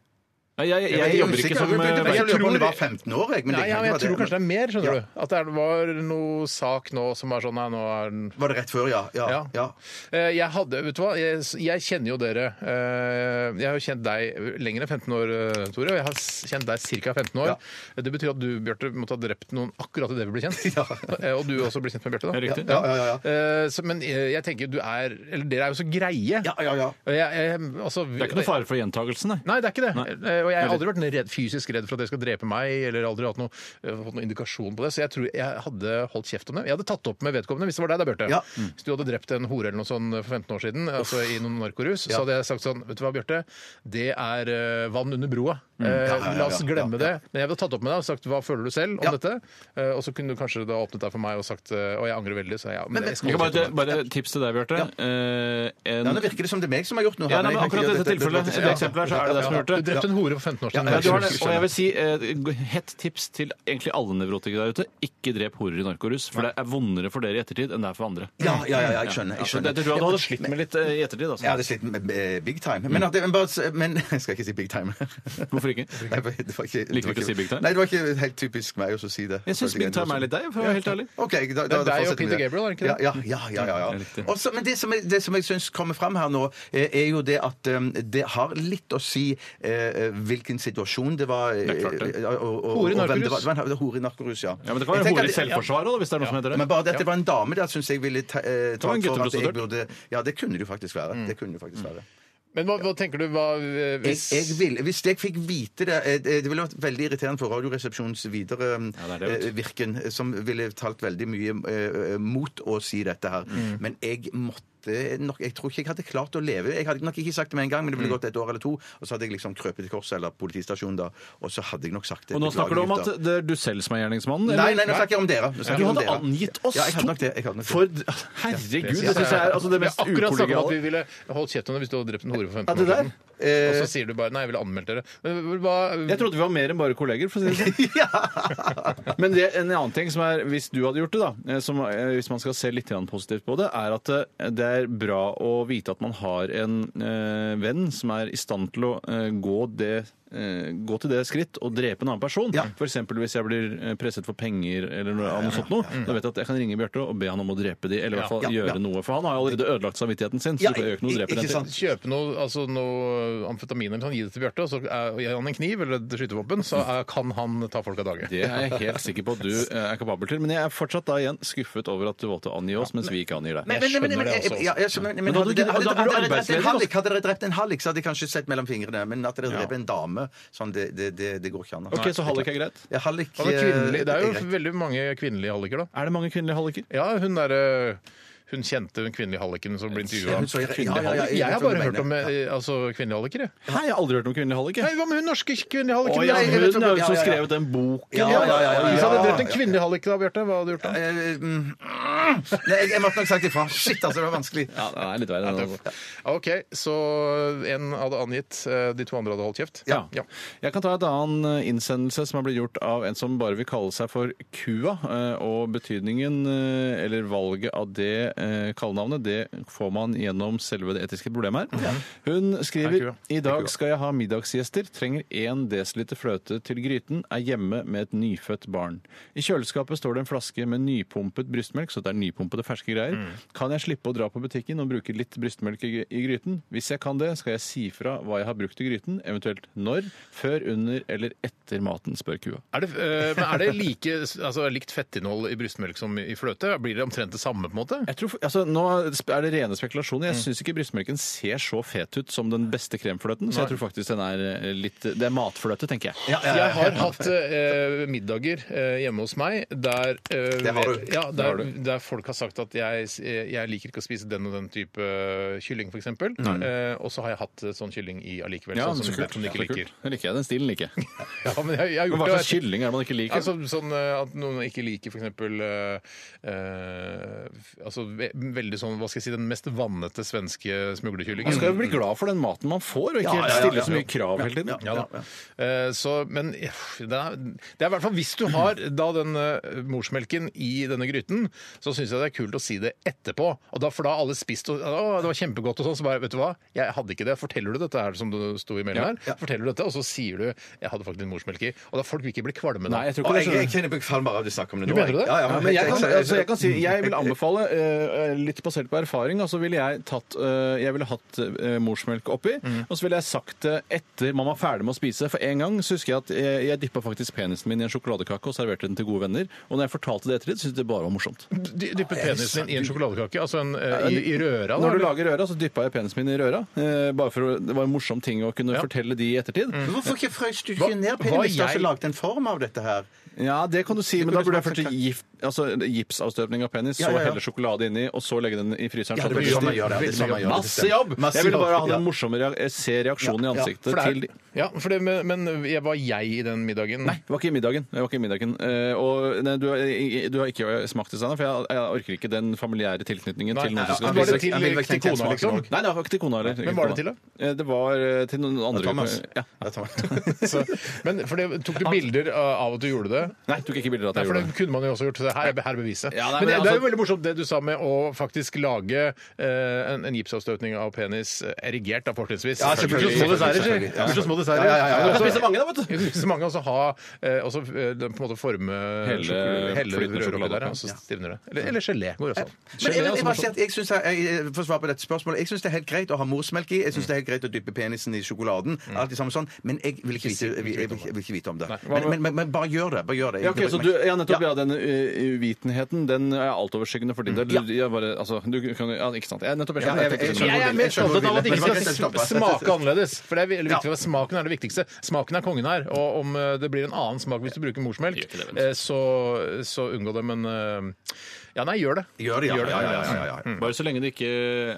[SPEAKER 6] Nei, jeg, jeg,
[SPEAKER 5] Jeg er
[SPEAKER 6] jobber
[SPEAKER 5] usikker.
[SPEAKER 6] ikke som
[SPEAKER 5] Jeg
[SPEAKER 6] eh,
[SPEAKER 5] lurer på om det
[SPEAKER 4] tror-
[SPEAKER 5] var 15 år, jeg. Men
[SPEAKER 4] Nei,
[SPEAKER 5] det
[SPEAKER 4] ja,
[SPEAKER 5] kan
[SPEAKER 4] men
[SPEAKER 5] ikke
[SPEAKER 4] jeg tror
[SPEAKER 5] være
[SPEAKER 4] kanskje det er mer, skjønner
[SPEAKER 5] Ja.
[SPEAKER 4] du. At det er- var noe sak nå som var sånn Nei, nå er den
[SPEAKER 5] Var det rett før, ja? Ja.
[SPEAKER 4] Ja.
[SPEAKER 5] ja.
[SPEAKER 4] Eh, Jeg hadde, vet du hva, jeg, jeg kjenner jo dere eh, Jeg har jo kjent deg lenger enn 15 år, eh, Tore. Og jeg har s- kjent deg ca. 15 år. Det betyr at du, Bjarte, måtte ha drept noen akkurat idet vi ble kjent. Eh, Og du også ble kjent med Bjarte, da.
[SPEAKER 6] Ja, riktig.
[SPEAKER 5] Ja, ja, ja.
[SPEAKER 4] Eh, så, men eh, jeg tenker du er Eller dere er jo så greie.
[SPEAKER 5] Ja, ja, ja.
[SPEAKER 4] Og Jeg, jeg, altså,
[SPEAKER 6] Det er ikke noe fare for gjentagelsen, nei.
[SPEAKER 4] Nei, det er ikke det.
[SPEAKER 6] Nei.
[SPEAKER 4] Eh, Og jeg har aldri vært redd, fysisk redd for at dere skal drepe meg, eller aldri hatt noe, eh, fått noen indikasjon på det, så jeg tror jeg hadde holdt kjeft om det. Jeg hadde tatt opp med vedkommende hvis det var deg da, Bjarte.
[SPEAKER 5] Ja.
[SPEAKER 4] Hvis du hadde drept en hore eller noe sånt for 15 år siden, altså i noen narkorus, så hadde jeg sagt sånn, vet du hva, Bjarte, det er eh, vann under broa. Eh,
[SPEAKER 5] Ja, ja, ja,
[SPEAKER 4] La oss
[SPEAKER 5] ja,
[SPEAKER 4] glemme
[SPEAKER 5] ja,
[SPEAKER 4] det. Men jeg hadde tatt opp med deg og sagt, hva føler du selv om
[SPEAKER 5] Ja.
[SPEAKER 4] dette? Eh, Og så kunne du kanskje da åpnet deg for meg og sagt, eh, og jeg angrer veldig, så jeg, ja, men, jeg skal
[SPEAKER 6] Jeg kan
[SPEAKER 4] holde kjeft
[SPEAKER 6] bare,
[SPEAKER 4] om det.
[SPEAKER 6] bare tips til deg, Bjarte. Eh, en-
[SPEAKER 5] Nå virker det som det er meg som har gjort noe.
[SPEAKER 6] Ja,
[SPEAKER 5] her,
[SPEAKER 6] nei, men
[SPEAKER 5] jeg kan
[SPEAKER 6] akkurat
[SPEAKER 5] ikke-
[SPEAKER 6] dette tilfellet, i det eksempelet her, så er det deg som har gjort
[SPEAKER 4] Du
[SPEAKER 6] det.
[SPEAKER 4] drepte en hore for 15 år siden.
[SPEAKER 5] Ja,
[SPEAKER 6] Ja, du har det.
[SPEAKER 5] skjønner,
[SPEAKER 6] Og jeg vil si eh, hett tips til egentlig alle nevrotikere der ute. Ikke drep horer i narkorus, for det er vondere for dere i ettertid enn det er for andre.
[SPEAKER 5] Ja, ja, ja, ja, jeg skjønner.
[SPEAKER 6] Ja,
[SPEAKER 5] Jeg
[SPEAKER 6] så
[SPEAKER 5] skjønner.
[SPEAKER 6] det tror jeg du hadde slitt med litt eh, i ettertid. Altså.
[SPEAKER 5] Jeg hadde slitt med eh, big time. Men, at det, men, bare, men jeg skal ikke si big time.
[SPEAKER 6] Mm. Hvorfor Hvorfor ikke?
[SPEAKER 5] Nei, det var ikke,
[SPEAKER 6] Liker du ikke å si Big Time?
[SPEAKER 5] Nei, det var ikke helt typisk meg å så si det.
[SPEAKER 6] Jeg syns Big Time er litt deg, for å være helt ærlig.
[SPEAKER 5] Ok, da, da,
[SPEAKER 4] Det
[SPEAKER 5] da
[SPEAKER 4] er deg og
[SPEAKER 5] fortsetter vi
[SPEAKER 4] Peter
[SPEAKER 5] det.
[SPEAKER 4] Gabriel, er det ikke det?
[SPEAKER 5] Ja, ja, ja. ja, ja,
[SPEAKER 6] Det er
[SPEAKER 5] ja.
[SPEAKER 6] riktig.
[SPEAKER 5] Også, men det som, jeg- det som jeg syns kommer fram her nå, eh, er jo det at eh, det har litt å si eh, hvilken situasjon det var. eh,
[SPEAKER 6] Det er klart det.
[SPEAKER 5] eh, og- og-
[SPEAKER 4] Hore
[SPEAKER 5] og hvem
[SPEAKER 4] i
[SPEAKER 5] det
[SPEAKER 4] narkorus.
[SPEAKER 5] var. Det var Hore i narkorus, ja.
[SPEAKER 6] Ja, men Det
[SPEAKER 5] Jeg
[SPEAKER 6] kan være
[SPEAKER 5] tenker
[SPEAKER 6] hore i
[SPEAKER 5] at-
[SPEAKER 6] selvforsvar òg, hvis det er noe som heter
[SPEAKER 5] Men
[SPEAKER 6] det.
[SPEAKER 5] bare det at det var en dame der, syns jeg ville ta, eh, ta
[SPEAKER 6] var en Mm.
[SPEAKER 5] for at jeg
[SPEAKER 6] gutteprostituert.
[SPEAKER 5] burde Ja, det kunne det jo faktisk være. Det kunne det faktisk være.
[SPEAKER 4] Men hva, hva tenker du hva,
[SPEAKER 5] Jeg,
[SPEAKER 4] eh, hvis
[SPEAKER 5] jeg ville- hvis jeg fikk vite det eh, Det ville vært veldig irriterende for Radioresepsjonens videre
[SPEAKER 6] Ja, det er det,
[SPEAKER 5] eh,
[SPEAKER 6] vet
[SPEAKER 5] virken, eh, som ville talt veldig mye eh, mot å si dette her.
[SPEAKER 6] Mm.
[SPEAKER 5] Men jeg måtte Nok, jeg tror ikke jeg hadde klart å leve. Jeg hadde nok ikke sagt det med en gang, men det ville
[SPEAKER 6] Mm.
[SPEAKER 5] gått et år eller to. Og så hadde jeg liksom krøpet til korset eller politistasjonen da, og så hadde jeg nok sagt det.
[SPEAKER 6] Og nå snakker du om at
[SPEAKER 5] Beklager,
[SPEAKER 6] det er du selv som er gjerningsmannen?
[SPEAKER 5] gutter.
[SPEAKER 6] eller?
[SPEAKER 5] Nei, nei, nå snakker jeg om dere. Nå snakker jeg
[SPEAKER 6] Du
[SPEAKER 5] om
[SPEAKER 6] hadde
[SPEAKER 5] dere.
[SPEAKER 6] angitt oss
[SPEAKER 5] Ja, jeg
[SPEAKER 6] to.
[SPEAKER 5] hadde nok det. Jeg hadde nok det.
[SPEAKER 6] For Herregud, det syns jeg er altså, det mest
[SPEAKER 4] Vi har akkurat snakket om at vi
[SPEAKER 6] ukollegiale.
[SPEAKER 4] ville holdt kjeft om det hvis du hadde drept en hore for
[SPEAKER 6] Ja,
[SPEAKER 4] 15
[SPEAKER 6] det
[SPEAKER 4] år
[SPEAKER 6] der? Eh.
[SPEAKER 4] siden. Og så sier du bare 'nei, jeg ville anmeldt dere'. Men hva
[SPEAKER 6] Jeg trodde vi var mer enn bare kolleger. for å si det sånn. Men det, en annen ting som er, hvis du hadde gjort det, da, eh, som, eh, hvis man skal se litt grann positivt på det, er at eh, det er bra å vite at man har en eh, venn som er i stand til å eh, gå det eh, gå til det skritt og drepe en annen person.
[SPEAKER 5] Ja.
[SPEAKER 6] For eksempel hvis jeg blir eh, presset for penger eller noe annet sånt noe, da vet jeg at jeg kan ringe Bjarte og be han om å drepe de, eller i hvert fall
[SPEAKER 5] Ja, ja, ja.
[SPEAKER 6] gjøre noe. For han har jo allerede ødelagt samvittigheten sin, så
[SPEAKER 5] Ja,
[SPEAKER 6] du kan jo ikke noe drepe
[SPEAKER 5] ikke
[SPEAKER 6] den til.
[SPEAKER 5] sant?
[SPEAKER 4] kjøpe noe, altså noe amfetamin eller sånn, gi det til Bjarte, og så er- gir han en kniv eller et skytevåpen, så er, kan han ta folk av dage.
[SPEAKER 6] Det er jeg helt sikker på at du eh, er kapabel til. Men jeg er fortsatt da igjen skuffet over at du valgte å angi oss, mens vi ikke angir deg.
[SPEAKER 5] Men, men, men, men,
[SPEAKER 4] skjønner det
[SPEAKER 5] jeg-
[SPEAKER 4] også.
[SPEAKER 5] ja, jeg skjønner- men
[SPEAKER 6] Men da
[SPEAKER 5] hadde
[SPEAKER 6] hadde du
[SPEAKER 5] det-
[SPEAKER 6] ikke-
[SPEAKER 5] hadde-
[SPEAKER 6] da blir
[SPEAKER 5] hadde
[SPEAKER 6] du
[SPEAKER 5] dere drept en
[SPEAKER 6] arbeidsledig,
[SPEAKER 5] hallik, Hadde dere drept en hallik, så hadde jeg kanskje sett mellom fingrene. Men at dere dreper en dame sånn, det, det, det, det går ikke an. altså.
[SPEAKER 6] Ok, Så hallik er greit?
[SPEAKER 5] Ja, hallik,
[SPEAKER 4] Han er kvinnelig, det er jo
[SPEAKER 5] eh,
[SPEAKER 4] veldig mange kvinnelige halliker, da.
[SPEAKER 6] Er det mange kvinnelige halliker?
[SPEAKER 4] Ja, hun derre hun kjente den kvinnelige halliken som ble intervjua.
[SPEAKER 5] Hun så- ja, ja, ja, ja,
[SPEAKER 4] Jeg
[SPEAKER 5] vet
[SPEAKER 4] har
[SPEAKER 5] hva du
[SPEAKER 4] bare hørt om
[SPEAKER 5] mener.
[SPEAKER 4] eh, altså, kvinnelige halliker, jeg.
[SPEAKER 6] Hei, jeg har aldri hørt om kvinnelige halliker.
[SPEAKER 4] Nei, Hva med hun norske kvinnelige halliken?
[SPEAKER 6] Å ja,
[SPEAKER 4] Nei, jeg
[SPEAKER 6] hun
[SPEAKER 4] vet-
[SPEAKER 6] er jo
[SPEAKER 5] ja,
[SPEAKER 6] som
[SPEAKER 5] ja, ja.
[SPEAKER 6] skrev den boken.
[SPEAKER 5] Ja, ja, ja, ja, ja,
[SPEAKER 4] Hvis jeg
[SPEAKER 5] ja,
[SPEAKER 4] hadde
[SPEAKER 5] ja.
[SPEAKER 4] drept en kvinnelig hallik da, Bjarte, hva hadde du gjort da?
[SPEAKER 5] Eh, mm, Nei, jeg, jeg måtte nok sagt ifra. Shit, altså, det var vanskelig.
[SPEAKER 6] Ja, det er litt verre. enn det.
[SPEAKER 4] OK, så en hadde angitt, eh, de to andre hadde holdt kjeft?
[SPEAKER 6] Ja. Jeg kan ta et annen innsendelse som er blitt gjort av en som bare vil kalle seg for Kua. eh, Og betydningen, eh, eller valget av det eh, kallenavnet, det får man gjennom selve det etiske problemet her. Hun skriver
[SPEAKER 4] Hei,
[SPEAKER 6] i dag skal jeg ha middagsgjester, trenger 1 dl fløte til gryten, er hjemme med et nyfødt barn. I kjøleskapet står det en flaske med nypumpet brystmelk, så det er nypumpede ferske greier. Kan jeg slippe å dra på butikken og bruke litt brystmelk i i gryten? Hvis jeg kan det, skal jeg si fra hva jeg har brukt i gryten, eventuelt når, før, under eller etter maten, spør kua.
[SPEAKER 4] Er det, eh, men er det like, altså, likt fettinnhold i brystmelk som i fløte? Blir det omtrent det samme? på en måte?
[SPEAKER 6] Jeg tror, altså, nå er det rene spekulasjoner. Jeg syns ikke brystmelken ser så fet ut som den beste kremfløten, så jeg tror faktisk den er eh, litt Det er matfløte, tenker jeg.
[SPEAKER 4] Jeg har hatt eh, middager eh, hjemme hos meg der, eh,
[SPEAKER 5] Det har du.
[SPEAKER 4] Ja, der, der folk har sagt at jeg, eh, jeg liker ikke å spise den og den type kylling, f.eks. Eh, og så har jeg hatt eh, sånn kylling i allikevel, sånn som, som du ikke
[SPEAKER 6] så
[SPEAKER 4] liker.
[SPEAKER 6] kult. Den liker jeg. Den stilen liker jeg.
[SPEAKER 4] Ja, men jeg, jeg har
[SPEAKER 6] Men
[SPEAKER 4] gjort
[SPEAKER 6] hva
[SPEAKER 4] det.
[SPEAKER 6] slags kylling er det man ikke liker?
[SPEAKER 4] Altså, sånn eh, at noen ikke liker f.eks. Uh, altså, ve veldig sånn, hva skal jeg si, den mest vannete svenske
[SPEAKER 6] man
[SPEAKER 4] smuglerkyllingen.
[SPEAKER 6] skal jo bli glad for den maten man får, og ikke
[SPEAKER 5] Ja, ja, ja,
[SPEAKER 6] stille
[SPEAKER 5] ja.
[SPEAKER 6] så mye krav hele tiden.
[SPEAKER 4] Ja da. Eh, Så, men eh, det er, det er i hvert fall Hvis du har da den eh, morsmelken i denne gryten, så syns jeg det er kult å si det etterpå. Og da, for da har alle spist og å, det var kjempegodt og sånn, så bare Vet du hva, jeg hadde ikke det. Forteller du dette her som du sto i mailen her? Forteller du dette, Og så sier du jeg hadde faktisk litt morsmelk i. Og da folk vil ikke bli kvalme da.
[SPEAKER 6] Nei, jeg tror
[SPEAKER 5] Og sånn-
[SPEAKER 6] ikke
[SPEAKER 5] jeg,
[SPEAKER 6] det.
[SPEAKER 5] jeg kjenner på kvalm bare av du snakker om det
[SPEAKER 4] Du
[SPEAKER 5] nå.
[SPEAKER 4] mener det?
[SPEAKER 5] Ja, ja,
[SPEAKER 6] Ja, men jeg, kan,
[SPEAKER 5] jeg-
[SPEAKER 6] altså jeg kan si Jeg vil anbefale, eh, litt basert på erfaring, altså ville jeg tatt eh, Jeg ville hatt eh, morsmelk oppi, og så ville jeg sagt det etter man var ferdig med å spise. For en gang så husker jeg at jeg, jeg dyppa faktisk penisen min i en sjokoladekake og serverte den til gode venner. Og når jeg fortalte det etter det, syntes jeg det bare var morsomt.
[SPEAKER 4] Dy- Dyppet penisen din i en sjokoladekake? Altså en, eh, i, i røra? da,
[SPEAKER 6] Når du
[SPEAKER 4] eller?
[SPEAKER 6] lager røra, så dyppa jeg penisen min i røra. eh, Bare for å, Det var en morsom ting å kunne fortelle de i ettertid.
[SPEAKER 5] Men Hvorfor ikke frøs du ikke
[SPEAKER 4] Hva-
[SPEAKER 5] ned
[SPEAKER 4] hva
[SPEAKER 5] penis og
[SPEAKER 4] jeg-
[SPEAKER 5] lagde en form av dette her?
[SPEAKER 6] Ja, det kan du si, men da burde jeg først
[SPEAKER 5] Kan-
[SPEAKER 6] gift, altså, gipsavstøpning av penis,
[SPEAKER 5] Ja, ja, ja.
[SPEAKER 6] så helle sjokolade inni, og så legge den i fryseren.
[SPEAKER 5] Ja,
[SPEAKER 6] så
[SPEAKER 5] det
[SPEAKER 6] blir
[SPEAKER 5] blir
[SPEAKER 6] det
[SPEAKER 5] sånn man gjør det. det, er sånn man gjør det.
[SPEAKER 6] Masse jobb!
[SPEAKER 5] Masse
[SPEAKER 6] jeg ville bare
[SPEAKER 5] jobb,
[SPEAKER 6] ha den morsomme rea- jeg ser reaksjonen i
[SPEAKER 5] Ja, ja.
[SPEAKER 6] ansiktet
[SPEAKER 4] For det
[SPEAKER 6] til
[SPEAKER 4] er, ja, for det, men, men jeg- var jeg i den middagen?
[SPEAKER 6] Nei, det var ikke i middagen. Det var ikke i middagen. Eh, og nei, du, har- du har ikke smakt det, Steinar, for jeg, jeg orker ikke den familiære tilknytningen
[SPEAKER 4] Nei,
[SPEAKER 6] til noen
[SPEAKER 4] nei,
[SPEAKER 6] som skal
[SPEAKER 4] men var
[SPEAKER 6] spise
[SPEAKER 4] det til,
[SPEAKER 5] Jeg vil vel
[SPEAKER 4] til
[SPEAKER 5] tenke
[SPEAKER 4] kona,
[SPEAKER 5] smaken
[SPEAKER 4] liksom?
[SPEAKER 5] også.
[SPEAKER 6] Nei, det var ikke til kona heller.
[SPEAKER 4] Hvem var det til, da?
[SPEAKER 6] Eh, Det var eh, til noen andre.
[SPEAKER 5] Thomas.
[SPEAKER 6] Ja.
[SPEAKER 5] Ja, Thomas.
[SPEAKER 4] Så, men for det, Tok du bilder av av at du gjorde det?
[SPEAKER 6] Nei, jeg tok ikke bilder av at
[SPEAKER 4] Nei,
[SPEAKER 6] jeg
[SPEAKER 4] for
[SPEAKER 6] gjorde
[SPEAKER 4] det
[SPEAKER 6] det.
[SPEAKER 4] kunne man jo også gjort. Så her er her er beviset.
[SPEAKER 6] Ja,
[SPEAKER 4] men
[SPEAKER 6] nei, men
[SPEAKER 4] det, det er jo
[SPEAKER 6] altså-
[SPEAKER 4] veldig morsomt det du sa med å faktisk lage eh, en, en gipsavstøtning av penis eh, erigert, da fortrinnsvis.
[SPEAKER 5] Ja, selvfølgelig.
[SPEAKER 4] Små desserter, sier.
[SPEAKER 5] Selvfølgelig, ja.
[SPEAKER 4] Små desserter.
[SPEAKER 6] Ja, ja, ja, ja.
[SPEAKER 4] Og så-
[SPEAKER 6] Du kan spise mange da, vet du.
[SPEAKER 4] Ja, spise mange, og så ha eh, og så, eh, på en måte forme
[SPEAKER 6] Hele
[SPEAKER 4] sjokol- helle
[SPEAKER 6] flytende
[SPEAKER 4] røret oppi
[SPEAKER 6] sjokolade Eh,
[SPEAKER 4] der, ja, og så stivner det. Eller, eller gelé går også an.
[SPEAKER 5] Men jeg,
[SPEAKER 4] Gelé er
[SPEAKER 5] vil- jeg,
[SPEAKER 4] også
[SPEAKER 5] bare si
[SPEAKER 4] morsomt.
[SPEAKER 5] at jeg, synes jeg, jeg får svar på dette spørsmålet. Jeg syns det er helt greit å ha morsmelk i. Jeg syns det er helt greit å dyppe penisen i sjokoladen. Alt det samme sånn. Men jeg vil ikke vite, jeg vil, jeg vil, jeg vil ikke vite om det. Men,
[SPEAKER 6] Hva med-
[SPEAKER 5] men, men, men bare gjør det. Bare gjør det.
[SPEAKER 6] Ja, ok, så du, ja, nettopp, ja, Den ø, uvitenheten den er altoverskyggende for din del. Du- jeg bare, altså, du kan, ja, ikke sant. Jeg, nettopp, jeg
[SPEAKER 5] Ja,
[SPEAKER 6] skjønner.
[SPEAKER 5] jeg- jeg-
[SPEAKER 4] Jeg er mer opptatt av at det
[SPEAKER 5] Men
[SPEAKER 4] ikke
[SPEAKER 5] det var
[SPEAKER 4] skal
[SPEAKER 5] ikke
[SPEAKER 4] sm- smake annerledes. For det er veldig viktig, for Smaken er det viktigste. Smaken er kongen her. Og om eh, det blir en annen smak hvis du bruker morsmelk,
[SPEAKER 6] Gjør ikke det, vet du.
[SPEAKER 4] eh, så, så unngå det. Men eh, ja, nei, gjør det.
[SPEAKER 5] Gjør det, ja. ja, ja, ja, ja, ja.
[SPEAKER 6] Bare så lenge det ikke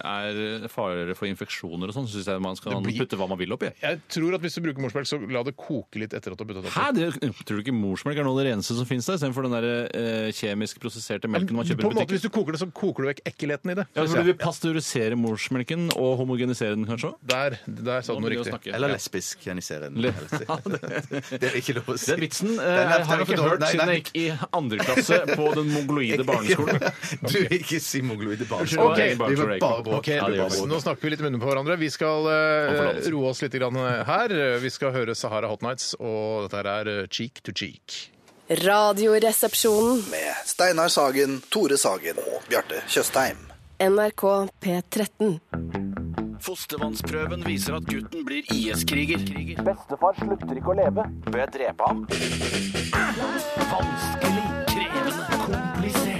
[SPEAKER 6] er farer for infeksjoner og sånn, så syns jeg man skal
[SPEAKER 4] blir-
[SPEAKER 6] putte hva man vil oppi.
[SPEAKER 4] Jeg tror at hvis du bruker morsmelk, så la det koke litt etter at du har puttet det
[SPEAKER 6] Hæ?
[SPEAKER 4] oppi.
[SPEAKER 6] Det, tror du ikke morsmelk er noe av det reneste som finnes der, istedenfor den der, eh, kjemisk prosesserte melken man kjøper
[SPEAKER 4] På
[SPEAKER 6] i
[SPEAKER 4] en måte, Hvis
[SPEAKER 6] butikken?
[SPEAKER 4] du koker det, så koker du vekk ekkelheten i det.
[SPEAKER 6] Ja,
[SPEAKER 4] synes
[SPEAKER 6] for du
[SPEAKER 4] jeg.
[SPEAKER 6] vil pasteurisere morsmelken og homogenisere den, kanskje? også?
[SPEAKER 4] Der, der sa du
[SPEAKER 6] Nå
[SPEAKER 4] noe
[SPEAKER 6] begynner vi å
[SPEAKER 4] riktig.
[SPEAKER 6] snakke.
[SPEAKER 5] Eller
[SPEAKER 6] Ja.
[SPEAKER 5] lesbisk, kan jeg si det.
[SPEAKER 6] Le-
[SPEAKER 5] Det er ikke lov å si.
[SPEAKER 6] Den vitsen eh,
[SPEAKER 5] Den er- den er
[SPEAKER 6] har jeg
[SPEAKER 5] for
[SPEAKER 6] ikke
[SPEAKER 5] dårlig.
[SPEAKER 6] hørt
[SPEAKER 5] Nei,
[SPEAKER 6] siden
[SPEAKER 5] nei.
[SPEAKER 6] jeg gikk i andre klasse på den mongoloide barneskolen.
[SPEAKER 5] Du er ikke si mongoloid i barneskolen.
[SPEAKER 4] Ok,
[SPEAKER 5] Vi var bare bråk.
[SPEAKER 4] Ok,
[SPEAKER 5] Ja, det gjør vi.
[SPEAKER 4] Nå snakker vi litt i munnen på hverandre. Vi skal eh,
[SPEAKER 6] Om forlatelse.
[SPEAKER 4] roe oss litt grann eh, her. Vi skal høre Sahara Hot Nights, og dette her er eh, Cheek to Cheek.
[SPEAKER 12] Radioresepsjonen.
[SPEAKER 13] Med Steinar Sagen, Tore Sagen og Bjarte Tjøstheim.
[SPEAKER 12] NRK P13.
[SPEAKER 3] Fostervannsprøven viser at gutten blir IS-kriger. Bestefar slutter ikke å leve. Bør jeg drepe ham? Vanskelig, krevende, komplisert.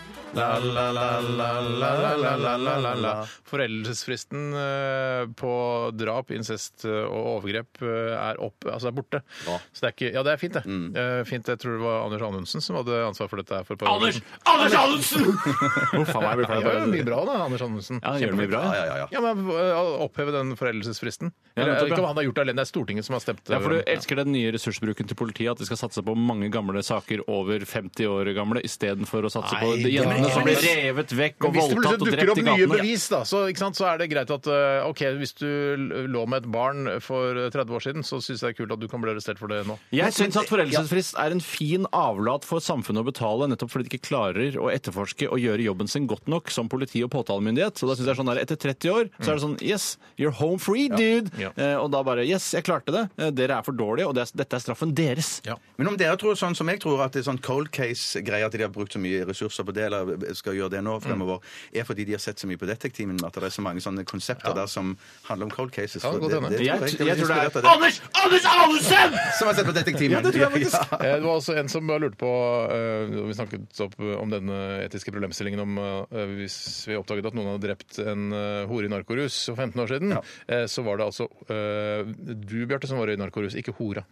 [SPEAKER 4] La, la, la, la, la, la, la, la, la, la, la. Foreldelsesfristen eh, på drap, incest eh, og overgrep eh, er opp, altså er borte. Så det er ikke, ja, det er fint, det. Eh, Fint, Jeg tror det var Anders Anundsen som hadde ansvar for dette her for et par år
[SPEAKER 6] Anders!
[SPEAKER 4] siden.
[SPEAKER 6] Anders Anundsen! Huff a meg, jeg blir
[SPEAKER 4] Han
[SPEAKER 6] flau.
[SPEAKER 4] gjør mye bra, da, Anders Anundsen.
[SPEAKER 6] Ja, han gjør det mye bra.
[SPEAKER 5] Ja, ja, ja, ja.
[SPEAKER 4] Ja, men øh, Oppheve den foreldelsesfristen.
[SPEAKER 6] Ja,
[SPEAKER 4] Eller,
[SPEAKER 6] nettopp,
[SPEAKER 4] jeg vet ikke
[SPEAKER 6] ja.
[SPEAKER 4] om han har gjort det alene, det er Stortinget som har stemt.
[SPEAKER 6] Ja, for Du
[SPEAKER 4] over den.
[SPEAKER 6] elsker den nye ressursbruken til politiet, at de skal satse på mange gamle saker over 50 år gamle, istedenfor å satse på
[SPEAKER 4] Nei,
[SPEAKER 6] de
[SPEAKER 4] men-
[SPEAKER 6] jentene som
[SPEAKER 4] men-
[SPEAKER 6] blir revet vekk
[SPEAKER 4] Men
[SPEAKER 6] og
[SPEAKER 4] hvis det
[SPEAKER 6] voldtatt
[SPEAKER 4] plutselig
[SPEAKER 6] og
[SPEAKER 4] dukker
[SPEAKER 6] drept
[SPEAKER 4] opp
[SPEAKER 6] i
[SPEAKER 4] nye
[SPEAKER 6] gatene.
[SPEAKER 4] bevis, da, så, ikke sant, så er det greit at øh, OK, hvis du l- lå med et barn for 30 år siden, så syns jeg det er kult at du kan bli arrestert for det nå.
[SPEAKER 6] Jeg syns at foreldelsesfrist er en fin avlat for samfunnet å betale, nettopp fordi de ikke klarer å etterforske og gjøre jobben sin godt nok som politi og påtalemyndighet. Så da synes jeg sånn der, Etter 30 år så er det sånn Yes, you're home free, dude!
[SPEAKER 4] Ja.
[SPEAKER 6] Eh, og da bare Yes, jeg klarte det. Eh, Dere er for dårlige, og det er, dette er straffen deres.
[SPEAKER 4] Ja.
[SPEAKER 5] Men om dere tror sånn som jeg tror, at det er sånn cold case-greier at de har brukt så mye ressurser på det, eller skal gjøre det nå fremover, er fordi de har sett så mye på Detektimen at det er så mange sånne konsepter der som handler om cold cases.
[SPEAKER 4] Ja, det kan godt hende.
[SPEAKER 6] Jeg,
[SPEAKER 5] tror
[SPEAKER 6] jeg, tror det
[SPEAKER 5] inspirert av
[SPEAKER 6] er Anders! Anders Anundsen!
[SPEAKER 5] Som har sett på Detektimen.
[SPEAKER 6] Ja, det tror jeg faktisk.
[SPEAKER 4] Eh, Det var også en som lurte på eh, Vi snakket opp om denne etiske problemstillingen om eh, hvis vi oppdaget at noen hadde drept en eh, hore i narkorus for 15 år siden, eh, så var det altså eh, du, Bjarte, som var i narkorus, ikke hora.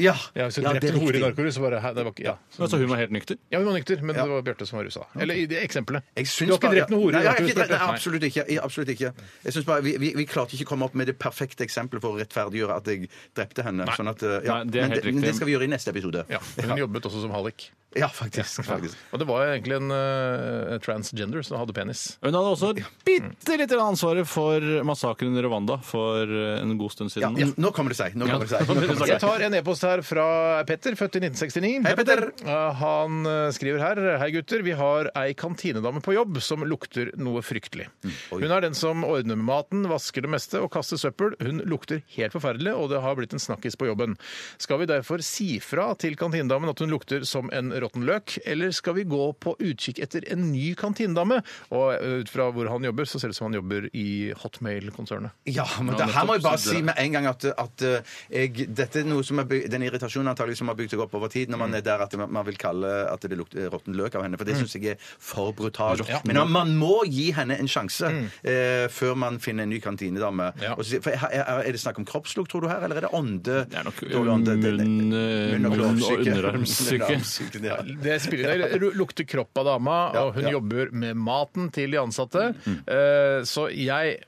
[SPEAKER 5] Ja,
[SPEAKER 4] Ja, hvis du
[SPEAKER 5] Ja, det
[SPEAKER 4] drepte
[SPEAKER 5] er
[SPEAKER 4] en hore i
[SPEAKER 5] riktig.
[SPEAKER 4] narkorus, så var det, hæ, det var, ikke- ja.
[SPEAKER 6] Altså, hun var helt nykter.
[SPEAKER 4] ja, hun var nykter, men det var Bjarte som var rusa. Eller i det eksempelet.
[SPEAKER 5] Jeg
[SPEAKER 4] Du
[SPEAKER 5] syns
[SPEAKER 4] har ikke
[SPEAKER 5] bare-
[SPEAKER 4] drept noen hore
[SPEAKER 5] Nei,
[SPEAKER 4] i
[SPEAKER 5] jeg har
[SPEAKER 4] narkorus?
[SPEAKER 5] ikke drept-
[SPEAKER 4] Bjarte.
[SPEAKER 5] nei, Absolutt ikke. Jeg- Absolutt ikke. Jeg synes bare, vi, vi, vi klarte ikke å komme opp med det perfekte eksempelet for å rettferdiggjøre at jeg drepte henne. Sånn at, uh, ja.
[SPEAKER 6] Nei, det er
[SPEAKER 5] men,
[SPEAKER 6] helt
[SPEAKER 5] det, men
[SPEAKER 6] riktig.
[SPEAKER 5] det skal vi gjøre i neste episode.
[SPEAKER 4] Ja, men hun jobbet også som hallik.
[SPEAKER 5] Ja, faktisk. faktisk.
[SPEAKER 4] Og det var jo egentlig en eh, transgender som hadde penis.
[SPEAKER 6] Hun hadde også bitte litt ansvaret for massakren i Rwanda for eh, en god stund
[SPEAKER 5] Ja,
[SPEAKER 6] siden.
[SPEAKER 5] ja, nå kommer det seg. Nå kommer det seg. Nå kommer det seg.
[SPEAKER 4] Jeg tar en e-post her fra Petter, født i 1969.
[SPEAKER 5] Hei, Petter.
[SPEAKER 4] Eh, Han eh, skriver her Hei, gutter. Vi har ei kantinedame på jobb som lukter noe fryktelig.
[SPEAKER 5] Mm,
[SPEAKER 4] Hun er den som ordner med maten, vasker det meste og kaster søppel. Hun lukter helt forferdelig, og det har blitt en snakkis på jobben. Skal vi derfor si fra til kantinedamen at hun lukter som en råtten løk, eller skal vi gå på utkikk etter en ny kantinedame? Og eh, ut fra hvor han jobber, så ser det ut som han jobber i Hotmail-konsernet.
[SPEAKER 5] Ja, men det her må jeg bare si med en gang at, at uh, jeg, dette er noe som er byg- den irritasjonen antagelig som har bygd seg opp over tid, når
[SPEAKER 6] Mm.
[SPEAKER 5] man er der at man, man vil kalle at det lukter råtten løk av henne, for det syns jeg er for brutalt. Men man- man må gi henne en sjanse
[SPEAKER 6] Mm.
[SPEAKER 5] eh, før man finner en ny kantinedame.
[SPEAKER 4] Ja.
[SPEAKER 5] Og så- For her- her- er det snakk om kroppslukt, tror du, her, eller er det ånde?
[SPEAKER 6] Det er nok
[SPEAKER 5] dårlig ånde- det- det-
[SPEAKER 6] munn, eh,
[SPEAKER 5] munn- og
[SPEAKER 6] munn- og
[SPEAKER 5] klovsyke.
[SPEAKER 6] underarmsyke.
[SPEAKER 5] Underarmsyke, ja.
[SPEAKER 4] Det spiller det ru- lukter kropp av dama, og hun
[SPEAKER 5] ja. Mm,
[SPEAKER 4] jobber med maten til de ansatte. Eh, Så jeg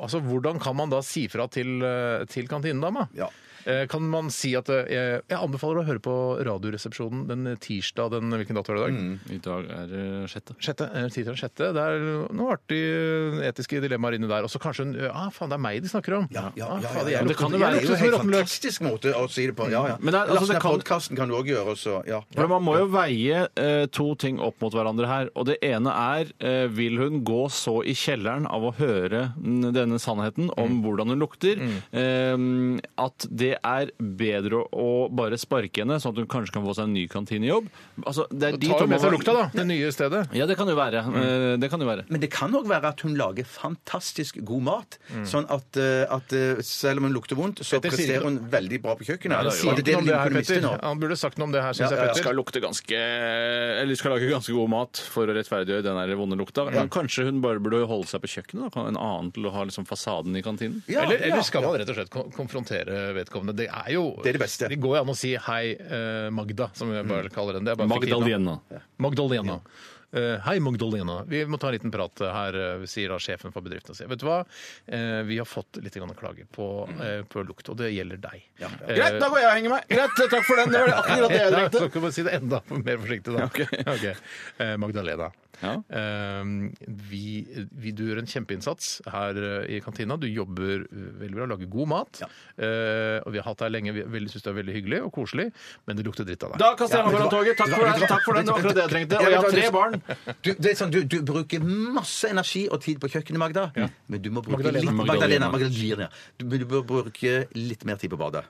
[SPEAKER 4] Altså, hvordan kan man da si fra til, eh, til kantinedama?
[SPEAKER 5] Ja.
[SPEAKER 4] Eh, Kan man si at eh, Jeg anbefaler å høre på Radioresepsjonen den tirsdag den Hvilken dato er det i
[SPEAKER 5] Mm.
[SPEAKER 4] dag?
[SPEAKER 6] I dag er det sjette.
[SPEAKER 4] Sjette, eh, tirsdag den sjette. Det er noen artige etiske dilemmaer inni der. Og så kanskje en Ah, faen, det er meg de snakker om! Ja, ja,
[SPEAKER 5] ja,
[SPEAKER 4] faen,
[SPEAKER 5] ja,
[SPEAKER 4] jeg
[SPEAKER 5] ja.
[SPEAKER 4] lukter-
[SPEAKER 5] Det kan jo
[SPEAKER 4] jeg
[SPEAKER 5] være-
[SPEAKER 4] lukter
[SPEAKER 6] sånn
[SPEAKER 5] det er jo
[SPEAKER 4] som
[SPEAKER 5] helt
[SPEAKER 4] råttenløk.
[SPEAKER 5] fantastisk måte å si det på. Ja, ja.
[SPEAKER 6] Men det er- altså,
[SPEAKER 5] Lasten
[SPEAKER 6] det
[SPEAKER 5] av
[SPEAKER 6] kan-
[SPEAKER 5] podkasten kan du òg gjøre. Så, ja.
[SPEAKER 6] For Man må jo veie eh, to ting opp mot hverandre her. Og det ene er eh, vil hun gå så i kjelleren av å høre mm, denne sannheten om hvordan hun lukter, eh, at det er bedre å bare sparke henne, sånn at hun kanskje kan få seg en ny kantinejobb. Altså, det er de
[SPEAKER 4] Ta
[SPEAKER 6] to
[SPEAKER 4] jo med
[SPEAKER 6] man-
[SPEAKER 4] seg lukta, da. Det nye stedet.
[SPEAKER 6] Ja, det kan jo være. Eh, Det kan jo være.
[SPEAKER 5] Men det kan òg være at hun lager fantastisk god mat. Sånn at, eh, at eh, selv om hun lukter vondt, så
[SPEAKER 4] Petter
[SPEAKER 5] presterer
[SPEAKER 4] sier ikke-
[SPEAKER 5] hun veldig bra på kjøkkenet.
[SPEAKER 4] Han
[SPEAKER 5] Og
[SPEAKER 4] sier
[SPEAKER 5] det er
[SPEAKER 4] ikke noe om det
[SPEAKER 5] lille
[SPEAKER 4] her,
[SPEAKER 5] kulisten
[SPEAKER 4] Petter.
[SPEAKER 5] nå.
[SPEAKER 4] Han burde sagt noe om det her,
[SPEAKER 6] Ja,
[SPEAKER 4] syns jeg,
[SPEAKER 6] ja, skal
[SPEAKER 4] Petter.
[SPEAKER 6] lukte ganske Eller skal lage ganske god mat for å rettferdiggjøre den her vonde lukta. Men Kanskje hun bare burde holde seg på kjøkkenet? Da. En annen til å ha liksom fasaden i kantinen?
[SPEAKER 4] eller, eller skal man rett og slett kon- konfrontere vedkommende? Det er jo
[SPEAKER 5] Det er det beste.
[SPEAKER 4] går jo an å si 'hei, eh, Magda', som jeg bare kaller henne. Det er bare
[SPEAKER 6] Mm. Magdalena.
[SPEAKER 4] fiktivt navn. Magdalena. Eh, hei, Magdalena. Vi må ta en liten prat her, eh, sier da sjefen for bedriften. og sier, Vet du hva? Eh, vi har fått litt grann klager på, eh, på lukt, og det gjelder deg. Eh,
[SPEAKER 6] Greit, da går jeg og henger meg. Greit, takk for den. Det var akkurat det jeg
[SPEAKER 4] Nei,
[SPEAKER 6] trengte.
[SPEAKER 4] Så kan man si det enda mer forsiktig, da.
[SPEAKER 6] Ok.
[SPEAKER 4] Ok. Eh, Magdalena. Eh, vi, vi, du gjør en kjempeinnsats her eh, i kantina. Du jobber eh, veldig bra, lager god mat. Eh, og vi har hatt deg lenge. Vi syns det er veldig hyggelig og koselig, men det lukter dritt av deg.
[SPEAKER 6] Da kaster jeg meg foran toget. Takk for den. Takk for den. Det var akkurat det jeg trengte. Og jeg har tre barn.
[SPEAKER 5] Du, det er sånn, du, du bruker masse energi og tid på kjøkkenet, Magda. Men du må bruke
[SPEAKER 4] Magdalena.
[SPEAKER 5] litt
[SPEAKER 6] Magdalena.
[SPEAKER 5] Magdalena, Magdalena. Du, men du bør bruke litt mer tid på badet.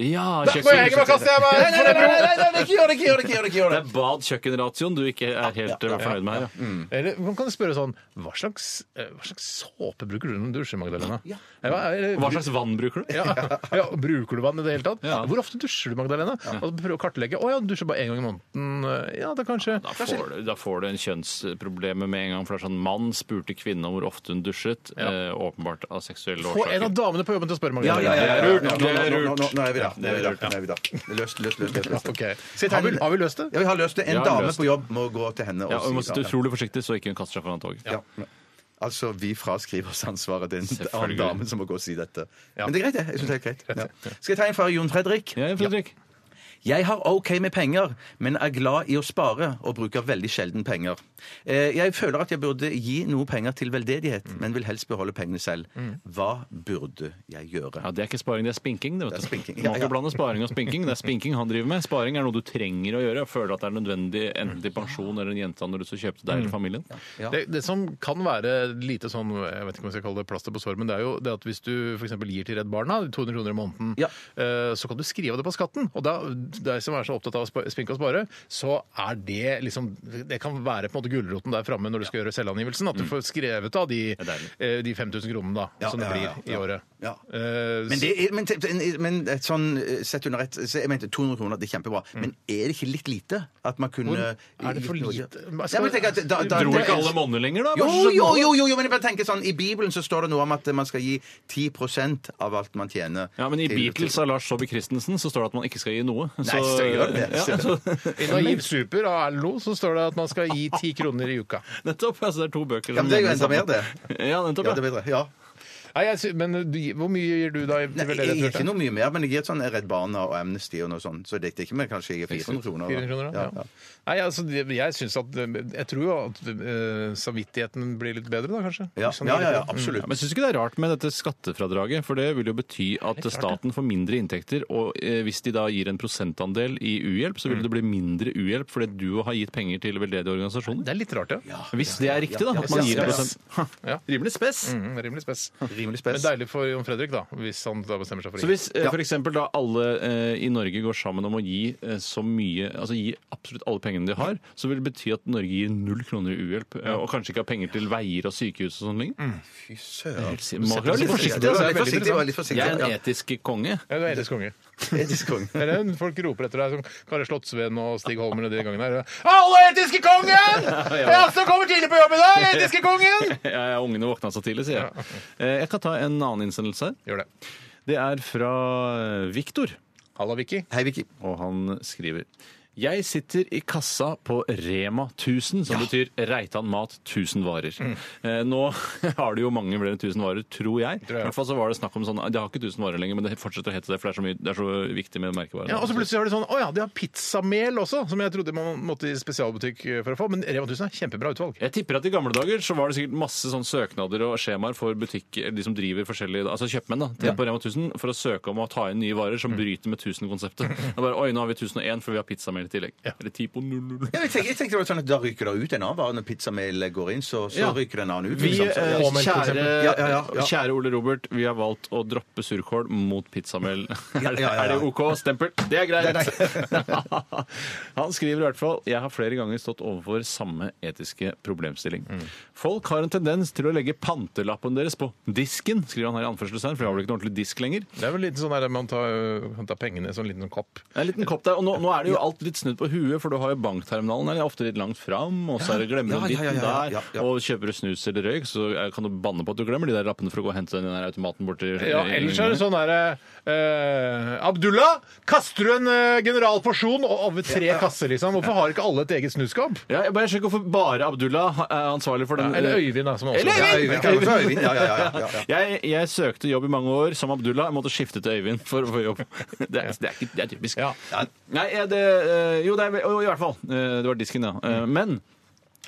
[SPEAKER 6] Ja,
[SPEAKER 4] Da må jeg henge meg, kaster jeg meg!
[SPEAKER 5] Nei, nei, nei, nei, nei, nei, ikke gjør det! Ikke gjør det! Ikke gjør det, ikke gjør det.
[SPEAKER 6] Det er bad-kjøkken-ratioen du ikke er helt eh, fornøyd med her. ja.
[SPEAKER 4] Eller man kan spørre sånn Hva slags, eh, hva slags såpe bruker du når du dusjer, Magdalena? Eh, Hva, er-
[SPEAKER 6] Hva slags vann bruker du?
[SPEAKER 4] ja, ja, og Bruker du vann i det hele tatt?
[SPEAKER 6] Ja.
[SPEAKER 4] Hvor ofte dusjer du, Magdalena? Og prøve å kartlegge. Å ja, du dusjer bare én gang i måneden. Eh, Ja, det er kanskje
[SPEAKER 6] Da får, du, da får du en kjønnsprobleme med en gang. For det er sånn mann spurte kvinne om hvor ofte hun dusjet. Eh, åpenbart av seksuelle
[SPEAKER 4] Få en av
[SPEAKER 6] årsaker.
[SPEAKER 4] damene på jobben til å spørre
[SPEAKER 5] Ja, ja,
[SPEAKER 4] Magdalena.
[SPEAKER 5] ja, ja, ja.
[SPEAKER 6] Det er lurt,
[SPEAKER 5] Nå- nå-
[SPEAKER 6] det
[SPEAKER 5] nå-
[SPEAKER 6] er
[SPEAKER 5] nå-
[SPEAKER 6] lurt.
[SPEAKER 5] nå- Nå er vi der. Nå er vi der. Nå er vi der. Løst, løst, løst. løst, løst.
[SPEAKER 4] Ok.
[SPEAKER 5] Har vi-
[SPEAKER 4] Har vi løst det?
[SPEAKER 5] Ja, vi har løst det. En
[SPEAKER 6] Ja,
[SPEAKER 5] dame
[SPEAKER 6] løst.
[SPEAKER 5] på jobb må gå til henne og
[SPEAKER 6] Ja, og Hun må
[SPEAKER 5] si
[SPEAKER 6] sitte utrolig forsiktig så ikke hun kaster seg foran toget.
[SPEAKER 5] Ja. Altså, vi fraskriver oss ansvaret. Det er en annen
[SPEAKER 6] Selvfølgelig.
[SPEAKER 5] dame som må gå og si dette. Men det er greit, det. Jeg synes det er greit. Ja. Skal jeg ta en fra Jon Fredrik?
[SPEAKER 6] Ja, Fredrik.
[SPEAKER 5] Jeg har OK med penger, men er glad i å spare og bruker veldig sjelden penger. Eh, Jeg føler at jeg burde gi noe penger til veldedighet,
[SPEAKER 6] Mm.
[SPEAKER 5] men vil helst beholde pengene selv. Hva burde jeg gjøre?
[SPEAKER 6] Ja, Det er ikke sparing, det er spinking. Det, vet
[SPEAKER 5] Det er
[SPEAKER 6] du.
[SPEAKER 5] spinking,
[SPEAKER 6] Du må
[SPEAKER 5] ja,
[SPEAKER 6] ikke
[SPEAKER 5] ja.
[SPEAKER 6] blande sparing og spinking. Det er spinking han driver med. Sparing er noe du trenger å gjøre. og Føler at det er nødvendig enten til pensjon eller en jente når du skal kjøpe til deg eller familien.
[SPEAKER 5] Mm. Ja.
[SPEAKER 4] Det, det som kan være lite sånn jeg vet ikke om jeg skal kalle det plaster på sår, men det er jo det at hvis du f.eks. gir til Redd Barna 200 kroner i måneden,
[SPEAKER 5] Ja.
[SPEAKER 4] eh, så kan du skrive det på skatten. Og da, deg som er så opptatt av å spa- spinke og spare, så er det liksom Det kan være på en måte gulroten der framme når du skal gjøre selvangivelsen,
[SPEAKER 5] Mm.
[SPEAKER 4] at du får skrevet av de,
[SPEAKER 6] er deilig.
[SPEAKER 4] eh, de 5000 kronene da,
[SPEAKER 5] Ja,
[SPEAKER 4] som det
[SPEAKER 5] ja,
[SPEAKER 4] blir
[SPEAKER 5] ja, ja.
[SPEAKER 4] i året.
[SPEAKER 5] Ja.
[SPEAKER 4] Eh,
[SPEAKER 5] Men, det er, men, te- te- men et sånn eh, sett under ett så Jeg mente 200 kroner, det er kjempebra.
[SPEAKER 6] Mm.
[SPEAKER 5] Men er det ikke litt lite? At man kunne
[SPEAKER 4] Hvor- er det for
[SPEAKER 5] gitt noe-
[SPEAKER 4] lite?
[SPEAKER 5] Ja, men tenk at da, da,
[SPEAKER 6] Dro
[SPEAKER 5] det-
[SPEAKER 6] ikke alle monner lenger, da?
[SPEAKER 5] Jo,
[SPEAKER 6] Bare sånn-
[SPEAKER 5] jo, jo, jo, jo, men jeg bare tenker sånn, i Bibelen så står det noe om at man skal gi 10 av alt man tjener.
[SPEAKER 6] Ja, men I
[SPEAKER 5] til-
[SPEAKER 6] Beatles av Lars Saabye Christensen så står det at man ikke skal gi noe. Så,
[SPEAKER 5] Nei, så gjør det.
[SPEAKER 6] Ja, så,
[SPEAKER 4] I Naiv Super av Erlo så står det at man skal gi 10 kroner i uka.
[SPEAKER 6] nettopp. Altså, det er to bøker
[SPEAKER 5] Ja, men det er jo enda mer, det.
[SPEAKER 6] Ja, nettopp.
[SPEAKER 5] Ja,
[SPEAKER 6] Ja,
[SPEAKER 5] det er bedre. Ja.
[SPEAKER 4] Nei, jeg, sy- men du, hvor mye gir du da? til
[SPEAKER 5] Nei, jeg
[SPEAKER 4] veldedighet,
[SPEAKER 5] gir
[SPEAKER 4] Bjarte?
[SPEAKER 5] ikke noe mye mer, men jeg gir et sånn Redd Barna og Amnesty og noe sånt. Så det er ikke mer, kanskje jeg gir 400 kroner. da.
[SPEAKER 4] 400 kroner, da? ja. Nei, altså, det- jeg syns at Jeg tror jo at eh, samvittigheten blir litt bedre, da, kanskje?
[SPEAKER 5] Ja,
[SPEAKER 4] Hvis han
[SPEAKER 5] ja,
[SPEAKER 4] gir
[SPEAKER 5] ja,
[SPEAKER 4] litt-
[SPEAKER 5] ja, absolutt.
[SPEAKER 6] men Syns du ikke det er rart med dette skattefradraget? For det vil jo bety at staten får mindre inntekter. Og eh, hvis de da gir en prosentandel i uhjelp, så vil det bli mindre uhjelp fordi du har gitt penger til veldedige
[SPEAKER 4] Mm. Det
[SPEAKER 6] organisasjoner.
[SPEAKER 4] er litt rart, ja.
[SPEAKER 6] Hvis det er riktig, da. At man
[SPEAKER 4] ja,
[SPEAKER 6] gir en
[SPEAKER 4] ja, ja.
[SPEAKER 6] prosent. Ha, Rimelig spess.
[SPEAKER 4] Mm, rimelig spess.
[SPEAKER 5] Rimelig
[SPEAKER 4] Men
[SPEAKER 5] spes.
[SPEAKER 4] deilig for Jon Fredrik, da, hvis han da bestemmer seg for
[SPEAKER 6] Så
[SPEAKER 4] å gi.
[SPEAKER 6] hvis eh, for f.eks. da alle eh, i Norge går sammen om å gi eh, så mye Altså gi absolutt alle pengene de har, så vil det bety at Norge gir null kroner i uhjelp. eh, Og kanskje ikke har penger til veier og sykehus og sånn lenger.
[SPEAKER 5] Fy søren.
[SPEAKER 6] Helt sikkert. Man må være
[SPEAKER 4] litt
[SPEAKER 6] litt
[SPEAKER 4] forsiktig,
[SPEAKER 6] forsiktig.
[SPEAKER 5] Det var
[SPEAKER 4] altså,
[SPEAKER 5] litt forsiktig.
[SPEAKER 4] det er veldig
[SPEAKER 5] det var litt forsiktig.
[SPEAKER 6] Jeg er en
[SPEAKER 5] Ja.
[SPEAKER 6] etisk konge.
[SPEAKER 4] Ja, du er etisk konge.
[SPEAKER 5] Etisk konge.
[SPEAKER 4] Det er det folk roper etter deg, som Kari Slottsveen og Stig Holmen og de gangene her. Hallo, etiske kongen! Ja, som kommer tidlig på jobb i dag! Etiske kongen!
[SPEAKER 6] Jeg er ungene våkna så tidlig, sier jeg. Eh, Jeg kan ta en annen innsendelse. her.
[SPEAKER 4] Gjør det.
[SPEAKER 6] Det er fra Viktor.
[SPEAKER 4] Halla, Vicky.
[SPEAKER 5] Hei, Vicky.
[SPEAKER 6] og han skriver Jeg sitter i kassa på Rema 1000, som betyr Reitan mat 1000 varer. Eh, nå har de jo mange flere enn 1000 varer, tror jeg. I hvert fall så var det snakk om sånn De har ikke 1000 varer lenger, men det fortsetter å hete det, for det er så, mye, det er så viktig med merkevarer.
[SPEAKER 4] Ja, og så plutselig har de sånn Å ja, de har pizzamel også, som jeg trodde man måtte i spesialbutikk eh, for å få. Men Rema 1000 har kjempebra utvalg.
[SPEAKER 6] Jeg tipper at i gamle dager så var det sikkert masse sånn søknader og skjemaer for butikker, eller de som driver forskjellige, altså kjøpmenn da, til på Rema 1000 for å søke om å ta inn nye varer som bryter med 1000-konseptet. Det er bare, Oi, nå har vi 1001 for vi har pizzamel i tillegg. Eller 10 på 00.
[SPEAKER 5] Ja, men jeg, tenkte, jeg tenkte det var sånn at Da ryker det ut en annen vare. Når pizzamel går inn, så, så
[SPEAKER 6] Ja.
[SPEAKER 5] ryker det en annen ut.
[SPEAKER 6] Vi,
[SPEAKER 5] liksom. Så-
[SPEAKER 6] eh,
[SPEAKER 5] Ja, men for
[SPEAKER 6] kjære,
[SPEAKER 5] eksempel- ja, ja, ja, ja.
[SPEAKER 6] kjære Ole Robert, vi har valgt å droppe surkål mot pizzamel. Er
[SPEAKER 5] Ja,
[SPEAKER 6] det-
[SPEAKER 5] ja, ja, ja.
[SPEAKER 6] Er det OK? Stempel. Det
[SPEAKER 5] Det
[SPEAKER 6] er
[SPEAKER 5] er
[SPEAKER 6] greit! Han skriver i hvert fall Jeg har flere ganger stått overfor samme etiske problemstilling.
[SPEAKER 5] Mm.
[SPEAKER 6] Folk har en tendens til å legge pantelappen deres på disken, skriver han her i anførselstegn, for vi har vel ikke noe ordentlig disk lenger.
[SPEAKER 4] Det er vel litt sånn der man tar, man tar pengene i sånn liten kopp.
[SPEAKER 6] Det er En liten kopp der, og nå, nå er det jo alt litt snudd på huet, for du har jo bankterminalen er ofte litt langt fram, og så er det glemmer
[SPEAKER 5] Ja, ja,
[SPEAKER 6] du ditten
[SPEAKER 5] ja, ja, ja, ja.
[SPEAKER 6] der, og kjøper du snus eller røyk, så eh, kan du banne på at du glemmer de der lappene for å gå og hente den der automaten borti
[SPEAKER 4] Ja, ellers er det sånn derre Abdullah, kaster du en eh, generalporsjon og over tre kasser, liksom? Hvorfor har ikke alle et eget snuskap?
[SPEAKER 6] Ja, jeg bare skjønner ikke hvorfor bare Abdullah eh, er ansvarlig for den. eh,
[SPEAKER 4] Eller Øyvind, da, som er også-
[SPEAKER 6] Eller
[SPEAKER 4] Ja,
[SPEAKER 6] Øyvind!
[SPEAKER 4] Øyvind, kaller seg Øyvind. Ja, ja, ja, ja,
[SPEAKER 6] Jeg, jeg søkte jobb i mange år som Abdullah. Jeg måtte skifte til Øyvind for å få jobb. Det er, det er, ikke, det er typisk. Nei, ja, det, eh, jo, det er, jo, i hvert fall. Eh, Det var disken, ja.
[SPEAKER 4] Mm.
[SPEAKER 6] Eh, Men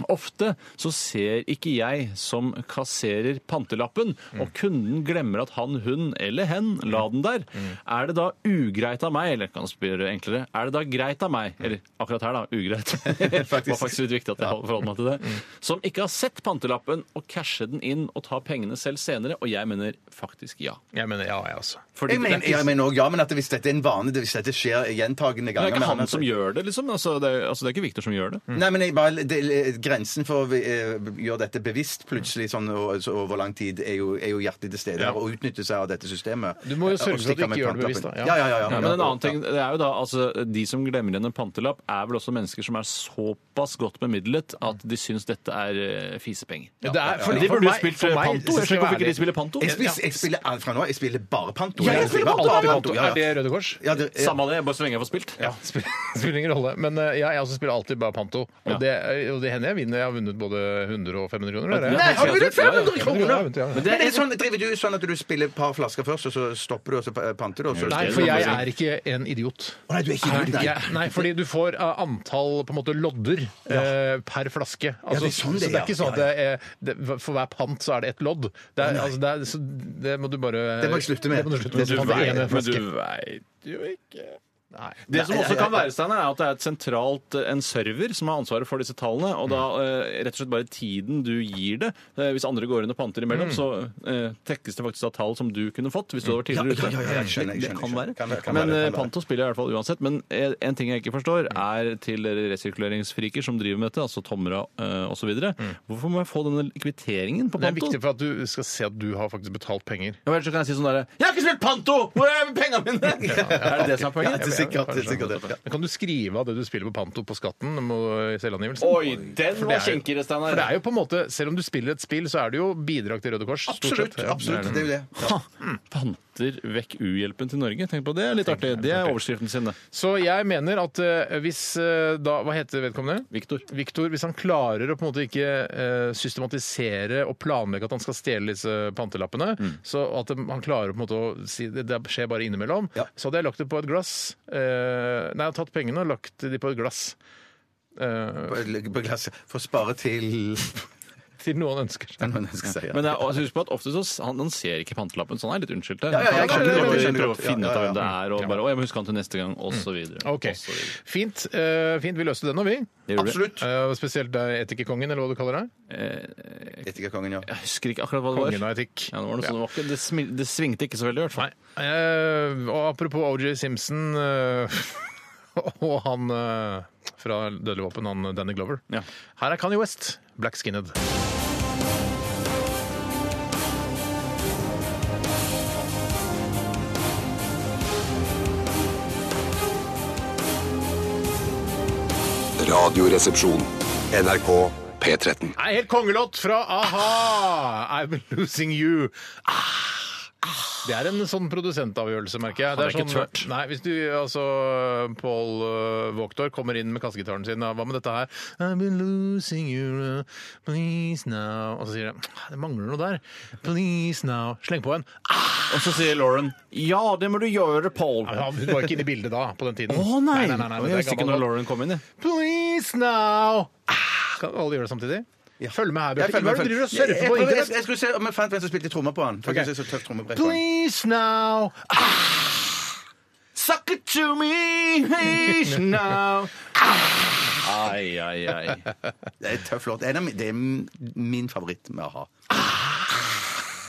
[SPEAKER 6] Ofte så ser ikke jeg som kasserer pantelappen, og
[SPEAKER 5] Mm.
[SPEAKER 6] kunden glemmer at han, hun eller hen la den der.
[SPEAKER 5] Mm.
[SPEAKER 6] Er det da ugreit av meg, eller kan jeg spørre enklere, er det da greit av meg, eller akkurat her da, ugreit, det var faktisk litt viktig at jeg forholdt meg til det,
[SPEAKER 5] Mm.
[SPEAKER 6] som ikke har sett pantelappen og casher den inn og tar pengene selv senere, og jeg mener faktisk ja.
[SPEAKER 4] Jeg mener ja, altså. jeg også.
[SPEAKER 6] Fordi
[SPEAKER 5] Jeg mener,
[SPEAKER 6] det er ikke-
[SPEAKER 5] jeg mener også, ja, men at hvis dette er en vane, hvis dette skjer gjentagende
[SPEAKER 6] det
[SPEAKER 5] ganger
[SPEAKER 6] er ikke
[SPEAKER 5] men
[SPEAKER 6] han
[SPEAKER 5] at-
[SPEAKER 6] som gjør det, liksom. Altså, det er, altså, det er ikke Victor som gjør det.
[SPEAKER 5] Nei, men jeg bare, det, Grensen for å eh, gjøre dette bevisst plutselig sånn, og, så over lang tid er jo, er jo hjertet til stede her, og utnytte seg av dette systemet.
[SPEAKER 4] Du må
[SPEAKER 5] Og
[SPEAKER 4] jo sørge for at du
[SPEAKER 5] stikke av med
[SPEAKER 4] ikke gjør det bevisst, da.
[SPEAKER 5] pantelappen. Ja, ja, ja. ja,
[SPEAKER 6] men en annen ting, det er jo da, altså, De som glemmer igjen en pantelapp, er vel også mennesker som er såpass godt bemidlet at de syns dette er eh, fisepenger.
[SPEAKER 4] Det er- for-
[SPEAKER 6] de
[SPEAKER 4] for
[SPEAKER 6] burde jo
[SPEAKER 4] meg-
[SPEAKER 6] spilt
[SPEAKER 4] for
[SPEAKER 6] eh,
[SPEAKER 4] meg,
[SPEAKER 6] panto. Jeg
[SPEAKER 4] skal jeg
[SPEAKER 6] skjønner ikke
[SPEAKER 4] være
[SPEAKER 6] hvorfor ikke de
[SPEAKER 4] ærlig.
[SPEAKER 6] spiller panto.
[SPEAKER 5] Jeg spiller, jeg spiller alt fra nå. Jeg spiller bare panto.
[SPEAKER 4] Ja, jeg spiller panto,
[SPEAKER 5] alltid
[SPEAKER 4] ja.
[SPEAKER 5] ja, ja.
[SPEAKER 4] Er det Røde Kors?
[SPEAKER 5] Ja, det, ja.
[SPEAKER 6] Samme det, bare så lenge jeg får spilt.
[SPEAKER 4] Ja, spiller, spiller ingen rolle. Men eh, ja, jeg også spiller alltid bare panto. Og, det, eh, og det hender jeg vinner. Jeg har vunnet både 100 og 500 kroner. eller?
[SPEAKER 5] Nei, har du vunnet 500
[SPEAKER 4] Ja, ja, ja,
[SPEAKER 5] kroner?!
[SPEAKER 4] ja, ja, ja.
[SPEAKER 5] Men er det sånn, driver du sånn at du spiller et par flasker først, og så stopper du, og så eh, panter du? Og så
[SPEAKER 4] Nei, for jeg er ikke en idiot.
[SPEAKER 5] Å, nei, du er ikke idiot, nei.
[SPEAKER 4] Jeg- nei, fordi du får eh, antall på en måte lodder eh, per flaske.
[SPEAKER 5] Ja, det er sånn det
[SPEAKER 4] så det er
[SPEAKER 5] er,
[SPEAKER 4] ikke sånn at
[SPEAKER 5] ja,
[SPEAKER 4] det er, det, for hver pant så er det ett lodd. Det, er, altså, det, er, så det må du bare
[SPEAKER 5] Det må jeg slutte med.
[SPEAKER 4] Det må du slutte
[SPEAKER 5] Men
[SPEAKER 4] med.
[SPEAKER 5] du
[SPEAKER 4] Så kan det
[SPEAKER 5] vet-
[SPEAKER 4] ene
[SPEAKER 6] Men
[SPEAKER 4] flaske.
[SPEAKER 6] du veit jo ikke
[SPEAKER 4] Nei.
[SPEAKER 6] Det som
[SPEAKER 4] Nei,
[SPEAKER 6] også
[SPEAKER 4] nei,
[SPEAKER 6] kan
[SPEAKER 4] nei.
[SPEAKER 6] være, Steiner, er at det er et sentralt, eh, en server som har ansvaret for disse tallene, og da
[SPEAKER 5] Mm.
[SPEAKER 6] eh, rett og slett bare tiden du gir det. Eh, hvis andre går inn og panter imellom,
[SPEAKER 5] Mm.
[SPEAKER 6] så eh, trekkes det faktisk av tall som du kunne fått hvis du hadde vært
[SPEAKER 5] Ja,
[SPEAKER 6] tidligere ute.
[SPEAKER 5] ja, ja, ja, jeg skjønner, jeg
[SPEAKER 6] det, det
[SPEAKER 5] skjønner, jeg skjønner.
[SPEAKER 6] kan være.
[SPEAKER 5] Kan være, kan
[SPEAKER 6] Men
[SPEAKER 5] være, kan
[SPEAKER 6] eh,
[SPEAKER 5] være. Mm.
[SPEAKER 6] panto spiller jeg i hvert fall uansett. Men eh, en ting jeg ikke forstår, er til dere resirkuleringsfriker som driver med dette, altså Tomra eh, og så videre
[SPEAKER 5] Mm.
[SPEAKER 6] Hvorfor må jeg få denne kvitteringen på
[SPEAKER 4] Det er
[SPEAKER 6] panto?
[SPEAKER 4] viktig for at du skal se at du har faktisk betalt penger.
[SPEAKER 6] Ja, ellers så kan jeg si sånn derre Jeg har ikke spilt panto! Hvor er penga mine? er det det som er poenget?
[SPEAKER 5] det er sikkert, det er sikkert det.
[SPEAKER 4] Men kan du skrive av det du spiller på panto på skatten må- i selvangivelsen?
[SPEAKER 6] Oi, den
[SPEAKER 4] For det
[SPEAKER 6] var
[SPEAKER 4] er jo-
[SPEAKER 6] kinkere, Steinar.
[SPEAKER 4] For det er jo på en måte, Selv om du spiller et spill, så er det jo bidrag til Røde Kors. stort
[SPEAKER 5] Absolutt.
[SPEAKER 4] sett. Ja,
[SPEAKER 5] absolutt, Det er jo det.
[SPEAKER 6] Ha, panter vekk uhjelpen til Norge. Tenk på det. Litt artig. Det er overskriften sin, det.
[SPEAKER 4] Så jeg mener at eh, hvis eh, da Hva heter vedkommende?
[SPEAKER 6] Viktor.
[SPEAKER 4] Victor, hvis han klarer å på en måte ikke eh, systematisere og planlegge at han skal stjele disse pantelappene,
[SPEAKER 6] Mm.
[SPEAKER 4] så at de- han klarer på en måte å si det, det skjer bare innimellom,
[SPEAKER 5] Ja.
[SPEAKER 4] så hadde jeg lagt det på et glass eh, Nei, jeg hadde tatt pengene og lagt de på et glass. Eh,
[SPEAKER 5] På- På glasset. For å spare til
[SPEAKER 4] til noe han ønsker seg.
[SPEAKER 5] Hva skal jeg si? ja.
[SPEAKER 6] Men jeg, altså, husk på at ofte så s- han, han ser ikke pantelappen, så han er litt unnskyldt der.
[SPEAKER 5] Ja, ja, ja,
[SPEAKER 6] Han kan
[SPEAKER 5] jeg skjønner
[SPEAKER 6] ikke
[SPEAKER 5] det, jeg
[SPEAKER 6] prøve,
[SPEAKER 5] skjønner
[SPEAKER 6] prøve å
[SPEAKER 5] det godt.
[SPEAKER 6] finne ut
[SPEAKER 5] Ja,
[SPEAKER 6] av
[SPEAKER 5] ja,
[SPEAKER 6] hvem det
[SPEAKER 5] ja.
[SPEAKER 6] er, og bare Å, jeg må huske han til neste gang, og så videre.
[SPEAKER 4] OK.
[SPEAKER 6] og så videre.
[SPEAKER 4] Fint. eh, fint. Vi løste den og vi.
[SPEAKER 6] Det gjorde vi.
[SPEAKER 5] Absolutt.
[SPEAKER 4] Eh, spesielt deg, etikerkongen, eller hva du kaller deg.
[SPEAKER 6] Eh,
[SPEAKER 5] Etikerkongen, ja.
[SPEAKER 6] jeg husker ikke akkurat hva det
[SPEAKER 4] Kongen
[SPEAKER 6] var.
[SPEAKER 4] av etikk.
[SPEAKER 6] Ja, det, var noe, sånt. det, var ikke, det, smil, det svingte ikke så veldig, i hvert fall.
[SPEAKER 4] Nei. Eh, og apropos O.J. Simpson eh, og han eh, fra Dødelig våpen, han eh, Danny Glover.
[SPEAKER 6] Ja.
[SPEAKER 4] Her er Kanye West, Black Skinhead.
[SPEAKER 11] Radioresepsjon. NRK P13.
[SPEAKER 4] Nei, helt kongelåt fra a-ha! I'm losing you. Ah, ah. Det er en sånn produsentavgjørelse, merker jeg.
[SPEAKER 6] Han er
[SPEAKER 4] sånn,
[SPEAKER 6] ikke tørt.
[SPEAKER 4] Nei, hvis du, altså, Paul eh, Waakdorf kommer inn med kassegitaren sin, ja, hva med dette her? I've been losing you, eh, please now. Og så sier jeg, det mangler noe der. Please now. Sleng på en.
[SPEAKER 6] Og så sier Lauren ja, det må du gjøre, Paul.
[SPEAKER 4] Ja, hun var ikke inne i bildet da, på den tiden.
[SPEAKER 6] Å nei!
[SPEAKER 4] Nei, nei, nei, nei, det er
[SPEAKER 6] Jeg visste ikke
[SPEAKER 4] gammel
[SPEAKER 6] når
[SPEAKER 4] låt.
[SPEAKER 6] Lauren kom inn. jeg.
[SPEAKER 4] Please now. Ah, Kan alle gjøre det samtidig? Følg med her,
[SPEAKER 5] Jeg
[SPEAKER 4] Bjarte. Hva er det du driver og surfer på
[SPEAKER 5] prøver- jeg-
[SPEAKER 4] internett?
[SPEAKER 5] jeg skulle se om jeg fant hvem som spilte trommer på han. For jeg synes det er så tøft trommebrett på han.
[SPEAKER 4] Please now. Ah.
[SPEAKER 6] Suck it to me please now. Ai, ai, ai.
[SPEAKER 5] Det er en tøff låt. En av min- Det er min favoritt med a-ha.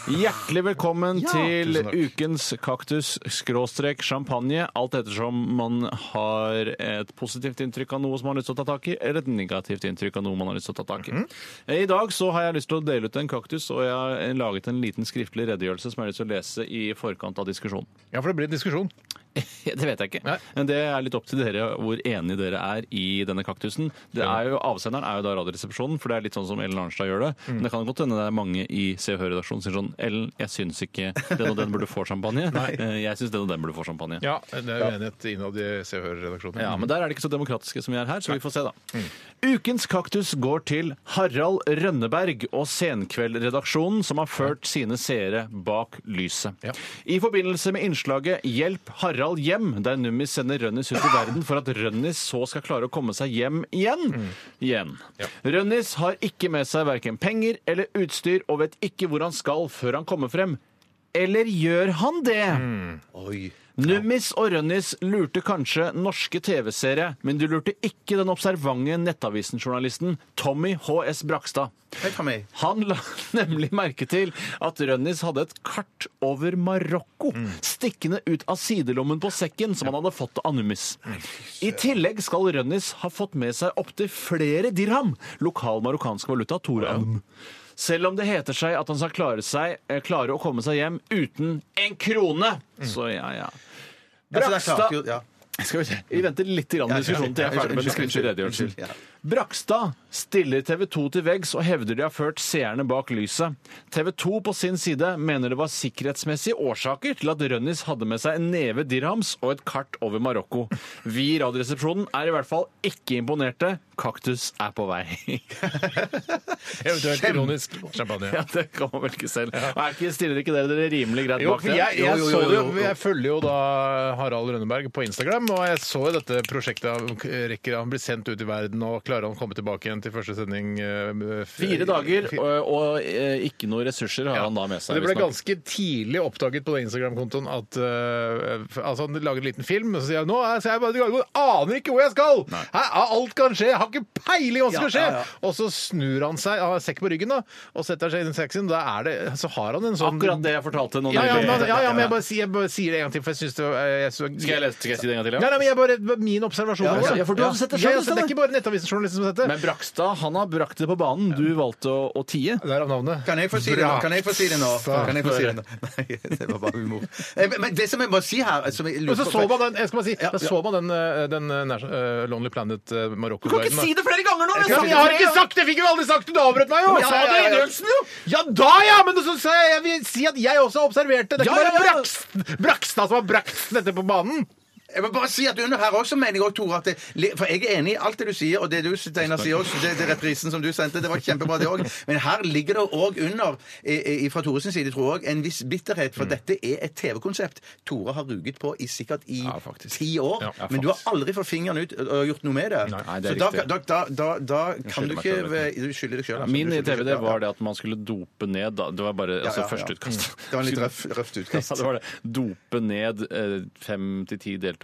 [SPEAKER 6] Hjertelig velkommen
[SPEAKER 5] Ja,
[SPEAKER 6] til
[SPEAKER 5] tusen takk.
[SPEAKER 6] ukens kaktus-champagne. Alt ettersom man har et positivt inntrykk av noe som man har lyst til å ta tak i, eller et negativt inntrykk av noe man har lyst til å ta tak i. Eh, I dag så har jeg lyst til å dele ut en kaktus, og jeg har laget en liten skriftlig redegjørelse som jeg har lyst til å lese i forkant av diskusjonen.
[SPEAKER 4] Ja, for det blir en diskusjon.
[SPEAKER 6] Det vet jeg ikke. Men det er litt opp til dere hvor enige dere er i denne kaktusen. Det er jo, avsenderen er jo da Radioresepsjonen, for det er litt sånn som Ellen Arnstad gjør det. Men det kan godt hende det er mange i Se og Hør-redaksjonen som sier sånn Ellen, jeg syns ikke den og den burde få champagne. Eh, Jeg syns den og den burde få champagne.
[SPEAKER 4] Ja, det er uenighet innad i Se og Hør-redaksjonen.
[SPEAKER 6] Ja, Men der er det ikke så demokratiske som vi er her, så vi får se, da. Ukens kaktus går til Harald Rønneberg og Senkveldredaksjonen, som har ført sine seere bak lyset. I forbindelse med innslaget 'Hjelp Harald hjem', der Nummis sender Rønnis ut i verden for at Rønnis så skal klare å komme seg hjem igjen. igjen. Rønnis har ikke med seg verken penger eller utstyr, og vet ikke hvor han skal før han kommer frem. Eller gjør han det? Nummis og Rønnis lurte kanskje norske TV-seere, men du lurte ikke den observante Nettavisen-journalisten Tommy H.S. Brakstad.
[SPEAKER 5] Hei, Tommy.
[SPEAKER 6] Han la nemlig merke til at Rønnis hadde et kart over Marokko
[SPEAKER 5] Mm.
[SPEAKER 6] stikkende ut av sidelommen på sekken som han hadde fått av Nummis. I tillegg skal Rønnis ha fått med seg opptil flere dirham, lokal marokkansk valuta, Toram. Selv om det heter seg at han skal klare, seg, eh, klare å komme seg hjem uten en krone. Så ja, ja.
[SPEAKER 5] Ja, så Mm. Altså, det er klart jo-
[SPEAKER 6] Brakstad
[SPEAKER 5] ja.
[SPEAKER 6] skal vi, se. vi venter litt grann i diskusjonen til jeg er ferdig med den skriftlige redegjørelsen. Brakstad stiller TV 2 til veggs og hevder de har ført seerne bak lyset. TV 2 på sin side mener det var sikkerhetsmessige årsaker til at Rønnis hadde med seg en neve dirhams og et kart over Marokko. Vi i Radioresepsjonen er i hvert fall ikke imponerte. Kaktus er på vei.
[SPEAKER 4] Eventuelt ironisk champagne.
[SPEAKER 6] Ja, det kan man velge selv. Og er ikke, stiller ikke dere dere rimelig greit
[SPEAKER 4] Jo,
[SPEAKER 6] bak
[SPEAKER 4] for
[SPEAKER 6] det?
[SPEAKER 4] jeg, jeg, så det jo, jeg følger jo da Harald Rønneberg på Instagram, og jeg så jo dette prosjektet. Han rekker han blir sendt ut i verden, og klarer han å komme tilbake igjen til første sending? eh,
[SPEAKER 6] Fire dager, og, og eh, ikke noe ressurser har han da med seg.
[SPEAKER 4] Det ble
[SPEAKER 6] visstnok.
[SPEAKER 4] ganske tidlig oppdaget på den Instagram-kontoen at eh, f- altså han lager en liten film, og så sier han nå er så jeg bare i Gardermoen, aner ikke hvor jeg skal! Her, er- alt kan skje! Jeg har ikke peiling hva som
[SPEAKER 6] Ja,
[SPEAKER 4] skal skje!
[SPEAKER 6] ja, ja.
[SPEAKER 4] Og så snur han seg, han har sekk på ryggen, da, og setter seg inn i seksen. Da er det, så har han en sånn
[SPEAKER 6] Akkurat det jeg fortalte nå.
[SPEAKER 4] Ja, ja,
[SPEAKER 6] nylig.
[SPEAKER 4] men, ja, ja, men jeg bare, sier- jeg bare sier det en gang til, for jeg syns det var- eh, jeg så-
[SPEAKER 6] Skal jeg lese- skal jeg si det en gang til, ja?
[SPEAKER 4] Nei, nei, men jeg bare, Min observasjon.
[SPEAKER 6] Ja,
[SPEAKER 4] av det.
[SPEAKER 6] ja, for du har sett det
[SPEAKER 4] Ja,
[SPEAKER 6] selv,
[SPEAKER 4] ja, så det er ikke bare Nettavisen-journalisten som har sett det.
[SPEAKER 6] Men Brakstad han har brakt det på banen. Du valgte å, å tie.
[SPEAKER 4] Derav navnet.
[SPEAKER 5] Kan jeg få si det nå? Kan jeg få si det nå? Kan jeg få si det nå? Nei, det var bare humor. Eh, men- Men det som jeg må si her som jeg
[SPEAKER 4] Og
[SPEAKER 5] lurer
[SPEAKER 4] så
[SPEAKER 5] på-
[SPEAKER 4] så man den, jeg skal bare si,
[SPEAKER 5] Ja,
[SPEAKER 4] da
[SPEAKER 5] ja.
[SPEAKER 4] så man den, eh, den eh, Nas- eh, Lonely Planet eh, marokko
[SPEAKER 6] Du kan ikke si det flere ganger nå! liksom!
[SPEAKER 4] Ja, men jeg har ikke sagt det! Fikk jo aldri sagt det! Du avbrøt meg jo!
[SPEAKER 6] Men jeg sa det i redegjørelsen, jo!
[SPEAKER 4] Ja da, ja! Men så sa jeg jeg vil si at jeg også observerte. Det er
[SPEAKER 5] Ja,
[SPEAKER 4] ikke
[SPEAKER 5] ja,
[SPEAKER 4] bare
[SPEAKER 5] ja.
[SPEAKER 4] Brakst- Brakstad som har brakt dette på banen.
[SPEAKER 5] Jeg må bare si at under her også mener jeg også, Tore, at det, for jeg er enig i alt det du sier, og det du Steinar, sier også, det, det reprisen som du sendte, det var kjempebra det òg, men her ligger det òg under, eh, eh, fra Tores side, tror jeg, en viss bitterhet,
[SPEAKER 6] Mm.
[SPEAKER 5] for dette er et TV-konsept Tore har ruget på i sikkert i ti år,
[SPEAKER 6] Ja, ja,
[SPEAKER 5] men du har aldri fått fingeren ut og gjort noe med det.
[SPEAKER 6] Nei, det er
[SPEAKER 5] Så da,
[SPEAKER 6] riktig.
[SPEAKER 5] da, da, da, da kan du
[SPEAKER 6] skylder meg
[SPEAKER 5] ikke
[SPEAKER 6] selv,
[SPEAKER 5] ved- Du skylder deg sjøl.
[SPEAKER 6] Min TV det var det at man skulle dope ned da. Det var bare
[SPEAKER 5] Ja, ja,
[SPEAKER 6] altså,
[SPEAKER 5] ja.
[SPEAKER 6] første utkast.
[SPEAKER 5] Det var en litt røff- røft utkast.
[SPEAKER 6] Ja, det var det. Dope ned eh, fem til ti deltakere,
[SPEAKER 5] Ja.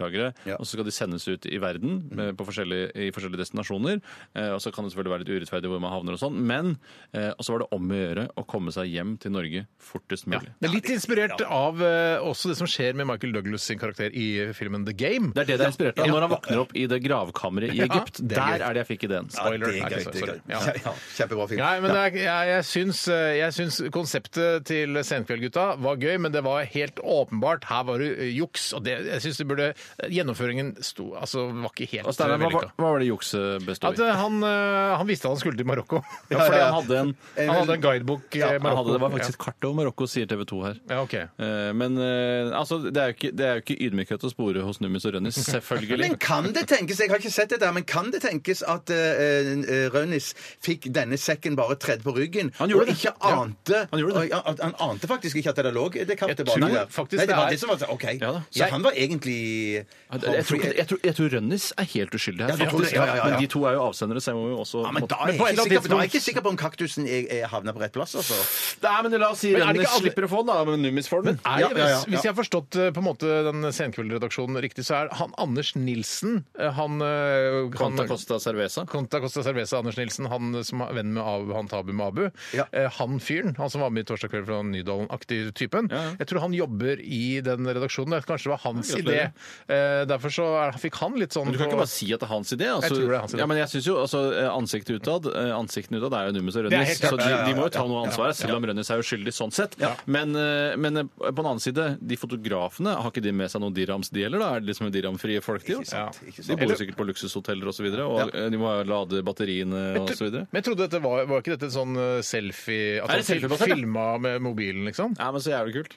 [SPEAKER 5] Mm.
[SPEAKER 6] og så skal de sendes ut i verden eh, på forskjellige, i forskjellige destinasjoner. Eh, Og så kan det selvfølgelig være litt urettferdig hvor man havner og sånn, men eh, Og så var det om å gjøre å komme seg hjem til Norge fortest mulig.
[SPEAKER 4] Det er litt inspirert av eh, også det som skjer med Michael Douglas sin karakter i filmen The Game.
[SPEAKER 6] Det er det det er inspirert av.
[SPEAKER 4] Ja.
[SPEAKER 6] Når han våkner opp i det gravkammeret i
[SPEAKER 4] Ja,
[SPEAKER 6] Egypt,
[SPEAKER 4] det er
[SPEAKER 6] der
[SPEAKER 4] gøy.
[SPEAKER 6] er det jeg fikk ideen.
[SPEAKER 4] Spoiler.
[SPEAKER 5] Det er
[SPEAKER 4] Nei,
[SPEAKER 5] gøy.
[SPEAKER 4] sorry,
[SPEAKER 5] Det er
[SPEAKER 4] sorry.
[SPEAKER 5] gøy.
[SPEAKER 4] Ja.
[SPEAKER 5] Ja, ja, Kjempebra film.
[SPEAKER 4] Nei, men det er, jeg, jeg, syns, eh, jeg syns konseptet til Senkveldgutta var gøy, men det var helt åpenbart Her var det eh, juks, og det, jeg syns det burde Gjennomføringen sto, altså, var ikke helt
[SPEAKER 6] Og Steinar, hva,
[SPEAKER 4] vellykka.
[SPEAKER 6] var- hva var det jukset bestod
[SPEAKER 4] At
[SPEAKER 6] i?
[SPEAKER 4] eh, han, eh, han visste han skulle til Marokko.
[SPEAKER 6] Ja, fordi han hadde en-
[SPEAKER 4] han hadde en guidebok i
[SPEAKER 6] Ja, han
[SPEAKER 4] eh, Marokko.
[SPEAKER 6] hadde, det var faktisk et kart over Marokko, sier TV 2 her.
[SPEAKER 4] Ja, ok.
[SPEAKER 6] Eh, Men eh, altså, det er jo ikke, det er jo ikke ydmykhet å spore hos Nummis og Rønnis, selvfølgelig.
[SPEAKER 5] Men kan det tenkes jeg har ikke sett det der, men kan det tenkes at eh, eh, Rønnis fikk denne sekken bare tredd på ryggen?
[SPEAKER 6] Han gjorde
[SPEAKER 5] og
[SPEAKER 6] det.
[SPEAKER 5] ikke
[SPEAKER 6] Ja.
[SPEAKER 5] ante han, han, han ante faktisk ikke at det lå det kartet
[SPEAKER 6] tror
[SPEAKER 5] baki der.
[SPEAKER 6] faktisk
[SPEAKER 5] Nei,
[SPEAKER 6] det
[SPEAKER 5] det var
[SPEAKER 6] er-
[SPEAKER 5] det som var OK.
[SPEAKER 6] Ja da.
[SPEAKER 5] Så
[SPEAKER 6] Jeg-
[SPEAKER 5] han var egentlig
[SPEAKER 6] Jeg jeg tror, ikke- jeg, tror, jeg tror Rønnis er helt uskyldig her.
[SPEAKER 5] Ja, det tror
[SPEAKER 6] faktisk.
[SPEAKER 5] jeg, ja, ja, ja.
[SPEAKER 6] Men de to er jo avsendere, så jeg må jo også
[SPEAKER 5] Ja, men da er
[SPEAKER 6] Men
[SPEAKER 5] jeg
[SPEAKER 6] på
[SPEAKER 5] ikke
[SPEAKER 6] et eller annet
[SPEAKER 5] sikker på- da er jeg
[SPEAKER 6] tidspunkt-
[SPEAKER 5] ikke sikker på om kaktusen er, er havna på rett plass, altså.
[SPEAKER 6] Nei, men la oss si
[SPEAKER 4] Men er det ikke
[SPEAKER 6] Rønnis
[SPEAKER 4] alle-
[SPEAKER 6] slipper å få den, da. Men Nummis får den.
[SPEAKER 4] Er,
[SPEAKER 6] Ja,
[SPEAKER 4] det-
[SPEAKER 6] ja, ja.
[SPEAKER 4] Hvis jeg har forstått eh, på en måte den Senkveldredaksjonen riktig, så er han Anders Nilsen eh, han, eh, han-
[SPEAKER 6] Conta Costa Cerveza.
[SPEAKER 4] Conta Costa Cerveza, Anders Nilsen, han eh, som er venn med Abu, han Tabu med Abu. Eh, Han fyren, han som var med i Torsdag kveld fra Nydalen-aktig typen. Jeg tror han jobber i den redaksjonen. Det kanskje var hans
[SPEAKER 6] Ja,
[SPEAKER 4] idé.
[SPEAKER 6] gratulerer.
[SPEAKER 4] Eh, Derfor så er, fikk han litt sånn
[SPEAKER 6] Men du kan
[SPEAKER 4] på-
[SPEAKER 6] ikke bare si at det er hans idé. Altså,
[SPEAKER 4] Jeg tror det er hans idé.
[SPEAKER 6] Ja, men jeg synes jo, altså, Ansiktet utad eh, ansiktene utad er jo Nummes og
[SPEAKER 4] Det er
[SPEAKER 6] Rønnis,
[SPEAKER 4] helt klart.
[SPEAKER 6] så de,
[SPEAKER 4] Ja, ja, ja,
[SPEAKER 6] de må jo ta
[SPEAKER 4] ja.
[SPEAKER 6] noe
[SPEAKER 4] Ja,
[SPEAKER 6] ansvar,
[SPEAKER 4] ja.
[SPEAKER 6] selv om Rønnis er uskyldig sånn sett.
[SPEAKER 4] Ja.
[SPEAKER 6] Men, eh, men eh, på den annen side, de fotografene, har ikke de med seg noen dirhams, de heller? da? Er det liksom dirhamfrie folk, de? altså? De bor jo sikkert på luksushoteller og så videre, og eh, de må jo lade batteriene og så videre.
[SPEAKER 4] Men jeg trodde dette var, var ikke dette sånn eh, selfie At
[SPEAKER 6] Er
[SPEAKER 4] han
[SPEAKER 6] det selfiebasert, ja?
[SPEAKER 4] filma med mobilen, liksom?
[SPEAKER 6] Ja, men så jævlig kult.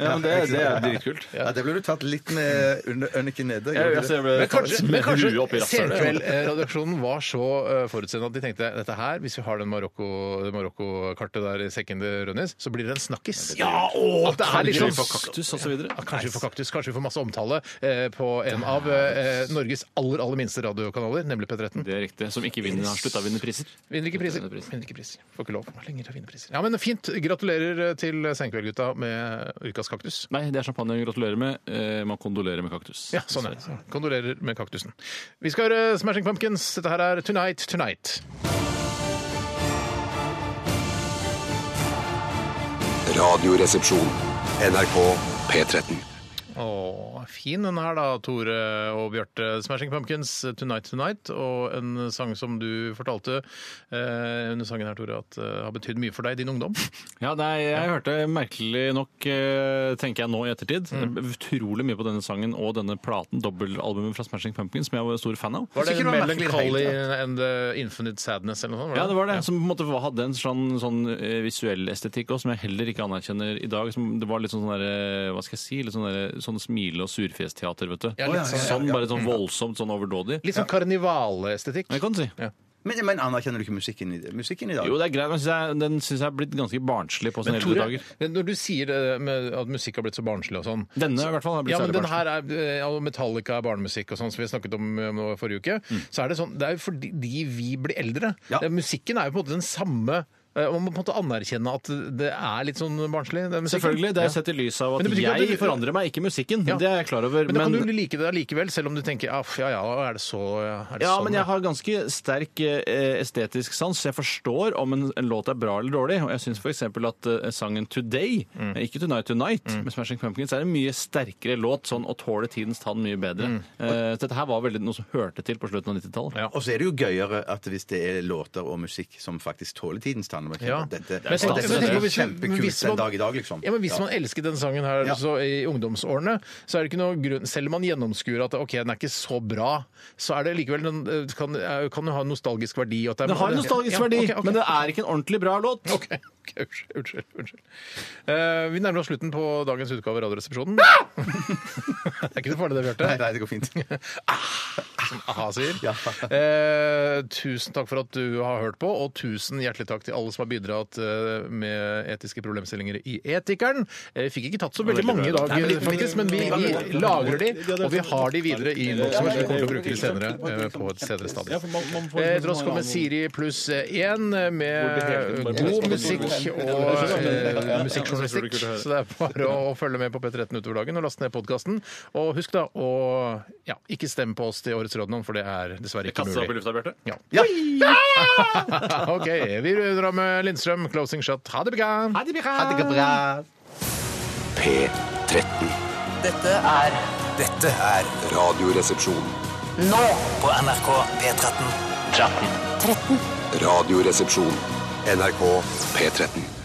[SPEAKER 6] Ja, men det, det er dritkult.
[SPEAKER 5] Ja, det ble du tatt litt ned under øniken nede.
[SPEAKER 6] Ja,
[SPEAKER 5] gjorde
[SPEAKER 6] jeg
[SPEAKER 5] du
[SPEAKER 6] ser
[SPEAKER 5] det?
[SPEAKER 6] ble-
[SPEAKER 4] Men kanskje, men
[SPEAKER 6] Huet opp i
[SPEAKER 4] kanskje
[SPEAKER 6] rasshølet.
[SPEAKER 4] Senkveld-redaksjonen var så eh, forutseende at de tenkte dette her, hvis vi har den Marokko- det Marokko-kartet der i sekken til Rønnis, så blir det en snakkis. Ja, og det er litt
[SPEAKER 6] Kanskje vi
[SPEAKER 4] sånn
[SPEAKER 6] får kaktus og så videre.
[SPEAKER 4] Ja, Kanskje vi får kaktus, kanskje vi får masse omtale eh, på en av eh, Norges aller aller minste radiokanaler, nemlig P13.
[SPEAKER 6] Det er riktig. Som ikke vinner, har slutta å vinne priser.
[SPEAKER 4] Vinner ikke priser. Vinner ikke priser. Får ikke lov lenger å vinne priser. Ja, men Fint. Gratulerer eh, til Senkveldgutta med ukas kaktus.
[SPEAKER 6] Nei, det er champagne. Gratulerer med. Eh, man kondolerer med kaktus.
[SPEAKER 4] Ja, sånn er det. Kondolerer med kaktusen. Vi skal høre Smashing Pumpkins. Dette her er Tonight Tonight.
[SPEAKER 11] Radioresepsjon. NRK P13.
[SPEAKER 4] Å, fin den her da, Tore og Bjarte. Smashing Pumpkins, Tonight Tonight. Og en sang som du fortalte eh, under sangen her, Tore, at eh, har betydd mye for deg i din ungdom.
[SPEAKER 6] Ja, nei, jeg hørte merkelig nok, eh, tenker jeg nå i ettertid,
[SPEAKER 4] Mm.
[SPEAKER 6] eh, utrolig mye på denne sangen og denne platen, dobbeltalbumet fra Smashing Pumpkins, som jeg var stor fan av.
[SPEAKER 4] Var det
[SPEAKER 5] ikke noe merkelig
[SPEAKER 4] Melancholy
[SPEAKER 5] helt,
[SPEAKER 4] and the Infinite Sadness eller noe sånt?
[SPEAKER 6] Ja, det var det. Som på en måte hadde en sånn, sånn eh, visuell estetikk også, som jeg heller ikke anerkjenner i dag. Som, det var litt sånn der, eh, hva skal jeg si, litt sånn, der, sånn smile- og surfjesteater, vet du.
[SPEAKER 4] Ja, litt sånn, ja,
[SPEAKER 6] Sånn
[SPEAKER 4] ja.
[SPEAKER 6] bare sånn voldsomt, sånn overdådig.
[SPEAKER 4] Litt sånn karnevalestetikk.
[SPEAKER 6] Jeg kan si.
[SPEAKER 5] Men, men anerkjenner du ikke musikken i, musikken i dag?
[SPEAKER 6] Jo, det er greit, men synes jeg, den syns jeg er blitt ganske barnslig på sine
[SPEAKER 4] Men
[SPEAKER 6] eldre
[SPEAKER 4] Tore,
[SPEAKER 6] dager.
[SPEAKER 4] men når du sier det med at musikk har blitt så barnslig og sånn
[SPEAKER 6] Denne i hvert fall har blitt
[SPEAKER 4] ja, men
[SPEAKER 6] særlig
[SPEAKER 4] den
[SPEAKER 6] barnslig.
[SPEAKER 4] her er, eh, og Metallica er barnemusikk og sånn, som vi snakket om eh, nå forrige uke.
[SPEAKER 6] Mm.
[SPEAKER 4] Så er det sånn, det er jo fordi de vi blir eldre. Det er- musikken er jo på en måte den samme eh, og Man må på en måte anerkjenne at det er litt sånn barnslig. den musikken.
[SPEAKER 6] Selvfølgelig. Det er
[SPEAKER 4] Ja.
[SPEAKER 6] sett i lys
[SPEAKER 4] Men
[SPEAKER 6] av at
[SPEAKER 4] det betyr ikke
[SPEAKER 6] jeg
[SPEAKER 4] at du-
[SPEAKER 6] forandrer meg, ikke musikken.
[SPEAKER 4] Ja.
[SPEAKER 6] Det er jeg klar over.
[SPEAKER 4] Men da kan du like det allikevel, selv om du tenker «Aff, ja ja, er det så er det
[SPEAKER 6] Ja,
[SPEAKER 4] sånn,
[SPEAKER 6] men jeg har ganske sterk eh, estetisk sans. så Jeg forstår om en, en låt er bra eller dårlig. Og jeg syns f.eks. at eh, sangen 'Today',
[SPEAKER 4] Mm.
[SPEAKER 6] eh, ikke 'Tonight Tonight', med Smashing Pumpkins, er en mye sterkere låt sånn, og tåler tidens tann mye bedre.
[SPEAKER 4] Mm.
[SPEAKER 6] Eh, så dette her var veldig noe som hørte til på slutten av 90-tallet.
[SPEAKER 5] Og så er det jo gøyere at hvis det er låter og musikk som faktisk tåler tidens tann. og man kjenner
[SPEAKER 4] Ja.
[SPEAKER 5] at Dette, og
[SPEAKER 4] Men jeg tenkte-
[SPEAKER 5] dette
[SPEAKER 4] men jeg
[SPEAKER 5] er
[SPEAKER 4] tenker hvis- men
[SPEAKER 5] kjempekult
[SPEAKER 4] hvis man-
[SPEAKER 5] den dag i dag, liksom.
[SPEAKER 4] Ja, men Hvis man elsket den sangen her
[SPEAKER 5] Ja.
[SPEAKER 4] så i ungdomsårene, så er det ikke noe grunn Selv om man gjennomskuer at ok, den er ikke så bra, så er det likevel den eh, kan, eh, kan jo ha en nostalgisk verdi. og at
[SPEAKER 6] Det har en nostalgisk verdi,
[SPEAKER 4] Ja, ok, ok.
[SPEAKER 6] men det er ikke en ordentlig bra låt.
[SPEAKER 4] Ok, ok, Unnskyld. unnskyld, unnskyld. Eh, vi nærmer oss slutten på dagens utgave av Radioresepsjonen.
[SPEAKER 6] Ah!
[SPEAKER 4] det er ikke så farlig, det, Bjarte.
[SPEAKER 5] Nei, nei, det går fint.
[SPEAKER 4] Som a-ha sier.
[SPEAKER 5] Ja.
[SPEAKER 4] Eh, tusen takk for at du har hørt på, og tusen hjertelig takk til alle som har bidratt eh, med etiske problemstillinger i Etikeren. Eh, Vi fikk ikke tatt så veldig mange i dag, faktisk, men vi, vi lagrer de, og vi har de videre i innboksen. Vi kommer til å bruke de senere eh, på et senere stadium. Eh, Etter oss kommer Siri pluss én med god musikk og eh, musikkjournalistikk. Så det er bare å følge med på P13 utover dagen og laste ned podkasten. Og husk da å ja, ikke stemme på oss til Årets rådmann, for det er dessverre ikke
[SPEAKER 6] Kaste seg opp i
[SPEAKER 4] mulig.
[SPEAKER 6] lufta, Bjarte.
[SPEAKER 4] Ja. OK, vi drar med Lindstrøm, 'Closing Shot'. Ha det bra!
[SPEAKER 5] Ha det bra.
[SPEAKER 11] P13.
[SPEAKER 2] Dette er
[SPEAKER 13] Dette er
[SPEAKER 11] Radioresepsjon.
[SPEAKER 2] nå på NRK P13. 13. 13.
[SPEAKER 11] Radioresepsjon. NRK P13.